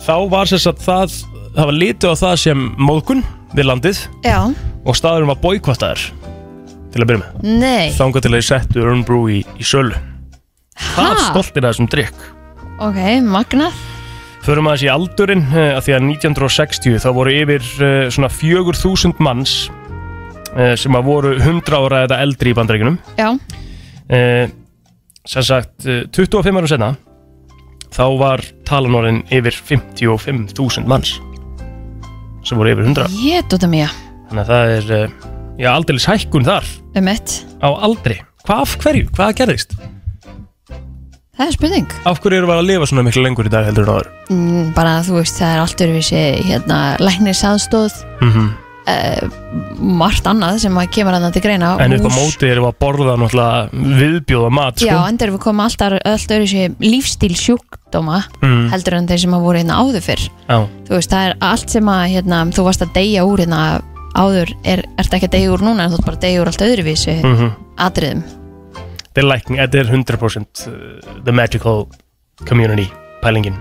Speaker 3: þá var sérst að það það var litið á það sem móðgun við landið
Speaker 2: já,
Speaker 3: og staðurinn var boykvattaður til að byrja með
Speaker 2: nei
Speaker 3: þangað til að ég settu Earn Brew í, í sölu það er stoltir að þessum drikk
Speaker 2: Ok, magnað
Speaker 3: Förum aðeins í aldurinn eh, að því að 1960 þá voru yfir uh, svona 4000 manns uh, sem að voru 100 ára eða eldri í bandaríkunum
Speaker 2: Já,
Speaker 3: uh, sem sagt uh, 25 árum senna þá var talan orðin yfir 55.000 manns sem voru yfir 100
Speaker 2: ég dóta mía
Speaker 3: þannig að það er uh, já, aldeilis hækkun þar
Speaker 2: Um eitt,
Speaker 3: á aldri hvað af hverju, hvað gerðist
Speaker 2: það er spurning
Speaker 3: af hverju eru við að lifa svona miklu lengur í dag heldur en áður
Speaker 2: mm, Bara þú veist, það er allt öruvísi hérna, læknis aðstóð
Speaker 3: mm
Speaker 2: Margt annað sem að kemur að það til greina
Speaker 3: en upp á
Speaker 2: Hús-
Speaker 3: móti erum við að borða náttúrulega viðbjóða mat sko.
Speaker 2: Já, enda erum við komið alltaf öll öðru lífstíl sjúkdóma
Speaker 3: Mm.
Speaker 2: heldur en þeir sem að voru hérna áður fyrr
Speaker 3: Já.
Speaker 2: þú veist, það er allt sem að hérna, þú varst að deyja úr hérna áður er, ert ekki að deyja úr núna en þú ert bara að deyja úr allt öðruvísi
Speaker 3: Mhm.
Speaker 2: atriðum
Speaker 3: Þetta er lækning, þetta er 100% uh, the magical community pælingin.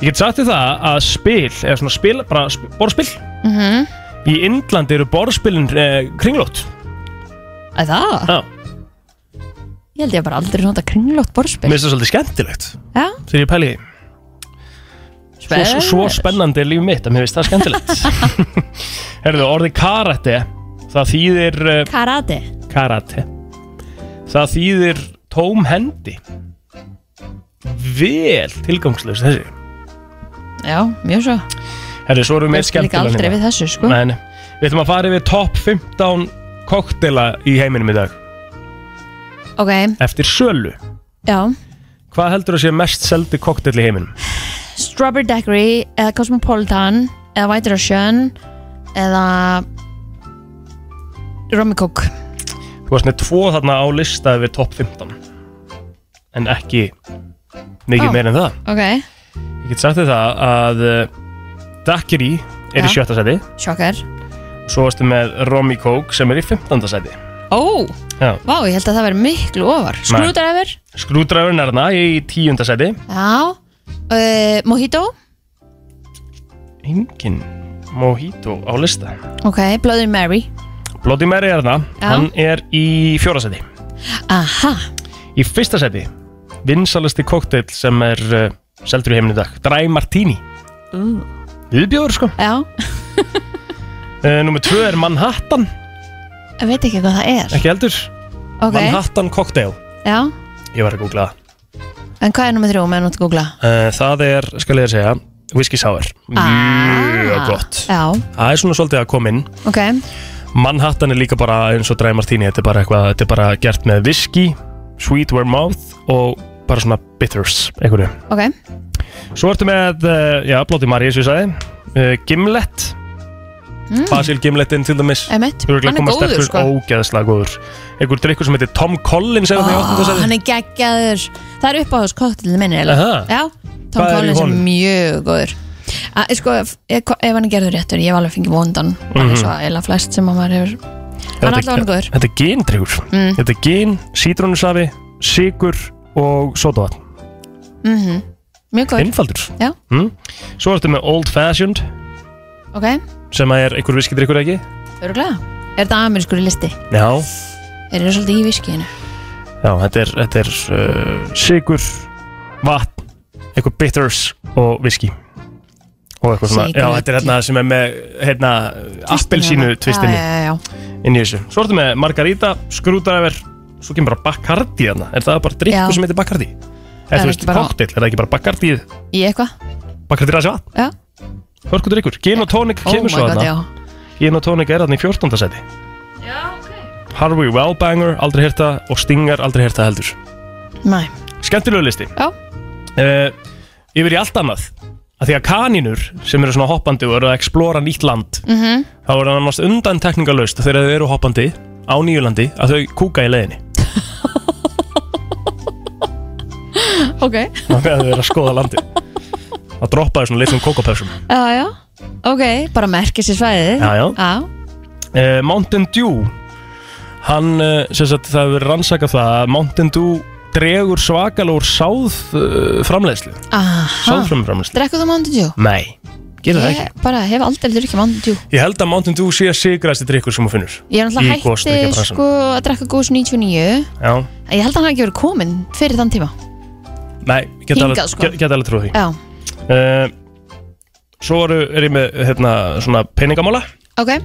Speaker 3: Ég get sagt því það að spil, eða svona spil, bara sp borðspil,
Speaker 2: mm
Speaker 3: í Indlandi eru borðspilin eh, kringlót.
Speaker 2: Æ, það?
Speaker 3: Já.
Speaker 2: Ég held ég bara aldrei nota kringlótt borðspil
Speaker 3: Mér finnst það svolítið skemmtilegt
Speaker 2: Já,
Speaker 3: Þegar ég pæli í því. svo, svo, svo
Speaker 2: Spes.
Speaker 3: spennandi er líf mitt að mér finnst það skemmtilegt Herðu, orðið karate Það þýðir eh,
Speaker 2: karate
Speaker 3: karate Það þýðir tóm hendi Vel tilgangslaus þessi
Speaker 2: Já, mjög svo
Speaker 3: Herðu, svo erum við
Speaker 2: Ég
Speaker 3: með
Speaker 2: skil líka
Speaker 3: skemmtilega
Speaker 2: aldrei við þessu, sko.
Speaker 3: Nei, nei. Við ætlum að fara yfir top 15 koktela í heiminum í dag
Speaker 2: Ok,
Speaker 3: Eftir sölu
Speaker 2: já
Speaker 3: Hvað heldur þú að sé mest seldi koktel í heiminum?
Speaker 2: Strawberry Daiquiri eða Cosmopolitan eða White Russian eða Rum and Coke
Speaker 3: Þú varst með tvo þarna á lista við top 15 En ekki mikið
Speaker 2: Ó.
Speaker 3: meira en það
Speaker 2: Ok,
Speaker 3: Ég get sagt þér það að uh, Daiquiri
Speaker 2: Já.
Speaker 3: er í sjötta sæti
Speaker 2: sjokkar
Speaker 3: Svo varstu með Romy Coke sem er í 15. sæti
Speaker 2: Ó,
Speaker 3: Já.
Speaker 2: vá, ég held að það veri miklu ofar Screwdriver,
Speaker 3: Skrúdræfurinn er þarna í 10. sæti
Speaker 2: já uh, Mojito,
Speaker 3: Engin Mojito á lista
Speaker 2: ok, Bloody Mary
Speaker 3: Bloody Mary er þarna,
Speaker 2: Já.
Speaker 3: hann er í 4. sæti
Speaker 2: Aha,
Speaker 3: Í fyrsta sæti, vinsalasti koktel sem er uh, seldur í heiminu í dag Dry Martini
Speaker 2: uh.
Speaker 3: Viðbjóður sko
Speaker 2: já
Speaker 3: uh, Númer 2 er Manhattan
Speaker 2: Ég veit ekki hvað það er
Speaker 3: Ekki heldur
Speaker 2: Ok.
Speaker 3: Manhattan Cocktail
Speaker 2: Já,
Speaker 3: Ég var að googla það
Speaker 2: en hvað er nummer þrjú með að googla?
Speaker 3: uh, Það er, skal ég þér segja, Whisky Sour
Speaker 2: Ah.
Speaker 3: Mjög gott
Speaker 2: Já,
Speaker 3: Það er svona svolítið að koma inn
Speaker 2: ok,
Speaker 3: Manhattan er líka bara eins og Dry Martini Þetta er bara eitthvað, þetta er bara gert með whisky Sweet Vermouth og bara svona bitters einhverju.
Speaker 2: ok
Speaker 3: Svo ertu með, uh, já, Bloody Mary eins og ég sagði uh, Gimlet
Speaker 2: mm.
Speaker 3: Basil Gimletin til dæmis
Speaker 2: Einmitt.
Speaker 3: Þú
Speaker 2: Hann
Speaker 3: eru
Speaker 2: er
Speaker 3: ekki koma
Speaker 2: góður,
Speaker 3: sterkur
Speaker 2: sko.
Speaker 3: ógeðslega góður Einhver drikkur sem heitir Tom Collins er þarna í áttunda sæti.
Speaker 2: oh, Hann er geggjaður Það er uppáhás koktelinu minni eiginlega.
Speaker 3: Aha.
Speaker 2: Já, Tom
Speaker 3: Hvað er í
Speaker 2: Collins er
Speaker 3: honum?
Speaker 2: mjög góður A, sko, ef, ef ef hann er gerður réttur Ég hef alveg fengið vondan mm -hmm.
Speaker 3: Mhm.
Speaker 2: Svo eila flest sem að maður hefur Hann er
Speaker 3: Þetta-
Speaker 2: alltaf hann góður
Speaker 3: Þetta er gindryggur
Speaker 2: Mm.
Speaker 3: Þetta er gin, sítrónusafi, sigur og sótavatn
Speaker 2: mm Mjög góður
Speaker 3: Einfaldur
Speaker 2: Já.
Speaker 3: mm. Svo ertu með Old Fashioned
Speaker 2: Ok,
Speaker 3: sem að er einhver viskidrykkur ekki
Speaker 2: öruglega Er þetta amerískur í listi?
Speaker 3: Já,
Speaker 2: Er það svolítið í viskiðinu?
Speaker 3: Já þetta er, þetta er uh, sigur, vatn eitthvað bitters og viski og eitthvað svona
Speaker 2: Sykur,
Speaker 3: Já, þetta er hérna sem er með hérna, appelsínu tvistinni
Speaker 2: Já, já, já
Speaker 3: inn í þessu Svo ertu með margarita, skrúdræver Svo kemur bara Bacardi hérna Er það bara drikku
Speaker 2: Já.
Speaker 3: sem heitir Bacardi?
Speaker 2: Það er
Speaker 3: Er þú veist
Speaker 2: ekki bara-
Speaker 3: koktel, er það ekki bara Bacardi
Speaker 2: Í eitthvað?
Speaker 3: Bacardi ræsja vatn?
Speaker 2: Já.
Speaker 3: Hörku drikkur, gin og tónik
Speaker 2: Oh my
Speaker 3: kemur svo
Speaker 2: god, já
Speaker 3: þarna Gin og tónik er þarna í 14. seti Já, ok Harvey Wellbanger, aldrei hérta og Stinger, aldrei hérta heldur
Speaker 2: Næ,
Speaker 3: Skemmtilegu listi
Speaker 2: Já.
Speaker 3: uh, Yfir í allt annað að Því að kanínur sem eru svona hoppandi og eru að explora nýtt land
Speaker 2: mhm
Speaker 3: þá er það nánast undan tekningalöst þegar þau eru hoppandi á nýjulandi að þau kúka í leiðinni
Speaker 2: Ok,
Speaker 3: og meðan þau eru að skoða landi að droppa þau svona litlum kókopöfsum
Speaker 2: já, já Ok, bara merkið sér svæðið
Speaker 3: Já, já.
Speaker 2: Já,
Speaker 3: uh, Mountain Dew hann, uh, sem sagt, það hefur verið rannsakað það að Mountain Dew dregur svakalór sáð uh, framleiðslu
Speaker 2: aha
Speaker 3: sáðfrum framleiðslu
Speaker 2: Drekku þú Mountain Dew?
Speaker 3: Nei, gerir það
Speaker 2: Ég
Speaker 3: ekki
Speaker 2: bara hef aldrei drukkið Mountain Dew
Speaker 3: Ég held að Mountain Dew sé að sigraðstu drikkur sem hún finnur
Speaker 2: Ég er
Speaker 3: Í
Speaker 2: náttúrulega hætti
Speaker 3: gosdrykkjabransanum.
Speaker 2: sko að drekka góðs 99
Speaker 3: Já,
Speaker 2: En Ég held að hann hafi ekki verið kominn fyrir þann tíma
Speaker 3: nei, geta
Speaker 2: Hingað,
Speaker 3: alveg,
Speaker 2: sko.
Speaker 3: get, get alveg trúið því
Speaker 2: Já,
Speaker 3: uh, Svo eru, er ég með hérna, svona peningamála
Speaker 2: ok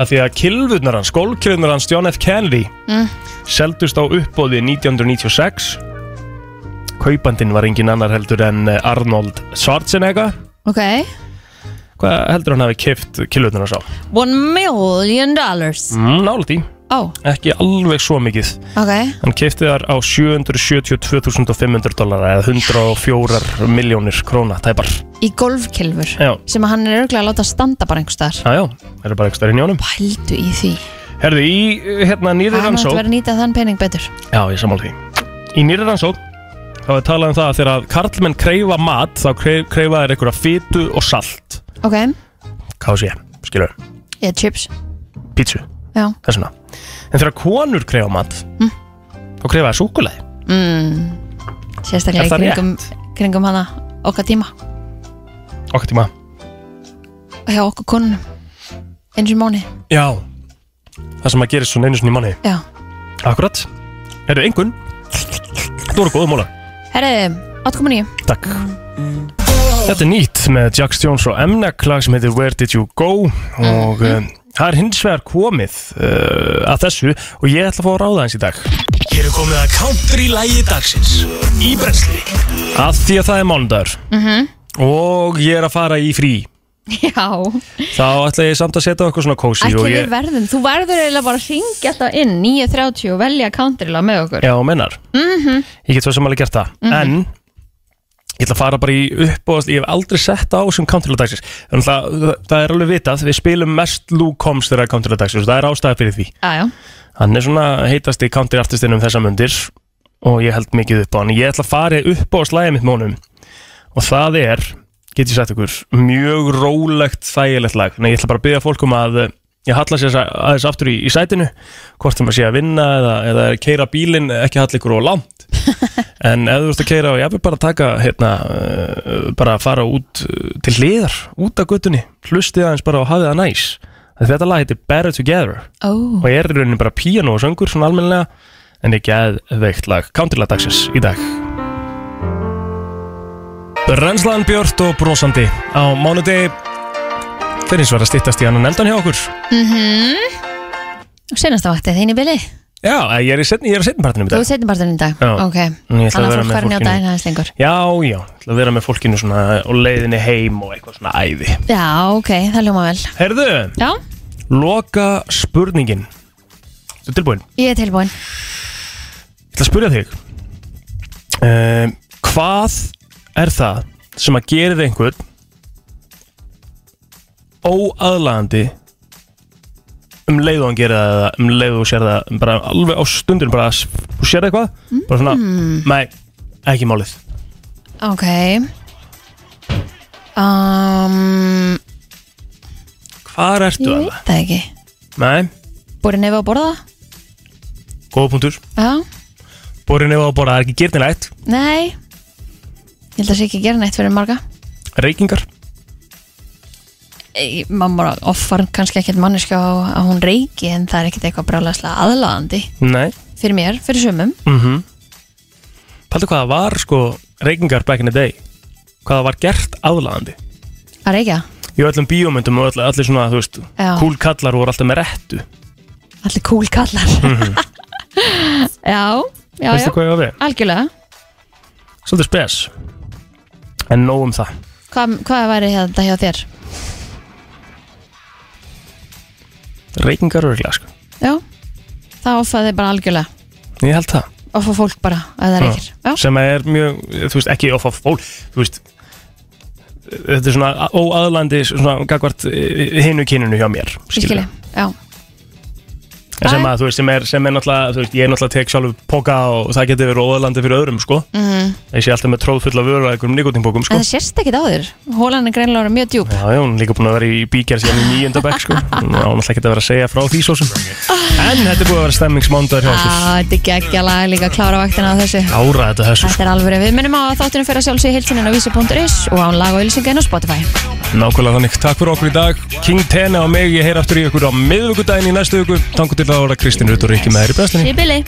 Speaker 3: að því að kilvurnar hans, gólkilvurnar hans John F. Kennedy
Speaker 2: mm.
Speaker 3: seldust á uppbóði 1996 kaupandinn var engin annar heldur en eh, Arnold Schwarzenegger
Speaker 2: Ok
Speaker 3: hvað heldur hann hafi kift kilvurnar hans á?
Speaker 2: One million dollars
Speaker 3: Mm, Nálægt í,
Speaker 2: Ó,
Speaker 3: ekki alveg svo mikið
Speaker 2: ok
Speaker 3: hann kifti þar á 772.500 dollara eða 104 miljónir króna tæpar
Speaker 2: Í golfkilfur
Speaker 3: já,
Speaker 2: Sem að hann er örglega að láta standa bara einhvers staðar
Speaker 3: já, já, það er bara ekki stærinn í honum
Speaker 2: Pældu í því
Speaker 3: herðu, í eh, hérna nýri
Speaker 2: Hann átti
Speaker 3: rannsók
Speaker 2: að vera að nýta þann pening betur
Speaker 3: Já, ég sammála því Í nýri rannsók þá er talað um það að þegar karlmenn kreyfa mat þá kreyf, kreyfa þeir einhverja fitu og salt
Speaker 2: Ok,
Speaker 3: hvað sé, skilur,
Speaker 2: ég chips
Speaker 3: pítsu,
Speaker 2: Já
Speaker 3: þessuna En þegar konur kreyfa mat
Speaker 2: Mm.
Speaker 3: þá kreyfa þeir súkulæði
Speaker 2: mm. Sérstaklega
Speaker 3: Er
Speaker 2: í
Speaker 3: það rétt?
Speaker 2: kringum, kringum hana okkar tíma
Speaker 3: okkar tíma
Speaker 2: Hjá okkur konunum Eins og mánu
Speaker 3: Já, það sem að gerist svona einu svona í manni
Speaker 2: Já
Speaker 3: Akkurat Herðu, engun Þú voru góða móla
Speaker 2: Herðu, 8.9
Speaker 3: Takk Þetta er nýtt með Jax Jones og Emnek lag sem heitir Where Did You Go og
Speaker 2: Mhm.
Speaker 3: mm það er hins vegar komið uh, að þessu og ég ætla að fá að ráða hans í dag
Speaker 4: Hér er komið að country lægi dagsins Í brensli
Speaker 3: að því að það er mánudagur
Speaker 2: Mhm.
Speaker 3: og ég er að fara í frí
Speaker 2: Já,
Speaker 3: þá ætla ég samt að setja okkur svona kósi
Speaker 2: ekki
Speaker 3: og
Speaker 2: við
Speaker 3: ég,
Speaker 2: verðum Þú verður eiginlega bara að ringja alltaf inn 9.30 og velja countryla með okkur
Speaker 3: já, mennar
Speaker 2: Mhm.
Speaker 3: ég get svo sem alveg gert það
Speaker 2: Mhm.
Speaker 3: en ég ætla að fara bara í upp og ég hef aldrei sett á sem countryla-dagsins þannig að það, það er alveg vitað við spilum mest Lou Combs þegar countryla-dagsins og það er ástæða fyrir því
Speaker 2: Jájá,
Speaker 3: hann er svona heitasti countryartistinn um þessa mundir og ég held mikið upp á hann ég ætla að fara upp á slæðið mitt mónum og það er, get ég sagt ykkur mjög rólegt þægilegt lag en ég ætla bara að byggja fólk um að eh, ég halla sér aðeins aftur í, í sætinu hvort það maður sé að vinna eða, eða er að keira bílinn, ekki halla ykkur og langt en ef þú ert að keira og ég vil bara taka hérna, eh, bara fara út eh, til hliðar, út af guttunni hlustið aðeins bara og hafið það næs þetta lag heitir Better Together
Speaker 2: Ó.
Speaker 3: og er í rauninni bara píano og söngur svona almennilega en ekki aðveikt lag Countrylag dagsins í dag Renslan Björt og brosandi á mánudegi fyrir eins og að stýttast í annan endan hjá okkur
Speaker 2: Mhm. Og senast á vaktið þín í byli
Speaker 3: Já, eh, ég er í setni, ég er í setni partinu í
Speaker 2: Þú
Speaker 3: dag
Speaker 2: setjum bara þenni dag
Speaker 3: Já.
Speaker 2: Ok,
Speaker 3: En ég
Speaker 2: þannig að
Speaker 3: ætla að vera
Speaker 2: fólk
Speaker 3: með
Speaker 2: fara njáta
Speaker 3: fólkinu.
Speaker 2: einn aðeins lengur
Speaker 3: Já, já, ætla að vera með fólkinu svona og leiðinni heim og eitthvað svona æði
Speaker 2: Já, ok, það ljóma vel
Speaker 3: Herðu,
Speaker 2: Já,
Speaker 3: loka spurningin Þú tilbúin?
Speaker 2: ég er tilbúin
Speaker 3: Ég ætla að spyrja þig um, Hvað er það sem að gerir einhvern óaðlaðandi um leið og hann gerir það eða um leið og þú sér það bara alveg á stundin bara að s- þú sér eitthvað bara svona, nei, ekki málið
Speaker 2: Ok um,
Speaker 3: Hvar
Speaker 2: Ég
Speaker 3: ertu að
Speaker 2: veit það ekki
Speaker 3: Nei,
Speaker 2: Búið nefn að borða?
Speaker 3: góða punktur
Speaker 2: Já,
Speaker 3: Borin yfir á að borða, það er ekki gerðinætt
Speaker 2: nei Ég held að sé ekki að gera neitt fyrir marga
Speaker 3: Reykingar
Speaker 2: Ei, Mamma offar kannski ekkert manneskja á að hún reiki en það er ekkert eitthvað brálaðslega aðlaðandi
Speaker 3: Nei
Speaker 2: fyrir mér, fyrir sumum
Speaker 3: mm -hmm. Paldu hvað það var sko reykingar back in the day Hvað það var gert aðlaðandi
Speaker 2: að reykja
Speaker 3: Í öllum bíómyndum og öll- allir svona, þú veist
Speaker 2: Já.
Speaker 3: Kúl kallar voru alltaf með rettu
Speaker 2: Allir cool kallar
Speaker 3: Mhm.
Speaker 2: Já, já,
Speaker 3: Veistu
Speaker 2: já
Speaker 3: hvað ég á við?
Speaker 2: Algjörlega
Speaker 3: Svolítið spes En nóg um það
Speaker 2: Hvað, hvað væri þetta hjá þér?
Speaker 3: Reykingar örglega sko
Speaker 2: Já Það offaði bara algjörlega
Speaker 3: Ég held það
Speaker 2: Offa fólk bara ef
Speaker 3: Ah,
Speaker 2: það reykir
Speaker 3: Já. Sem er mjög, þú veist, ekki off of fól Þú veist Þetta er svona óaðlandi svona gagvart hinu kyninu hjá mér skilurðu.
Speaker 2: Skilji, já
Speaker 3: En sem að þú veist, sem er, sem er náttúrulega, þú veist, ég er náttúrulega tek sjálfur póka og það getur verið óðalandi fyrir öðrum, sko.
Speaker 2: Mhm.
Speaker 3: Ég sé alltaf með tróð fulla vöru að einhverjum nikotínbókum,
Speaker 2: En
Speaker 3: sko.
Speaker 2: það sérst ekkit á þér Hólan er greinlega orðin mjög djúp
Speaker 3: Já, já, hún er líka búin að vera í bíkjar síðan í nýjönda bekk, sko. Hún á náttúrulega ekki að vera að segja frá því svo sem. En þetta er búið að vera stemmingsmándagur hjá
Speaker 2: Já,
Speaker 3: okkur.
Speaker 2: Ah, þetta er geggja lag líka að klára vaktina á þessu
Speaker 3: Ára þetta sko. þessu,
Speaker 2: Þetta er alveg, við minnum á að þáttunum fyrir að sjálfsögja heilsinin á vísi.is og án lag og ylsingaðin á Spotify
Speaker 3: Nákvæmlega þannig, takk fyrir okkur í dag King Tena og mig, ég heyr aftur í okkur á miðvíkudaginn í næstu viku Tangu til það voru Kristín Rutt og Ríkki með þér í brenslinni
Speaker 2: Sibili